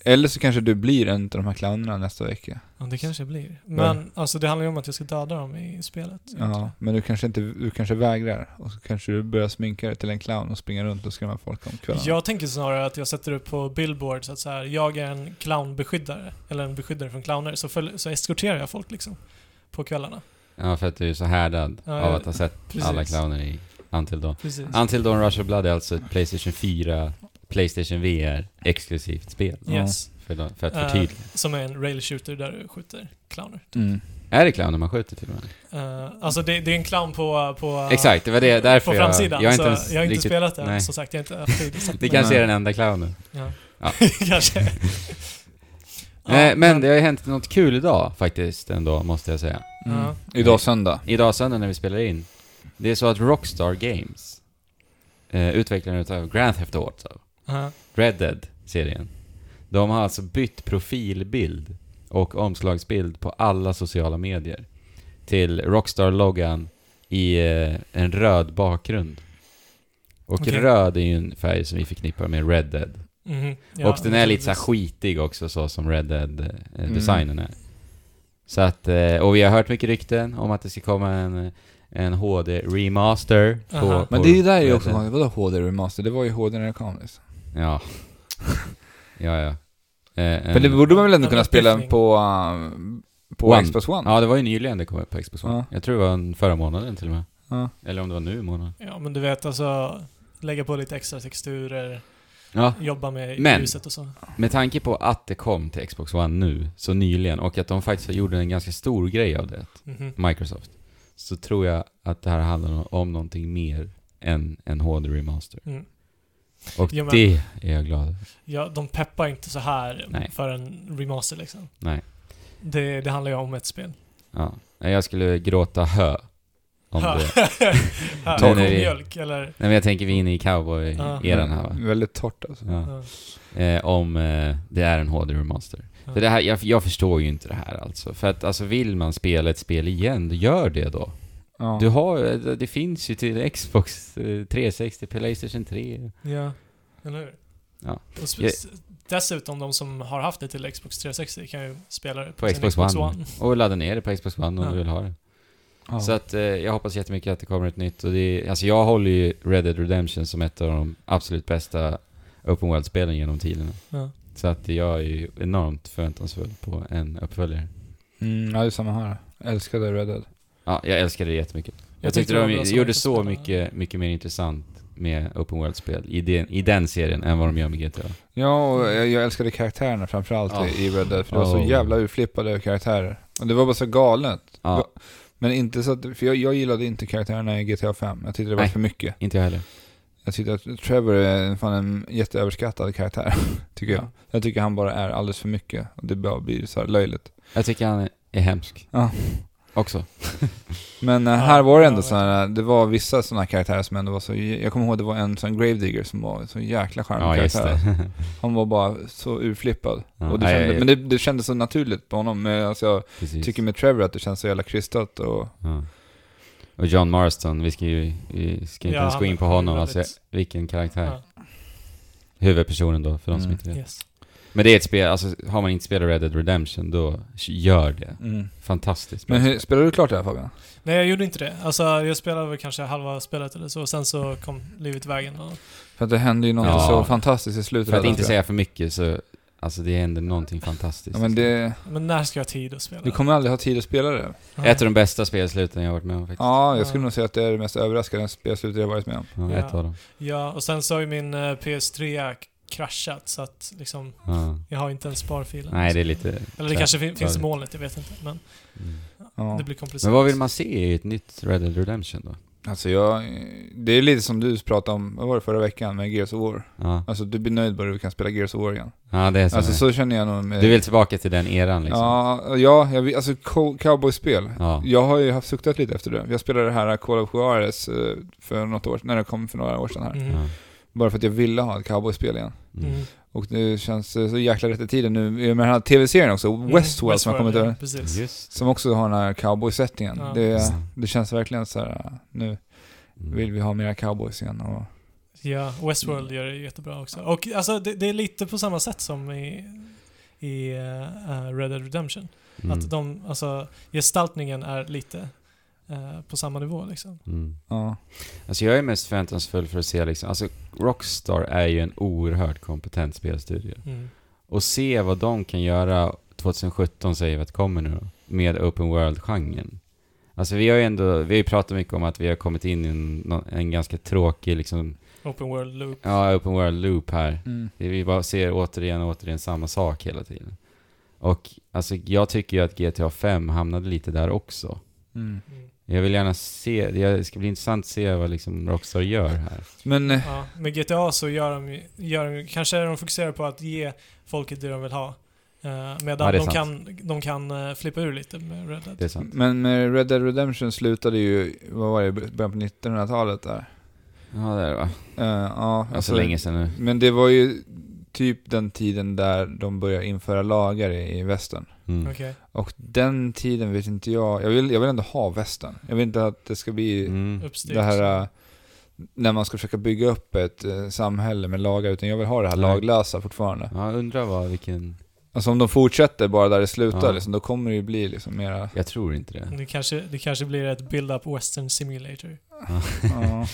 Speaker 3: Eller så kanske du blir en av de här clownerna nästa vecka.
Speaker 2: ja, det kanske jag blir. Men alltså det handlar ju om att jag ska döda dem i spelet.
Speaker 3: Ja, men du kanske inte... Du kanske vägrar. Och så kanske du börjar sminka dig till en clown och springa runt och skrämma folk om kvällen.
Speaker 2: Jag tänker snarare att jag sätter upp på billboards att så här, jag är en clownbeskyddare, eller en beskyddare från clowner, så, följ, så eskorterar jag folk liksom. På kvällarna.
Speaker 1: Ja, för att du är så härdad
Speaker 2: Ja,
Speaker 1: av
Speaker 2: jag-
Speaker 1: att ha sett
Speaker 2: precis.
Speaker 1: alla clowner i Until Dawn.
Speaker 2: Precis.
Speaker 1: Until Dawn Rush of Blood är alltså ett Playstation 4, Playstation VR exklusivt spel.
Speaker 2: Yes.
Speaker 1: För, de- för att
Speaker 2: Eh,
Speaker 1: förtydliga.
Speaker 2: som är en rail shooter där du skjuter clowner.
Speaker 3: Mm.
Speaker 1: Är det clowner man skjuter till och med?
Speaker 2: Eh, alltså det, det är en clown på... på
Speaker 1: Exakt, det var det. Därför
Speaker 2: På framsidan.
Speaker 1: jag... Jag har
Speaker 2: så
Speaker 1: inte ens
Speaker 2: jag har inte
Speaker 1: riktigt,
Speaker 2: spelat det än,
Speaker 1: nej.
Speaker 2: som sagt. Jag har inte haft tid. att sätta
Speaker 1: Det
Speaker 2: mig.
Speaker 1: kanske
Speaker 3: Nej.
Speaker 1: är den enda clownen.
Speaker 2: Ja.
Speaker 1: Ja.
Speaker 2: kanske. Ja,
Speaker 1: Eh, men det har ju hänt något kul idag faktiskt ändå, måste jag säga.
Speaker 3: Mm.
Speaker 2: Ja.
Speaker 3: Idag söndag.
Speaker 1: Idag söndag när vi spelar in. Det är så att Rockstar Games, eh, utvecklaren utav Grand Theft Auto,
Speaker 2: ja.
Speaker 1: Red Dead-serien. De har alltså bytt profilbild och omslagsbild på alla sociala medier till Rockstar-loggan i eh, en röd bakgrund. Och
Speaker 2: Okej.
Speaker 1: röd är ju en färg som vi förknippar med Red Dead.
Speaker 2: Mhm. Ja,
Speaker 1: och den är lite så här
Speaker 2: precis.
Speaker 1: skitig också, så som Red
Speaker 3: Mm.
Speaker 1: Dead-designen är. Så att, eh, och vi har hört mycket rykten om att det ska komma en, en HD-remaster på,
Speaker 2: Aha.
Speaker 1: på
Speaker 3: Men det är ju där
Speaker 1: Red
Speaker 3: jag också
Speaker 1: Dead.
Speaker 3: har... Vadå HD remaster? Det var ju HD när det kom liksom.
Speaker 1: Ja. ja, ja. Eh,
Speaker 3: Men det
Speaker 1: en-
Speaker 3: borde man väl ändå kunna
Speaker 2: Annan
Speaker 3: spela
Speaker 2: uppgiftning.
Speaker 3: på, um, på
Speaker 1: One.
Speaker 3: Xbox One?
Speaker 1: Ja, det var ju nyligen det kom upp på Xbox One.
Speaker 3: Ja.
Speaker 1: Jag tror det var en förra månaden till och med.
Speaker 3: Ja.
Speaker 1: Eller om det var nu i månaden.
Speaker 2: Ja, men du vet alltså... Lägga på lite extra texturer,
Speaker 1: Ja,
Speaker 2: jobba med
Speaker 1: Men-
Speaker 2: ljuset och så.
Speaker 1: med tanke på att det kom till Xbox One nu, så nyligen, och att de faktiskt gjorde en ganska stor grej av det,
Speaker 2: Mhm.
Speaker 1: Microsoft, så tror jag att det här handlar om någonting mer än en HD remaster.
Speaker 2: Mm.
Speaker 1: Och
Speaker 2: Ja, men-
Speaker 1: det är jag glad över.
Speaker 2: Ja, de peppar inte så här
Speaker 1: Nej.
Speaker 2: för en remaster liksom.
Speaker 1: Nej.
Speaker 2: Det, det handlar ju om ett spel.
Speaker 1: Ja. Nej, Jag skulle gråta hö. Om
Speaker 2: Hö.
Speaker 1: det.
Speaker 2: Hö.
Speaker 1: Torr.
Speaker 2: Mjölk, eller...
Speaker 1: Nej men jag tänker vi är inne i cowboy-eran här va?
Speaker 3: Väldigt torrt alltså.
Speaker 1: Ja.
Speaker 2: Ja.
Speaker 1: eh, om eh, det är en HD remaster.
Speaker 2: Ja.
Speaker 1: För det här, jag, jag förstår ju inte det här alltså. För att alltså, vill man spela ett spel igen, då gör det då.
Speaker 3: Ja.
Speaker 1: Du har, det- det finns ju till Xbox eh, 360, Playstation 3.
Speaker 2: Ja, eller hur?
Speaker 1: Ja.
Speaker 2: Och sp- Dessutom de som har haft det till Xbox 360 kan ju spela det på,
Speaker 1: På
Speaker 2: sin
Speaker 1: Xbox, One. Och ladda ner det på Xbox One om
Speaker 2: Ja.
Speaker 1: du vill ha det.
Speaker 3: Ja.
Speaker 1: Så att eh, jag hoppas jättemycket att det kommer ett nytt. Och det, är- alltså jag håller ju Red Dead Redemption som ett av de absolut bästa Open World-spelen genom tiderna.
Speaker 2: Ja.
Speaker 1: Så att jag är ju enormt förväntansfull på en uppföljare.
Speaker 3: Mm, ja, det är samma här. Älskade Red Dead.
Speaker 1: Ja, jag älskade det jättemycket. Jag, tyckte
Speaker 2: det var
Speaker 1: de
Speaker 2: bra som
Speaker 1: gjorde
Speaker 2: Microsoft
Speaker 1: så
Speaker 2: spelade.
Speaker 1: mycket, mycket mer intressant med Open World-spel i den, i den serien än vad de gör med GTA.
Speaker 3: Ja, och jag, jag älskade karaktärerna framförallt
Speaker 1: Ja.
Speaker 3: i Red Dead, för det var
Speaker 1: Oh.
Speaker 3: så jävla urflippade karaktärer. Och det var bara så galet.
Speaker 1: Ja,
Speaker 3: Men inte så att, för jag, jag gillade inte karaktärerna i GTA 5. Jag tyckte det var
Speaker 1: Nej.
Speaker 3: för mycket.
Speaker 1: inte jag heller.
Speaker 3: Jag tyckte att Trevor är fan en jätteöverskattad karaktär, tycker jag. Jag tycker han bara är alldeles för mycket. Och det bara blir så här löjligt.
Speaker 1: Jag tycker han är- är hemsk.
Speaker 3: Ja.
Speaker 1: Också.
Speaker 3: Men eh,
Speaker 2: Ja,
Speaker 3: här var det
Speaker 2: ja,
Speaker 3: ändå
Speaker 2: vet
Speaker 3: så här, eh, det var vissa sådana karaktärer som ändå var så, jag kommer ihåg det var en sån Gravedigger som var en så jäkla charmig
Speaker 1: Ja, just
Speaker 3: karaktär.
Speaker 1: det.
Speaker 3: Han var bara så urflippad.
Speaker 1: Ja,
Speaker 3: och det
Speaker 1: nej,
Speaker 3: kände,
Speaker 1: jag-
Speaker 3: Men det, det kändes så naturligt på honom. Men alltså, jag
Speaker 1: Precis.
Speaker 3: tycker med Trevor att det känns så jävla krystat och...
Speaker 1: ja. Och John Marston, vi ska ju vi ska inte
Speaker 2: Ja,
Speaker 1: ens gå
Speaker 2: han
Speaker 1: in på
Speaker 2: är
Speaker 1: honom.
Speaker 2: väldigt-
Speaker 1: Alltså, vilken karaktär.
Speaker 2: Ja.
Speaker 1: Huvudpersonen då, för de som
Speaker 3: Mm.
Speaker 1: inte vet.
Speaker 2: Yes.
Speaker 1: Men det är ett spel, alltså har man inte spelat Red Dead Redemption, då gör det.
Speaker 2: Mm.
Speaker 1: Fantastiskt.
Speaker 3: Men hur, spelar du klart det här Fabian?
Speaker 2: Nej, jag gjorde inte det. Alltså, jag spelade väl kanske halva spelet eller så, och sen så kom livet i vägen. Och,
Speaker 3: För att det hände ju något
Speaker 1: Ja.
Speaker 3: så fantastiskt i slutet.
Speaker 1: För att
Speaker 3: där,
Speaker 1: inte
Speaker 3: tror jag.
Speaker 1: säga för mycket så, alltså det händer någonting fantastiskt.
Speaker 3: Ja, men det,
Speaker 2: men när ska jag ha tid att spela?
Speaker 3: du kommer aldrig ha tid att spela det.
Speaker 2: Nej.
Speaker 1: Ett av de bästa spelsluten jag har varit med om faktiskt.
Speaker 3: Ja, jag skulle
Speaker 2: Ja.
Speaker 3: nog säga att det är det mest överraskande spelslutet jag varit med om.
Speaker 1: Ja, ett
Speaker 2: Ja.
Speaker 1: av dem.
Speaker 2: Ja, och sen så har ju min eh, PS3 k- kraschat, så att liksom,
Speaker 1: Ja.
Speaker 2: jag har inte en sparfil.
Speaker 1: Nej, det är lite...
Speaker 2: Eller det
Speaker 1: så-
Speaker 2: kanske fin- finns i
Speaker 1: sorry.
Speaker 2: molnet, jag vet inte. Men
Speaker 1: Mm.
Speaker 3: Ja.
Speaker 2: det blir komplicerat.
Speaker 1: Men vad vill man se i ett nytt Red Dead Redemption då?
Speaker 3: Alltså jag, det är lite som du pratade om, vad var det förra veckan med Gears of War?
Speaker 1: Ja,
Speaker 3: Alltså du blir nöjd bara du kan spela Gears of War igen.
Speaker 1: ja det är så.
Speaker 3: Alltså
Speaker 1: här.
Speaker 3: så känner jag nog med...
Speaker 1: Du vill tillbaka till den eran liksom?
Speaker 3: Ja, ja jag, vill- alltså co- cowboyspel.
Speaker 1: Ja.
Speaker 3: Jag har ju haft suktat lite efter det. Jag spelade det här Call of Juarez eh, för något år när det kom för några år sedan här.
Speaker 2: Mm.
Speaker 1: Ja.
Speaker 3: Bara för att jag ville ha ett cowboyspel igen.
Speaker 1: Mm.
Speaker 2: Mm.
Speaker 3: Och det känns eh, så jäkla rätt i tiden nu med den här tv-serien också, Westworld som har kommit
Speaker 2: Mm, ja,
Speaker 3: över.
Speaker 2: Precis.
Speaker 1: Just
Speaker 3: Som också har den här cowboy-settingen.
Speaker 2: Ja.
Speaker 3: Det,
Speaker 1: Ja.
Speaker 3: det känns verkligen så här. eh, nu
Speaker 1: Mm.
Speaker 3: vill vi ha mera cowboys igen och...
Speaker 2: Ja, Westworld gör det jättebra också. Och alltså, det, det är lite på samma sätt som i, i eh, Red Dead Redemption.
Speaker 1: Mm.
Speaker 2: Att de, alltså gestaltningen är lite eh, på samma nivå liksom.
Speaker 1: Mm.
Speaker 3: Ja.
Speaker 1: Alltså jag är mest förväntansfull för att se liksom, alltså Rockstar är ju en oerhört kompetent spelstudio.
Speaker 2: Mm.
Speaker 1: Och se vad de kan göra 2017 säger vi att kommer nu då, med open world-genren. Alltså vi har ju ändå, vi har ju pratat mycket om att vi har kommit in i en, nå- en ganska tråkig liksom,
Speaker 2: Open World Loop.
Speaker 1: ja, open world-loop här. Vi bara ser återigen och återigen samma sak hela tiden. Och alltså jag tycker ju att GTA 5 hamnade lite där också.
Speaker 3: Mm.
Speaker 2: Mm.
Speaker 1: Jag vill gärna se, det ska bli intressant att se vad liksom Rockstar gör här.
Speaker 3: Men eh,
Speaker 2: Ja, med GTA så gör de, ju- gör de ju- kanske de fokuserar på att ge folket det de vill ha. Eh,
Speaker 1: Ja,
Speaker 2: medan
Speaker 1: det är
Speaker 2: de, kan, de kan eh, flippa ur lite med Red Dead.
Speaker 1: Det är sant.
Speaker 3: Men med Red Dead Redemption slutade ju, vad var det, början på 1900-talet där?
Speaker 1: Ja, det är det va. Alltså,
Speaker 3: Eh, ja,
Speaker 1: Det var så Alltså, länge sedan nu.
Speaker 3: Men det var ju typ den tiden där de började införa lagar i, i västern.
Speaker 1: Mm.
Speaker 2: Okej.
Speaker 3: Och den tiden vet inte jag, jag vill, jag vill ändå ha västern. Jag vill inte att det ska bli
Speaker 1: Mm.
Speaker 2: Uppstyrt.
Speaker 3: det här, eh, när man ska försöka bygga upp ett eh, samhälle med lagar, utan jag vill ha det här
Speaker 1: Nej.
Speaker 3: laglösa fortfarande.
Speaker 1: Ja, jag undrar vad vilken...
Speaker 3: Alltså om de fortsätter bara där det slutar
Speaker 1: Ja.
Speaker 3: liksom, då kommer det ju bli liksom mera...
Speaker 1: Jag tror inte det.
Speaker 2: Det kanske, det kanske blir ett build-up western simulator.
Speaker 3: Ja.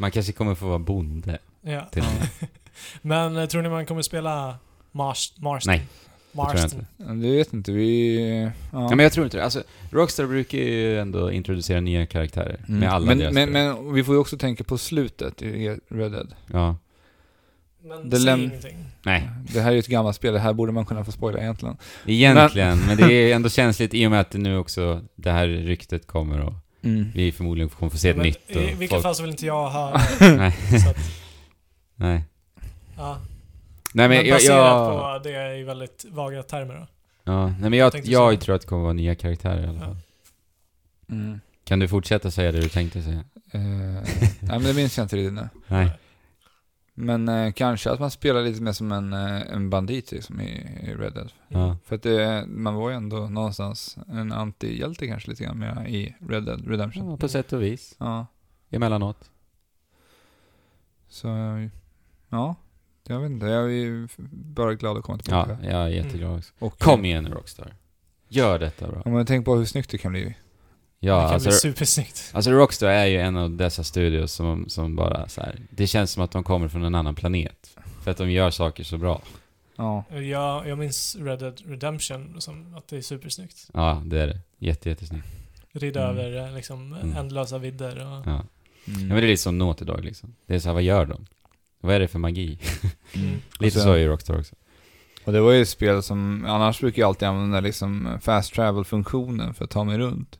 Speaker 1: Man kanske kommer få vara bonde
Speaker 2: Ja.
Speaker 1: till och med.
Speaker 2: Men eh, tror ni man kommer spela Mars, Marston?
Speaker 1: Nej,
Speaker 2: Marston.
Speaker 1: tror jag inte.
Speaker 3: Det vet inte, vi... Ja.
Speaker 1: Ja, men jag tror inte det. Alltså, Rockstar brukar ju ändå introducera nya karaktärer
Speaker 3: Mm.
Speaker 1: med alla
Speaker 3: men,
Speaker 1: deras
Speaker 3: men,
Speaker 1: spel.
Speaker 3: men vi får ju också tänka på slutet i Red Dead.
Speaker 1: Ja.
Speaker 2: Men
Speaker 3: Det
Speaker 2: säg
Speaker 3: läm-
Speaker 2: ingenting.
Speaker 1: Nej,
Speaker 3: Det här är ju ett gammalt spel, det här borde man kunna få spoila egentligen.
Speaker 1: egentligen. Men det är ändå känsligt i och med att det nu också, det här ryktet kommer och vi förmodligen kommer få se ett
Speaker 2: Men
Speaker 1: nytt.
Speaker 2: I
Speaker 1: Och
Speaker 2: vilket
Speaker 1: folk...
Speaker 2: fall så vill inte jag ha...
Speaker 1: Nej.
Speaker 2: så att,
Speaker 1: Nej.
Speaker 2: ja.
Speaker 1: Nej, men,
Speaker 2: men
Speaker 1: jag...
Speaker 2: baserat
Speaker 1: jag...
Speaker 2: på det är ju väldigt vaga termer då.
Speaker 1: Ja, nej, men jag,
Speaker 2: tänkte
Speaker 1: jag
Speaker 2: säga.
Speaker 1: tror att det kommer vara nya karaktärer i alla
Speaker 2: Ja.
Speaker 1: fall.
Speaker 3: Mm.
Speaker 1: Kan du fortsätta säga det du tänkte säga?
Speaker 3: Eh, nej men det minns jag inte riktigt nu.
Speaker 1: Nej.
Speaker 3: Men eh, kanske att man spelar lite mer som en, eh, en bandit liksom i, i Red Dead.
Speaker 2: Mm.
Speaker 1: Ja.
Speaker 3: För att det, man var ju ändå någonstans en antihjälte kanske lite grann mer i Red Dead Redemption.
Speaker 1: Ja, på sätt och vis.
Speaker 3: Ja.
Speaker 1: Emellanåt.
Speaker 3: Så, ja. Jag vet inte, jag är ju bara glad att komma tillbaka.
Speaker 1: Ja, jag är
Speaker 2: Mm.
Speaker 1: jätteglad också.
Speaker 3: Och, eh,
Speaker 1: Kom igen Rockstar. Gör detta bra.
Speaker 3: Om man tänker på hur snyggt det kan bli.
Speaker 1: Ja,
Speaker 2: det kan
Speaker 1: alltså,
Speaker 2: bli supersnyggt.
Speaker 1: alltså Rockstar är ju en av dessa studios som, som bara så här. det känns som att de kommer från en annan planet. För att de gör saker så bra.
Speaker 3: Ja.
Speaker 2: Jag, jag minns Red Dead Redemption som att det är supersnyggt.
Speaker 1: Ja, det är det. Jätte, jättesnyggt.
Speaker 2: Rida
Speaker 3: Mm.
Speaker 2: över eh, liksom
Speaker 1: Mm.
Speaker 2: ändlösa vidder och...
Speaker 1: Ja. ja, men det är lite som Naughty Dog liksom. Det är så här, vad gör de? Vad är det för magi?
Speaker 3: Alltså,
Speaker 2: Mm.
Speaker 1: Lite
Speaker 3: Och
Speaker 1: så
Speaker 3: sen-
Speaker 1: är ju Rockstar också.
Speaker 3: Och det var ju ett spel som, annars brukar jag alltid använda liksom fast travel-funktionen för att ta mig runt.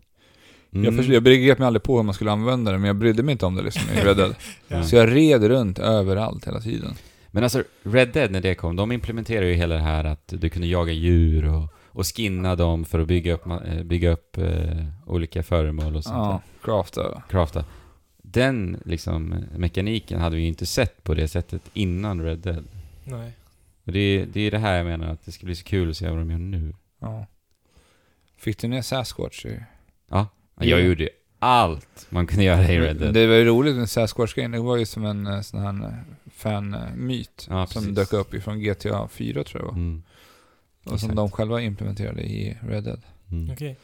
Speaker 1: Mm.
Speaker 3: Jag, förstod, jag begrep mig aldrig på hur man skulle använda det, men jag brydde mig inte om det liksom i Red Dead.
Speaker 1: Ja.
Speaker 3: Så jag red runt överallt hela tiden.
Speaker 1: Men alltså, Red Dead när det kom, de implementerade ju hela det här att du kunde jaga djur och, och skinna dem för att bygga upp, ma- eh, bygga upp eh, olika föremål och sånt där.
Speaker 3: Ja, crafta.
Speaker 1: crafta. Den liksom mekaniken hade vi ju inte sett på det sättet innan Red Dead.
Speaker 2: Nej.
Speaker 1: Och det, är- det är det här jag menar, att det ska bli så kul att se vad de gör nu.
Speaker 3: Ja. Fick du ner Sasquatch? i-
Speaker 1: Ja, Jag
Speaker 3: Ja. Mm,
Speaker 1: gjorde ju allt man kunde göra i Red Dead.
Speaker 3: Det var ju roligt med Sasquatch-grejen, det var ju som en eh, sån här eh, fan-myt
Speaker 1: Ja,
Speaker 3: som
Speaker 1: precis.
Speaker 3: dök upp ifrån GTA 4 tror jag det var.
Speaker 1: Mm,
Speaker 3: Och som
Speaker 1: exakt.
Speaker 3: de själva implementerade i Red Dead.
Speaker 1: mm.
Speaker 2: Okej.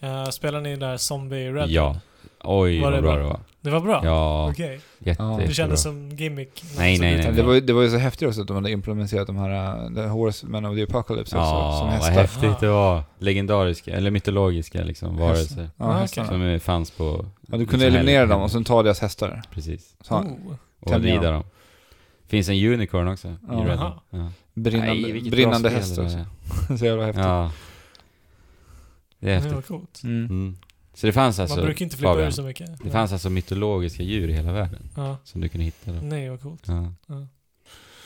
Speaker 2: Eh, spelar ni där Zombie Red?
Speaker 1: Ja. Oj,
Speaker 2: Var
Speaker 1: vad
Speaker 2: det
Speaker 1: bra
Speaker 2: bra?
Speaker 1: det var.
Speaker 2: Det var bra?
Speaker 1: Ja,
Speaker 2: Okej.
Speaker 1: jätte,
Speaker 3: Ja.
Speaker 2: Det
Speaker 1: jättebra.
Speaker 2: kändes som gimmick.
Speaker 1: Nej, nej, nej.
Speaker 3: Men Det var, ju- det var ju så häftigt också att de hade implementerat de här uh, The Horsemen of the Apocalypse också,
Speaker 1: Ja,
Speaker 3: som
Speaker 1: vad
Speaker 3: hästar.
Speaker 1: häftigt det var. Legendariska, eller mytologiska liksom, varelser.
Speaker 3: Ja,
Speaker 2: Ah,
Speaker 3: hästarna.
Speaker 1: Som eh, fanns på...
Speaker 3: ja, du
Speaker 1: liksom,
Speaker 3: kunde eliminera
Speaker 1: här-
Speaker 3: dem och sen ta deras hästar.
Speaker 1: Precis.
Speaker 3: Så,
Speaker 2: Oh.
Speaker 1: Och
Speaker 3: Tämja
Speaker 1: rida
Speaker 3: dem.
Speaker 1: dem. Finns en unicorn också i
Speaker 3: Ja.
Speaker 1: Red Dead.
Speaker 2: Jaha.
Speaker 1: Ja.
Speaker 3: brinnande
Speaker 1: vilket bra
Speaker 3: brinnande
Speaker 1: spel
Speaker 3: häst
Speaker 1: det där
Speaker 3: också.
Speaker 1: är.
Speaker 3: så jävla häftigt.
Speaker 1: Ja. Det är
Speaker 2: Det var
Speaker 1: häftigt.
Speaker 2: coolt.
Speaker 3: Mm.
Speaker 1: Mm. Så det fanns
Speaker 2: Man
Speaker 1: alltså,
Speaker 2: brukar inte flytta
Speaker 1: Fabian,
Speaker 2: ur så mycket.
Speaker 1: det fanns alltså mytologiska djur i hela världen
Speaker 2: ja.
Speaker 1: som du kunde hitta då.
Speaker 2: Nej, vad coolt.
Speaker 1: Ja.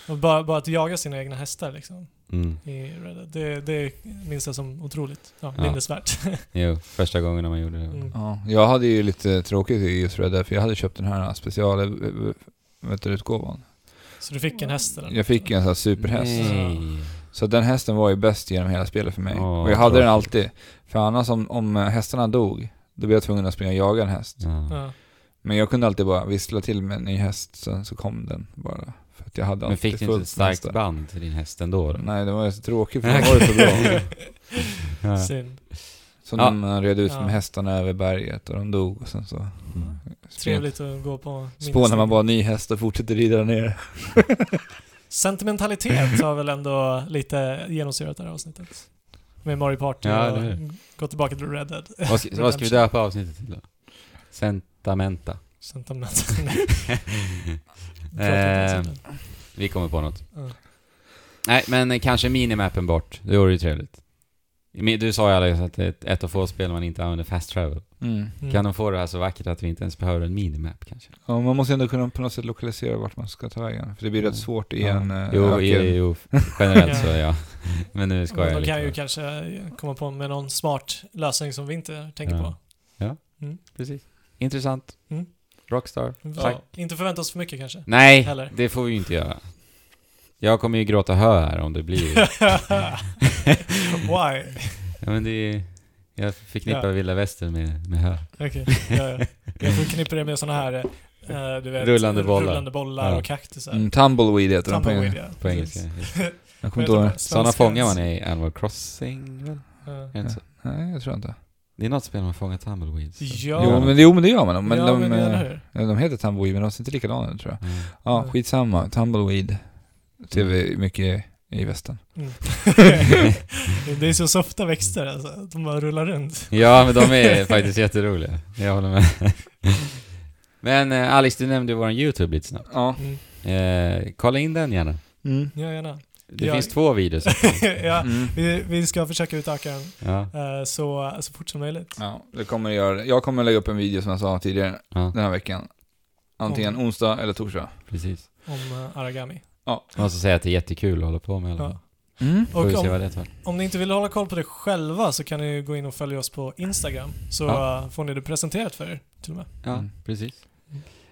Speaker 2: Och bara, bara att jaga sina egna hästar liksom.
Speaker 1: Mm.
Speaker 2: I Red Dead, det, det minns jag som otroligt. Ja,
Speaker 1: Ja.
Speaker 2: minnesvärt.
Speaker 1: Jo, första gången när man gjorde det.
Speaker 2: Mm.
Speaker 3: Ja, jag hade ju lite tråkigt i just Red Dead, för jag hade köpt den här special eh, vet du, utgåvan.
Speaker 2: Så du fick en häst eller?
Speaker 3: Jag fick ju en sån här superhäst.
Speaker 1: Nej.
Speaker 3: Så den hästen var ju bäst genom hela spelet för mig.
Speaker 1: Åh,
Speaker 3: och jag hade den
Speaker 1: tråkigt.
Speaker 3: alltid. För annars om, om eh, hästarna dog, då blev jag tvungen att springa och jaga en häst.
Speaker 1: Ja.
Speaker 2: Ja.
Speaker 3: Men jag kunde alltid bara vissla till med en ny häst, sen så kom den bara. För att jag hade
Speaker 1: Men
Speaker 3: alltid
Speaker 1: fick du inte ett
Speaker 3: med
Speaker 1: starkt
Speaker 3: hästar.
Speaker 1: band till din häst ändå då?
Speaker 3: Nej, det var ju så tråkigt för den var ju så bra.
Speaker 1: Ja.
Speaker 2: Synd.
Speaker 3: Så
Speaker 1: Ja.
Speaker 3: när man red ut
Speaker 2: Ja.
Speaker 3: med hästarna över berget och de dog och sen så...
Speaker 1: Mm.
Speaker 2: Trevligt att gå på
Speaker 3: Spånar man
Speaker 2: minnesvägar.
Speaker 3: bara en ny häst och fortsätter rida ner.
Speaker 2: Sentimentalitet har väl ändå lite genomsyrat det här avsnittet. Med Mario Party
Speaker 1: Ja,
Speaker 2: och
Speaker 1: det är det.
Speaker 2: gå tillbaka till Red Dead.
Speaker 1: Vad, ska, vad ska vi döpa avsnittet till då? Sentamenta.
Speaker 2: Sentiment. Nej.
Speaker 1: Eh,
Speaker 2: Pratar inte om sånt
Speaker 1: Vi kommer på något.
Speaker 2: där. Ja.
Speaker 1: Nej, men eh, kanske minimappen bort. Det vore ju trevligt. Men Du sa ju Alex att det är ett- ett av få spel man inte använder fast travel.
Speaker 3: Mm.
Speaker 2: Mm.
Speaker 1: Kan de få det här så vackert att vi inte ens behöver en minimap kanske?
Speaker 3: Ja, man måste ändå kunna på något sätt lokalisera vart man ska ta vägen. För det blir
Speaker 1: Mm.
Speaker 3: rätt svårt i
Speaker 1: Ja.
Speaker 3: en eh,
Speaker 1: Jo,
Speaker 3: öken.
Speaker 1: i, jo generellt så ja. Men nu ska
Speaker 2: Men
Speaker 1: jag
Speaker 2: De kan ju
Speaker 1: lite.
Speaker 2: kanske komma på med någon smart lösning som vi inte tänker
Speaker 1: Ja.
Speaker 2: på.
Speaker 1: Precis. Intressant.
Speaker 2: Mm.
Speaker 1: Rockstar. Tack.
Speaker 2: Ja, inte förvänta oss för mycket kanske.
Speaker 1: Nej,
Speaker 2: Heller.
Speaker 1: det får vi ju inte göra. Jag kommer ju gråta hö här om det blir...
Speaker 2: Why?
Speaker 1: ja, men det är ju... Jag förknippar
Speaker 2: Ja.
Speaker 1: vilda västern med, med hö.
Speaker 2: Okej, ja, ja. Jag förknippar det med sådana här eh, du vet,
Speaker 1: Rullande bollar.
Speaker 2: rullande bollar
Speaker 1: Ja.
Speaker 2: och kaktusar.
Speaker 3: Mm, tumbleweed heter den på
Speaker 2: Tumbleweed,
Speaker 3: engelska.
Speaker 2: ja.
Speaker 1: På
Speaker 2: Precis.
Speaker 1: engelska.
Speaker 3: Jag kommer
Speaker 2: Vad heter
Speaker 3: inte ihåg.
Speaker 2: det?
Speaker 1: Sådana
Speaker 2: Svenska-
Speaker 1: fångar man i Animal Crossing, väl?
Speaker 2: Ja.
Speaker 1: Är det inte så?
Speaker 3: Nej, jag tror inte.
Speaker 1: Det är något spel man fångar tumbleweeds.
Speaker 2: Ja.
Speaker 3: Jo, men, jo, men det gör man. Men
Speaker 2: ja,
Speaker 3: de,
Speaker 2: men
Speaker 1: eh,
Speaker 2: eller
Speaker 3: men
Speaker 2: hur?
Speaker 3: de heter tumbleweed, men de ser inte likadana ut tror jag.
Speaker 1: Mm.
Speaker 3: Ja,
Speaker 2: Mm.
Speaker 3: skitsamma. Tumbleweed ser vi mycket i västern.
Speaker 2: Mm. det är så softa växter alltså. De bara rullar runt.
Speaker 1: Ja, men de är faktiskt jätteroliga. Jag håller med. Men eh, Alex, du nämnde ju vår YouTube lite snabbt.
Speaker 3: Ja.
Speaker 2: Mm.
Speaker 1: Eh, kolla in den gärna.
Speaker 3: Mm.
Speaker 2: Ja, gärna.
Speaker 1: Det
Speaker 2: Jag-
Speaker 1: finns två videos.
Speaker 2: ja,
Speaker 3: Mm.
Speaker 2: vi, vi ska försöka utöka den
Speaker 1: Ja,
Speaker 2: eh, så, så fort som möjligt.
Speaker 3: Ja, det kommer jag göra. Jag kommer lägga upp en video som jag sa tidigare
Speaker 1: ja
Speaker 3: den här veckan. Antingen
Speaker 2: Om-
Speaker 3: onsdag eller torsdag.
Speaker 1: precis.
Speaker 2: Om eh, Aragami.
Speaker 1: Jag måste säga att det är jättekul att hålla på med. Alla.
Speaker 2: Ja.
Speaker 3: Mm.
Speaker 1: Får vi se
Speaker 2: Och om,
Speaker 1: vad det tar.
Speaker 2: om ni inte vill hålla koll på det själva så kan ni ju gå in och följa oss på Instagram. Så
Speaker 1: Ja.
Speaker 2: eh, får ni det presenterat för er till och med.
Speaker 1: Ja,
Speaker 3: Mm.
Speaker 1: precis.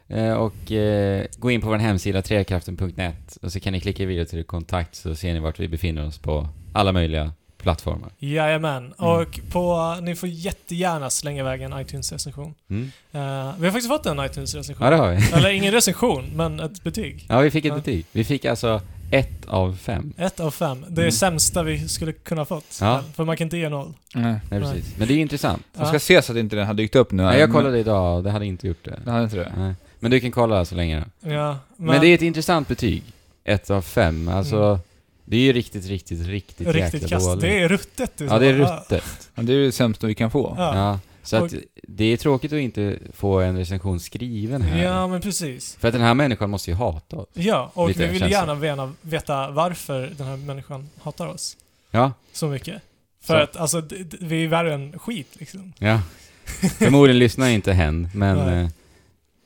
Speaker 1: Eh, och eh, gå in på vår hemsida trekraften.net och så kan ni klicka i video till kontakt så ser ni vart vi befinner oss på alla möjliga plattformar.
Speaker 2: Jajamän.
Speaker 1: Mm.
Speaker 2: Och på, ni får jättegärna slänga iväg en iTunes-recension.
Speaker 1: Mm.
Speaker 2: Eh, vi har faktiskt fått en iTunes-recension.
Speaker 1: Ja, det har vi.
Speaker 2: Eller ingen recension, men ett betyg.
Speaker 1: Ja, vi fick ett
Speaker 2: Ja.
Speaker 1: betyg. Vi fick alltså ett av fem.
Speaker 2: Ett av fem. Det är
Speaker 1: Mm.
Speaker 2: sämsta vi skulle kunna fått.
Speaker 1: Ja.
Speaker 2: För man kan inte ge noll.
Speaker 3: Nej.
Speaker 1: Nej,
Speaker 2: Nej.
Speaker 1: precis. Men det är ju intressant.
Speaker 3: Jag Eh, ska se så att inte den har dykt upp nu.
Speaker 1: Nej, jag kollade idag och det hade inte gjort det.
Speaker 3: Det hade inte det?
Speaker 1: Nej. Men du kan kolla så länge då.
Speaker 2: Ja, men,
Speaker 1: Men, det är ett intressant betyg. Ett av fem. Alltså,
Speaker 2: Mm.
Speaker 1: det är ju riktigt, riktigt, riktigt,
Speaker 2: riktigt
Speaker 1: jäkla
Speaker 2: kast.
Speaker 1: dåligt.
Speaker 2: Det är ruttet. du
Speaker 1: ja, det är
Speaker 2: sa.
Speaker 1: ruttet.
Speaker 3: Men Det är ju det sämsta vi kan få.
Speaker 1: Ja.
Speaker 2: Ja.
Speaker 1: Så att det är tråkigt att inte få en recension skriven
Speaker 2: Ja.
Speaker 1: här.
Speaker 2: men precis.
Speaker 1: För att den här människan måste ju hata oss.
Speaker 2: Ja, och
Speaker 1: Lite
Speaker 2: vi vill
Speaker 1: känsla.
Speaker 2: gärna vena, veta varför den här människan hatar oss
Speaker 1: Ja,
Speaker 2: så mycket. För
Speaker 1: Så.
Speaker 2: att alltså, d- d- vi är värre än skit liksom.
Speaker 1: ja. Förmodligen lyssnar inte hen, men,
Speaker 2: Nej.
Speaker 1: eh,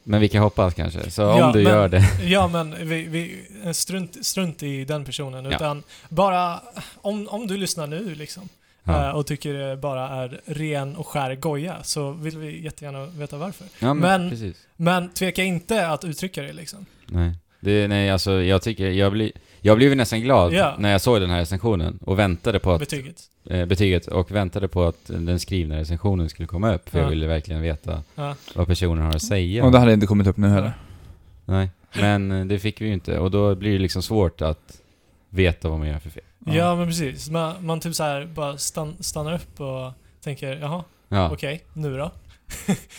Speaker 1: men vi kan hoppas kanske. Så
Speaker 2: Ja,
Speaker 1: om du
Speaker 2: men-
Speaker 1: gör det.
Speaker 2: Ja, men vi, vi strunt, strunt i den personen.
Speaker 1: Ja.
Speaker 2: Utan bara, om, om du lyssnar nu liksom eh,
Speaker 1: Ja.
Speaker 2: och tycker det bara är ren och skär goja så vill vi jättegärna veta varför.
Speaker 1: Ja, men,
Speaker 2: men-
Speaker 1: precis.
Speaker 2: Men tveka inte att uttrycka det liksom.
Speaker 1: Nej. Det, nej, alltså jag tycker, jag, blir jag blev ju nästan glad
Speaker 2: Ja.
Speaker 1: när jag såg den här recensionen och väntade på att
Speaker 2: Betyget.
Speaker 1: eh, betyget och väntade på att den skrivna recensionen skulle komma upp, för
Speaker 2: Ja.
Speaker 1: jag ville verkligen veta
Speaker 2: Ja.
Speaker 1: vad personen har att säga.
Speaker 3: Och det hade inte kommit upp nu heller.
Speaker 1: Nej, men eh, det fick vi ju inte, och då blir det liksom svårt att veta vad man gör för fel.
Speaker 3: Ja.
Speaker 2: Ja, men precis. Man, man typ så här bara stan, stannar upp och tänker, jaha,
Speaker 1: Ja,
Speaker 2: okej, nu då?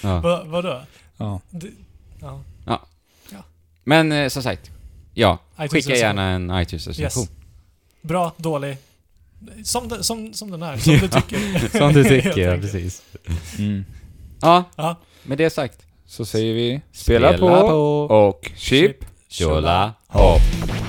Speaker 1: ja.
Speaker 2: Va, vadå?
Speaker 3: Ja.
Speaker 2: Det, ja.
Speaker 1: Men eh, som sagt, ja,
Speaker 2: iTunes
Speaker 1: skicka gärna en iTunes-recension.
Speaker 2: Yes. Bra, dålig. Som, de, som, som den är, som du tycker.
Speaker 1: Som du
Speaker 2: Helt
Speaker 1: tycker, ja,
Speaker 2: enkelt.
Speaker 1: precis.
Speaker 3: Mm.
Speaker 1: Ja,
Speaker 2: Ja.
Speaker 1: med det sagt.
Speaker 3: Så säger vi... Spela, på,
Speaker 1: på.
Speaker 3: och chip.
Speaker 1: Tjola
Speaker 2: Tjola.
Speaker 1: hopp.